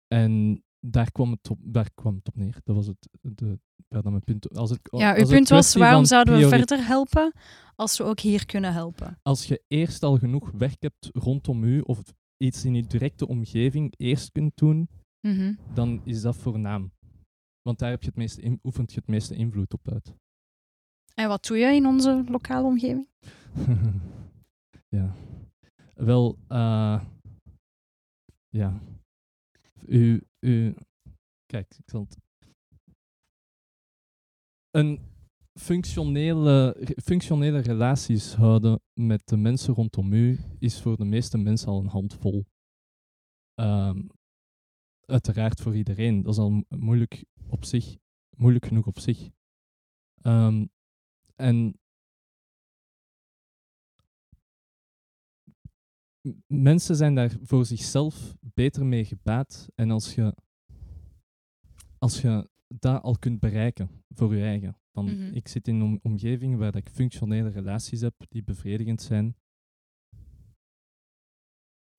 S6: En daar kwam het op, daar kwam het op neer. Dat was het. De, waar dan mijn punt. Als het,
S5: Ja,
S6: als
S5: uw
S6: het
S5: punt was,
S6: kwestie
S5: waarom
S6: van
S5: zouden we
S6: priori-
S5: verder helpen als we ook hier kunnen helpen?
S6: Als je eerst al genoeg werk hebt rondom u of iets in je directe omgeving eerst kunt doen,
S5: Mhm.
S6: dan is dat voornaam. Want daar heb je het meeste in, oefent je het meeste invloed op uit.
S5: En wat doe je in onze lokale omgeving?
S6: ja. Wel, eh ja. U, u, kijk, ik zal het. Een functionele, re- functionele relaties houden met de mensen rondom u is voor de meeste mensen al een handvol. Ehm, uiteraard voor iedereen. Dat is al mo- moeilijk op zich, moeilijk genoeg op zich. Ehm, en m- mensen zijn daar voor zichzelf beter mee gebaat. En als je, als je dat al kunt bereiken voor je eigen. Van,
S5: Mhm.
S6: Ik zit in een om- omgeving waar dat ik functionele relaties heb die bevredigend zijn.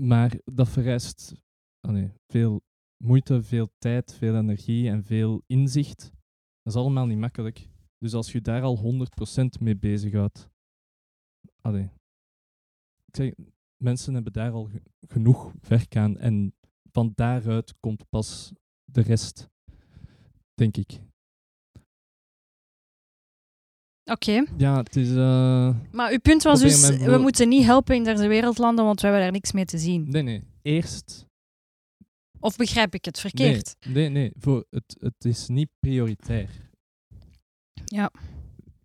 S6: Maar dat vereist allee, veel moeite, veel tijd, veel energie en veel inzicht. Dat is allemaal niet makkelijk. Dus als je daar al 100% mee bezighoudt. Allee. Ik zeg, mensen hebben daar al ge- genoeg werk aan. En van daaruit komt pas de rest, denk ik.
S5: Oké,
S6: Ja, het is. eh,
S5: maar uw punt was
S6: Probeer
S5: dus,
S6: mijn broer-
S5: we moeten niet helpen in derde wereldlanden, want we hebben daar niks mee te zien.
S6: Nee, nee. Eerst.
S5: Of begrijp ik het verkeerd?
S6: Nee, nee. nee. Voor, het, het is niet prioritair.
S5: Ja.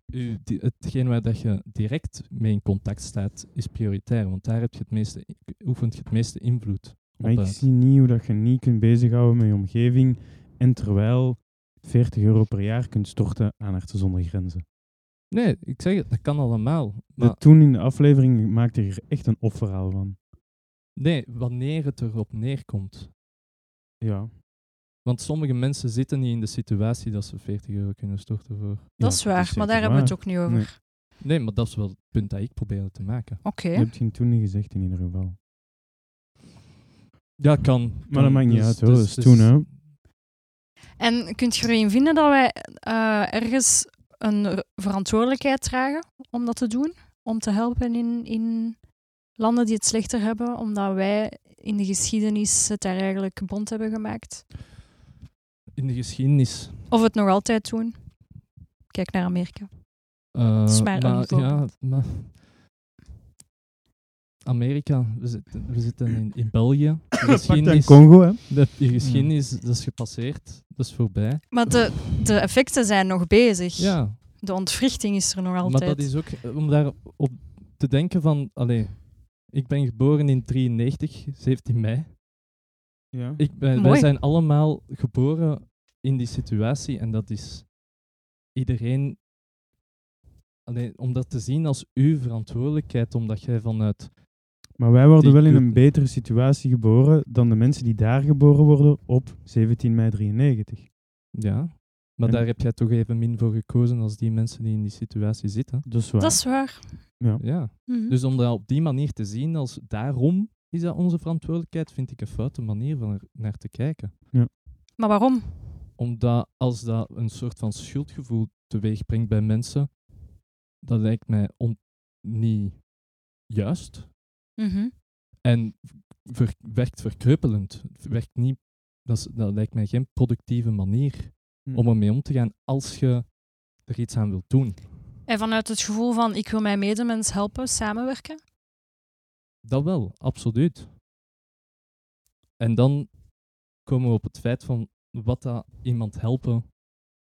S6: U, die, hetgeen waar dat je direct mee in contact staat, is prioritair. Want daar heb je het meeste, oefent je het meeste invloed.
S4: Maar ik
S6: uit.
S4: zie niet hoe dat je niet kunt bezighouden met je omgeving en terwijl 40 euro per jaar kunt storten aan Artsen zonder Grenzen.
S6: Nee, ik zeg het, dat kan allemaal.
S4: De-
S6: Maar
S4: toen in de aflevering maakte je er echt een opverhaal van.
S6: nee, wanneer het erop neerkomt.
S4: Ja.
S6: Want sommige mensen zitten niet in de situatie dat ze 40 euro kunnen storten voor.
S5: Dat is
S4: dus
S5: waar, maar daar hebben we het ook niet over.
S4: Nee.
S6: Nee, maar dat is wel het punt dat ik probeerde te maken.
S5: Oké.
S4: Je hebt je toen niet gezegd in ieder geval.
S6: Ja, kan.
S4: Maar dat maakt niet uit hoor, dat is
S6: dus-
S4: toen hè.
S5: En kunt je erin vinden dat wij eh, ergens een r- verantwoordelijkheid dragen om dat te doen? Om te helpen in, in landen die het slechter hebben, omdat wij in de geschiedenis het daar eigenlijk bond hebben gemaakt?
S6: In de geschiedenis.
S5: Of het nog altijd doen? Kijk naar Amerika.
S6: eh,
S5: is maar een
S6: ja,
S5: voorbeeld.
S6: maar Amerika, we zitten, we zitten in, in België. De
S4: Pakt aan
S6: geschiedenis,
S4: Congo hè.
S6: de, de geschiedenis,
S4: Hmm.
S6: dat is gepasseerd, dat is voorbij.
S5: Maar de, de effecten zijn nog bezig.
S6: Ja,
S5: De ontwrichting is er nog altijd.
S6: Maar dat is ook eh, om daar op te denken van, allee, ik ben geboren in 93, 17 mei.
S4: Ja.
S6: Ik ben, wij
S5: Mooi.
S6: zijn allemaal geboren in die situatie en dat is iedereen. Allee, om dat te zien als uw verantwoordelijkheid, omdat jij vanuit
S4: Maar wij worden
S6: Die
S4: wel in
S6: kun-
S4: een betere situatie geboren dan de mensen die daar geboren worden op 17 mei 93.
S6: Ja. Maar
S4: En-
S6: daar heb jij toch even min voor gekozen als die mensen die in die situatie zitten.
S4: Dat is waar.
S5: Dat is waar.
S6: Ja.
S5: Mhm.
S6: Dus om dat op die manier te zien als daarom is dat onze verantwoordelijkheid, vind ik een foute manier van er naar te kijken.
S5: Maar waarom?
S6: Omdat als dat een soort van schuldgevoel teweeg brengt bij mensen, dat lijkt mij on- niet juist.
S5: Mhm.
S6: En ver- werkt verkreupelend. Werkt niet, dat, is- dat lijkt mij geen productieve manier
S4: Hm.
S6: om ermee om te gaan als je er iets aan wilt doen.
S5: En vanuit het gevoel van ik wil mijn medemens helpen, samenwerken.
S6: Dat wel, absoluut. En dan komen we op het feit van wat dat iemand helpen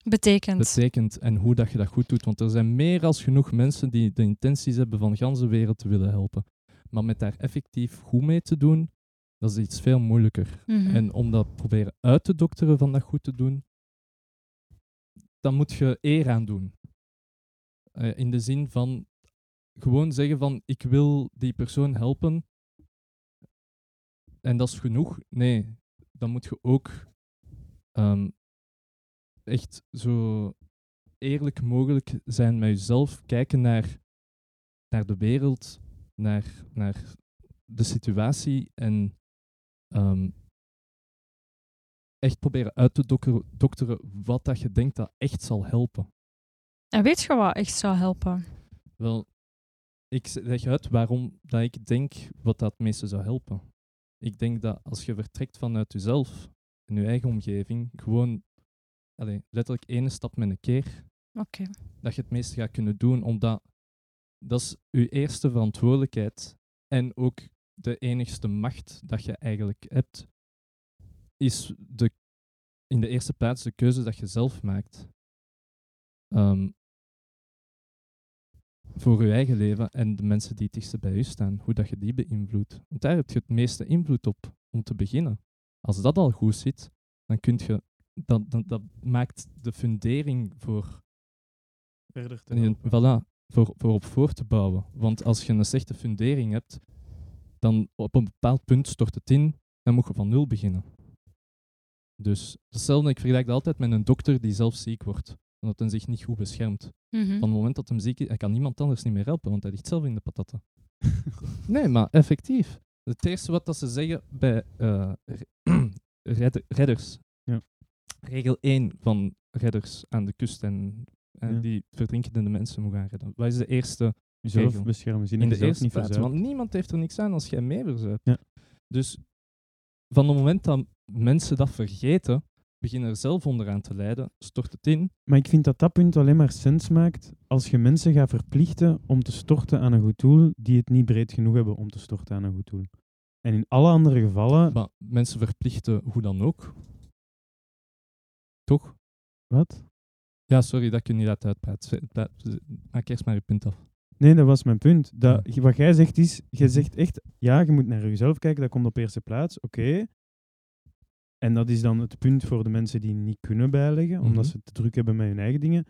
S5: Betekent.
S6: betekent en hoe dat je dat goed doet. Want er zijn meer dan genoeg mensen die de intenties hebben van de ganse wereld te willen helpen. Maar met daar effectief goed mee te doen, dat is iets veel moeilijker.
S5: Mhm.
S6: En om dat proberen uit te dokteren van dat goed te doen, dan moet je eer aan doen. Eh, in de zin van gewoon zeggen van ik wil die persoon helpen en dat is genoeg. Nee, dan moet je ook ehm, echt zo eerlijk mogelijk zijn met jezelf, kijken naar, naar de wereld, naar, naar de situatie en ehm, echt proberen uit te dokker- dokteren wat dat je denkt dat echt zal helpen.
S5: En weet je wat echt zou helpen?
S6: Wel, ik z- leg uit waarom dat ik denk wat dat het meeste zou helpen. Ik denk dat als je vertrekt vanuit jezelf en je eigen omgeving, gewoon allee, letterlijk ene stap met een keer,
S5: Oké.
S6: dat je het meeste gaat kunnen doen, omdat dat is je eerste verantwoordelijkheid en ook de enigste macht dat je eigenlijk hebt, is de, in de eerste plaats de keuze dat je zelf maakt. Ehm, voor je eigen leven en de mensen die het dichtst bij je staan, hoe dat je die beïnvloedt. Want daar heb je het meeste invloed op, om te beginnen. Als dat al goed zit, dan kun je... Dat, dat, dat maakt de fundering voor
S4: Verder te
S6: en je- voilà, voor, voor op voor te bouwen. Want als je een slechte fundering hebt, dan op een bepaald punt stort het in, dan moet je van nul beginnen. Dus hetzelfde, ik vergelijk dat altijd met een dokter die zelf ziek wordt, omdat hij zich niet goed beschermt.
S5: Mhm.
S6: Van het moment dat hem ziek is, hij kan niemand anders niet meer helpen, want hij ligt zelf in de patatten. Nee, maar effectief. Het eerste wat dat ze zeggen bij eh, re- redder- redders.
S4: Ja.
S6: Regel 1 van redders aan de kust en, en
S4: Ja.
S6: die verdrinkende mensen moet gaan redden. Wat is de eerste
S4: Jezelf
S6: regel.
S4: beschermen, zien
S6: in de
S4: jezelf
S6: eerste
S4: niet
S6: plaats?
S4: verzuipen.
S6: Want niemand heeft er niks aan als jij mee verzuipt.
S4: Ja.
S6: Dus van het moment dat mensen dat vergeten, beginnen er zelf onderaan te lijden, stort het in.
S4: Maar ik vind dat dat punt alleen maar sens maakt als je mensen gaat verplichten om te storten aan een goed doel die het niet breed genoeg hebben om te storten aan een goed doel. En in alle andere gevallen...
S6: Maar mensen verplichten hoe dan ook. Toch?
S4: Wat?
S6: Ja, sorry dat ik je niet laat uitpraten. Pla- Maak eerst maar je punt af.
S4: Nee, dat was mijn punt. Dat, wat jij zegt is, jij zegt echt, ja, je moet naar jezelf kijken, dat komt op eerste plaats, oké. En dat is dan het punt voor de mensen die niet kunnen bijleggen, omdat
S6: Mhm.
S4: ze te druk hebben met hun eigen dingen.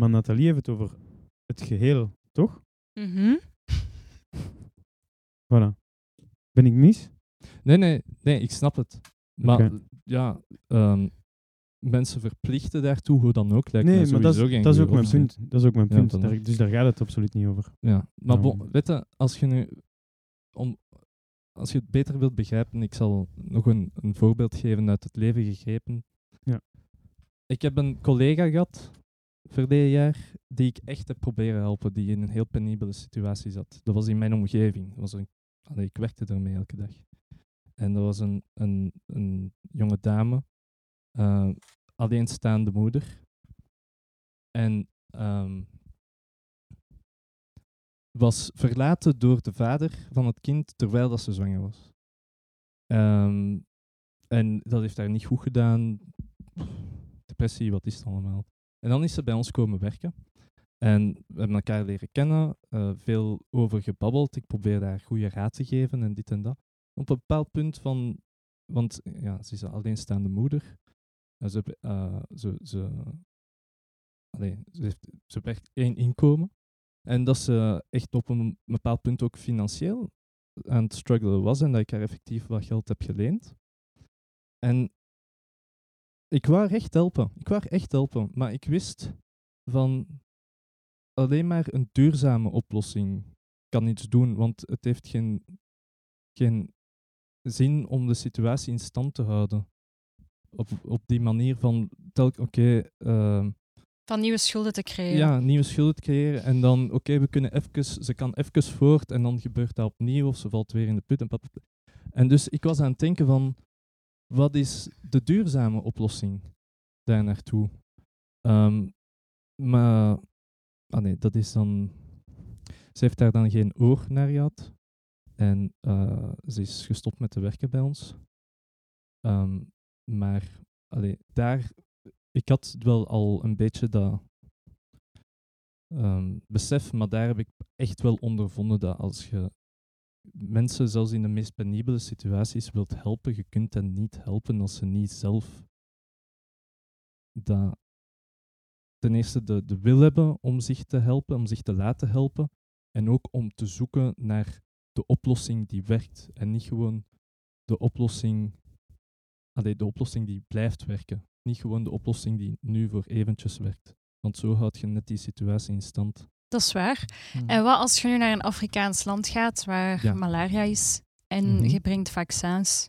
S4: Maar Nathalie heeft het over het geheel, toch?
S5: Mhm.
S4: Voilà. Ben ik mis?
S6: Nee, nee, nee, ik snap het. Maar
S4: Oké.
S6: ja, ehm, mensen verplichten daartoe hoe dan ook. Lijkt mij
S4: nee, maar dat
S6: sowieso
S4: is,
S6: geen
S4: dat is ook
S6: goede
S4: mijn
S6: optie.
S4: punt. Dat is ook mijn
S6: Ja,
S4: punt.
S6: dan-
S4: Daar- dus daar gaat het absoluut niet over.
S6: Ja, maar
S4: Ja.
S6: bon, weet je, als je nu... Om, als je het beter wilt begrijpen, ik zal nog een, een voorbeeld geven uit het leven gegrepen.
S4: Ja.
S6: Ik heb een collega gehad, verleden jaar, die ik echt heb proberen helpen, die in een heel penibele situatie zat. Dat was in mijn omgeving. Dat was een, allee, ik werkte ermee elke dag. En dat was een, een, een jonge dame, eh, alleenstaande moeder. En... ehm, was verlaten door de vader van het kind terwijl dat ze zwanger was. Ehm, en dat heeft haar niet goed gedaan. Depressie, wat is het allemaal? En dan is ze bij ons komen werken. En we hebben elkaar leren kennen, eh, veel over gebabbeld. Ik probeerde haar goede raad te geven en dit en dat. Op een bepaald punt van, want eh, ja, ze is een alleenstaande moeder. En ze, be- eh, ze, ze, allee, ze, heeft, ze werkt één inkomen. En dat ze echt op een bepaald punt ook financieel aan het struggelen was en dat ik haar effectief wat geld heb geleend. En ik wou haar echt helpen. Ik wou haar echt helpen. Maar ik wist van alleen maar een duurzame oplossing kan iets doen, want het heeft geen, geen zin om de situatie in stand te houden. Op, op die manier van, telk- oké, ehm,
S5: Van nieuwe schulden te creëren.
S6: ja, nieuwe schulden creëren en dan, oké, we kunnen even, ze kan even voort en dan gebeurt dat opnieuw of ze valt weer in de put en pap. En dus ik was aan het denken van, wat is de duurzame oplossing daar naartoe? Ehm, maar, ah nee, dat is dan, ze heeft daar dan geen oor naar gehad en eh, ze is gestopt met te werken bij ons. Ehm, maar, allee, daar, ik had wel al een beetje dat ehm, besef, maar daar heb ik echt wel ondervonden dat als je mensen zelfs in de meest penibele situaties wilt helpen, je kunt hen niet helpen als ze niet zelf dat ten eerste de, de wil hebben om zich te helpen, om zich te laten helpen, en ook om te zoeken naar de oplossing die werkt en niet gewoon de oplossing, allee, de oplossing die blijft werken, niet gewoon de oplossing die nu voor eventjes werkt. Want zo houd je net die situatie in stand.
S5: Dat is waar.
S7: Mm.
S5: En wat als je nu naar een Afrikaans land gaat waar
S6: Ja.
S5: malaria is en
S6: Mhm.
S5: je brengt vaccins?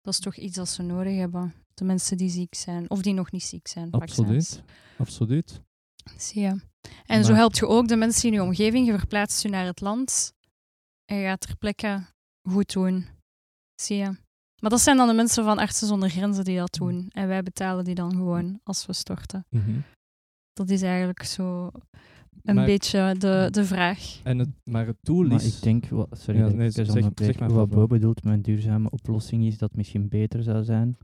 S5: Dat is toch iets dat ze nodig hebben? De mensen die ziek zijn of die nog niet ziek zijn.
S6: Absoluut. Absoluut.
S5: Vaccins. Zie je. En zo
S6: Maar-
S5: help je ook de mensen in je omgeving. Je verplaatst je naar het land en je gaat ter plekke goed doen. Zie je. Maar dat zijn dan de mensen van Artsen zonder Grenzen die dat
S6: Mm.
S5: doen. En wij betalen die dan gewoon als we storten.
S7: Mhm.
S5: Dat is eigenlijk zo een
S6: Maar-
S5: beetje de, de vraag.
S6: En het, maar het doel
S7: Maar
S6: is...
S7: ik denk, wa- sorry,
S6: Ja,
S7: dat ik
S6: nee,
S7: even
S6: zeg- zeg
S7: onderbreek.
S6: maar,
S7: wat
S6: Pablo.
S7: Bo bedoelt met een duurzame oplossing is dat misschien beter zou zijn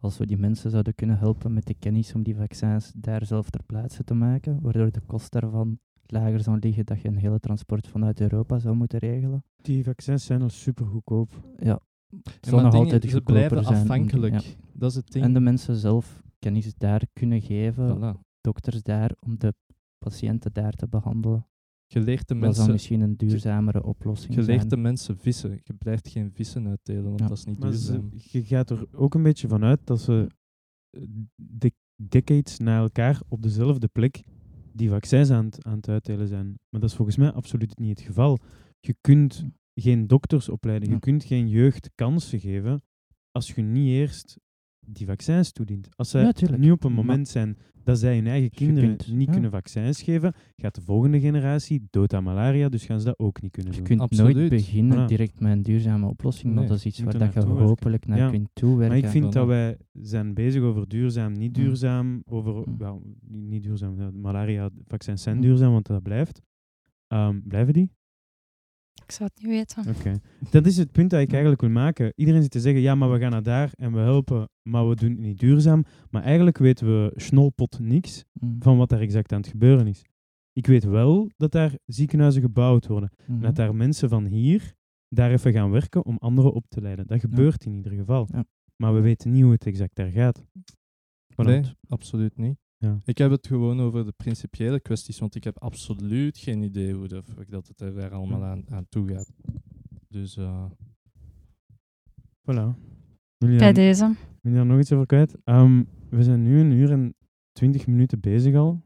S7: als we die mensen zouden kunnen helpen met de kennis om die vaccins daar zelf ter plaatse te maken, waardoor de kost daarvan lager zou liggen dat je een hele transport vanuit Europa zou moeten regelen.
S4: Die vaccins zijn al super goedkoop.
S7: Ja, het
S6: Ja,
S7: zal
S6: maar
S7: nog
S6: dingen-
S7: altijd
S6: Ze
S7: goedkoper
S6: blijven
S7: zijn.
S6: afhankelijk.
S7: Ja.
S6: Dat is het ding.
S7: En de mensen zelf kennis daar kunnen geven,
S6: Voilà.
S7: dokters daar, om de patiënten daar te behandelen.
S6: Je leert de
S7: Dat zou
S6: mensen...
S7: misschien een duurzamere oplossing
S6: Je
S7: zijn.
S6: leert de mensen vissen. Je blijft geen vissen uitdelen, want
S7: Ja.
S6: dat is niet
S4: Maar ze-
S6: duurzaam.
S4: je gaat er ook een beetje van uit dat ze eh, de- decades na elkaar op dezelfde plek die vaccins aan, het- aan het uitdelen zijn. Maar dat is volgens mij absoluut niet het geval. Je kunt geen dokters opleiden, je
S7: Ja.
S4: kunt geen jeugd kansen geven als je niet eerst die vaccins toedient. Als zij
S7: Ja, tuurlijk.
S4: nu op een
S7: Maar-
S4: moment zijn dat zij hun eigen
S7: Je
S4: kinderen
S7: kunt-
S4: niet
S7: ja.
S4: kunnen vaccins geven, gaat de volgende generatie dood aan malaria, dus gaan ze dat ook niet kunnen
S7: Je
S4: doen.
S7: kunt
S6: Absoluut.
S7: nooit beginnen
S4: Ja.
S7: direct met een duurzame oplossing,
S6: Nee,
S7: want dat is iets
S4: je
S7: waar
S4: moet
S7: dat
S4: er
S7: je
S4: naartoe werken.
S7: hopelijk naar
S4: Ja.
S7: kunt toewerken.
S4: Maar ik vind dat
S6: voilà.
S4: wij zijn bezig over duurzaam, niet
S7: Mm.
S4: duurzaam, over
S7: Mm.
S4: wel, niet niet duurzaam, ja, malaria, vaccins zijn
S7: Mm.
S4: duurzaam, want dat blijft. Ehm, blijven die?
S5: Ik zou het niet weten.
S4: Dat is het punt dat
S7: Mm.
S4: ik eigenlijk wil maken. Iedereen zit te zeggen, ja, maar we gaan naar daar en we helpen, maar we doen het niet duurzaam. Maar eigenlijk weten we snolpot niks
S7: Mm,
S4: van wat daar exact aan het gebeuren is. Ik weet wel dat daar ziekenhuizen gebouwd worden.
S7: mhm.
S4: En dat daar mensen van hier daar even gaan werken om anderen op te leiden. Dat gebeurt in ieder geval.
S7: Ja.
S4: Maar we weten niet hoe het exact daar gaat. Voilà.
S6: Nee, absoluut niet.
S4: Ja.
S6: Ik heb het gewoon over de principiële kwesties, want ik heb absoluut geen idee hoe de fuck dat het er daar allemaal aan, aan toe gaat. Dus eh,
S4: Voilà. Wil je,
S5: Bij
S4: daar,
S5: deze.
S4: wil je daar nog iets over kwijt? Ehm, we zijn nu een uur en twintig minuten bezig al.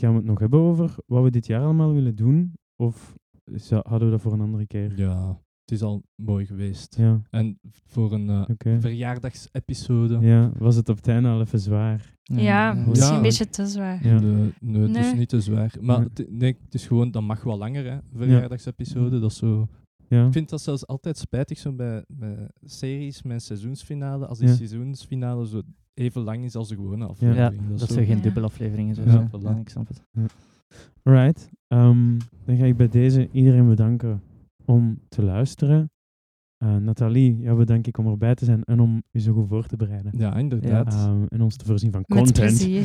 S4: Gaan we het nog hebben over wat we dit jaar allemaal willen doen? Of zou- hadden we dat voor een andere keer?
S6: ja, het is al mooi geweest.
S4: Ja,
S6: En voor een eh,
S4: oké.
S6: verjaardagsepisode.
S4: Ja, was het op het einde al even zwaar?
S5: Ja, misschien
S6: Ja,
S5: een
S6: ik-
S5: beetje te zwaar.
S4: Ja.
S6: Nee, nee, het is
S5: Nee.
S6: niet te zwaar. Maar
S4: Nee.
S6: het, nee, het is gewoon, dat mag wel langer, hè. Verjaardagsepisode, dat is zo...
S4: Ja.
S6: Ik vind dat zelfs altijd spijtig zo bij, bij series met seizoensfinale. Als die
S4: Ja.
S6: seizoensfinale zo even lang is als de gewone
S7: Ja,
S6: aflevering. is
S7: dat
S6: zo-
S7: zijn geen
S5: Ja.
S7: dubbelafleveringen zo
S6: Ja,
S7: zijn.
S6: voilà.
S7: Ja, ik snap het.
S4: Right. Ehm, dan ga ik bij deze iedereen bedanken om te luisteren. Eh Nathalie, jou bedank ik om erbij te zijn en om u zo goed voor te bereiden.
S6: Ja, inderdaad.
S4: Ehm, en ons te voorzien van
S5: Met
S4: content.
S5: plezier.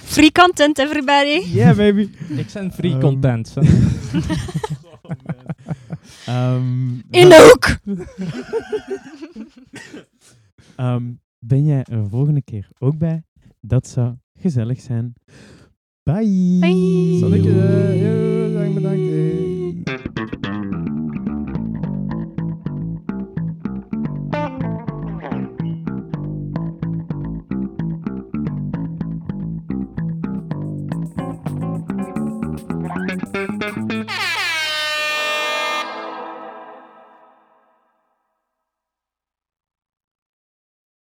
S5: Free content, everybody.
S4: Yeah, baby.
S6: Ik ben free
S4: Ehm,
S6: content. hè.
S4: Ehm,
S5: In de hoek.
S4: ehm, ben jij er volgende keer ook bij? Dat zou gezellig zijn. Bye.
S5: Bye.
S6: Zal ik, eh, yo.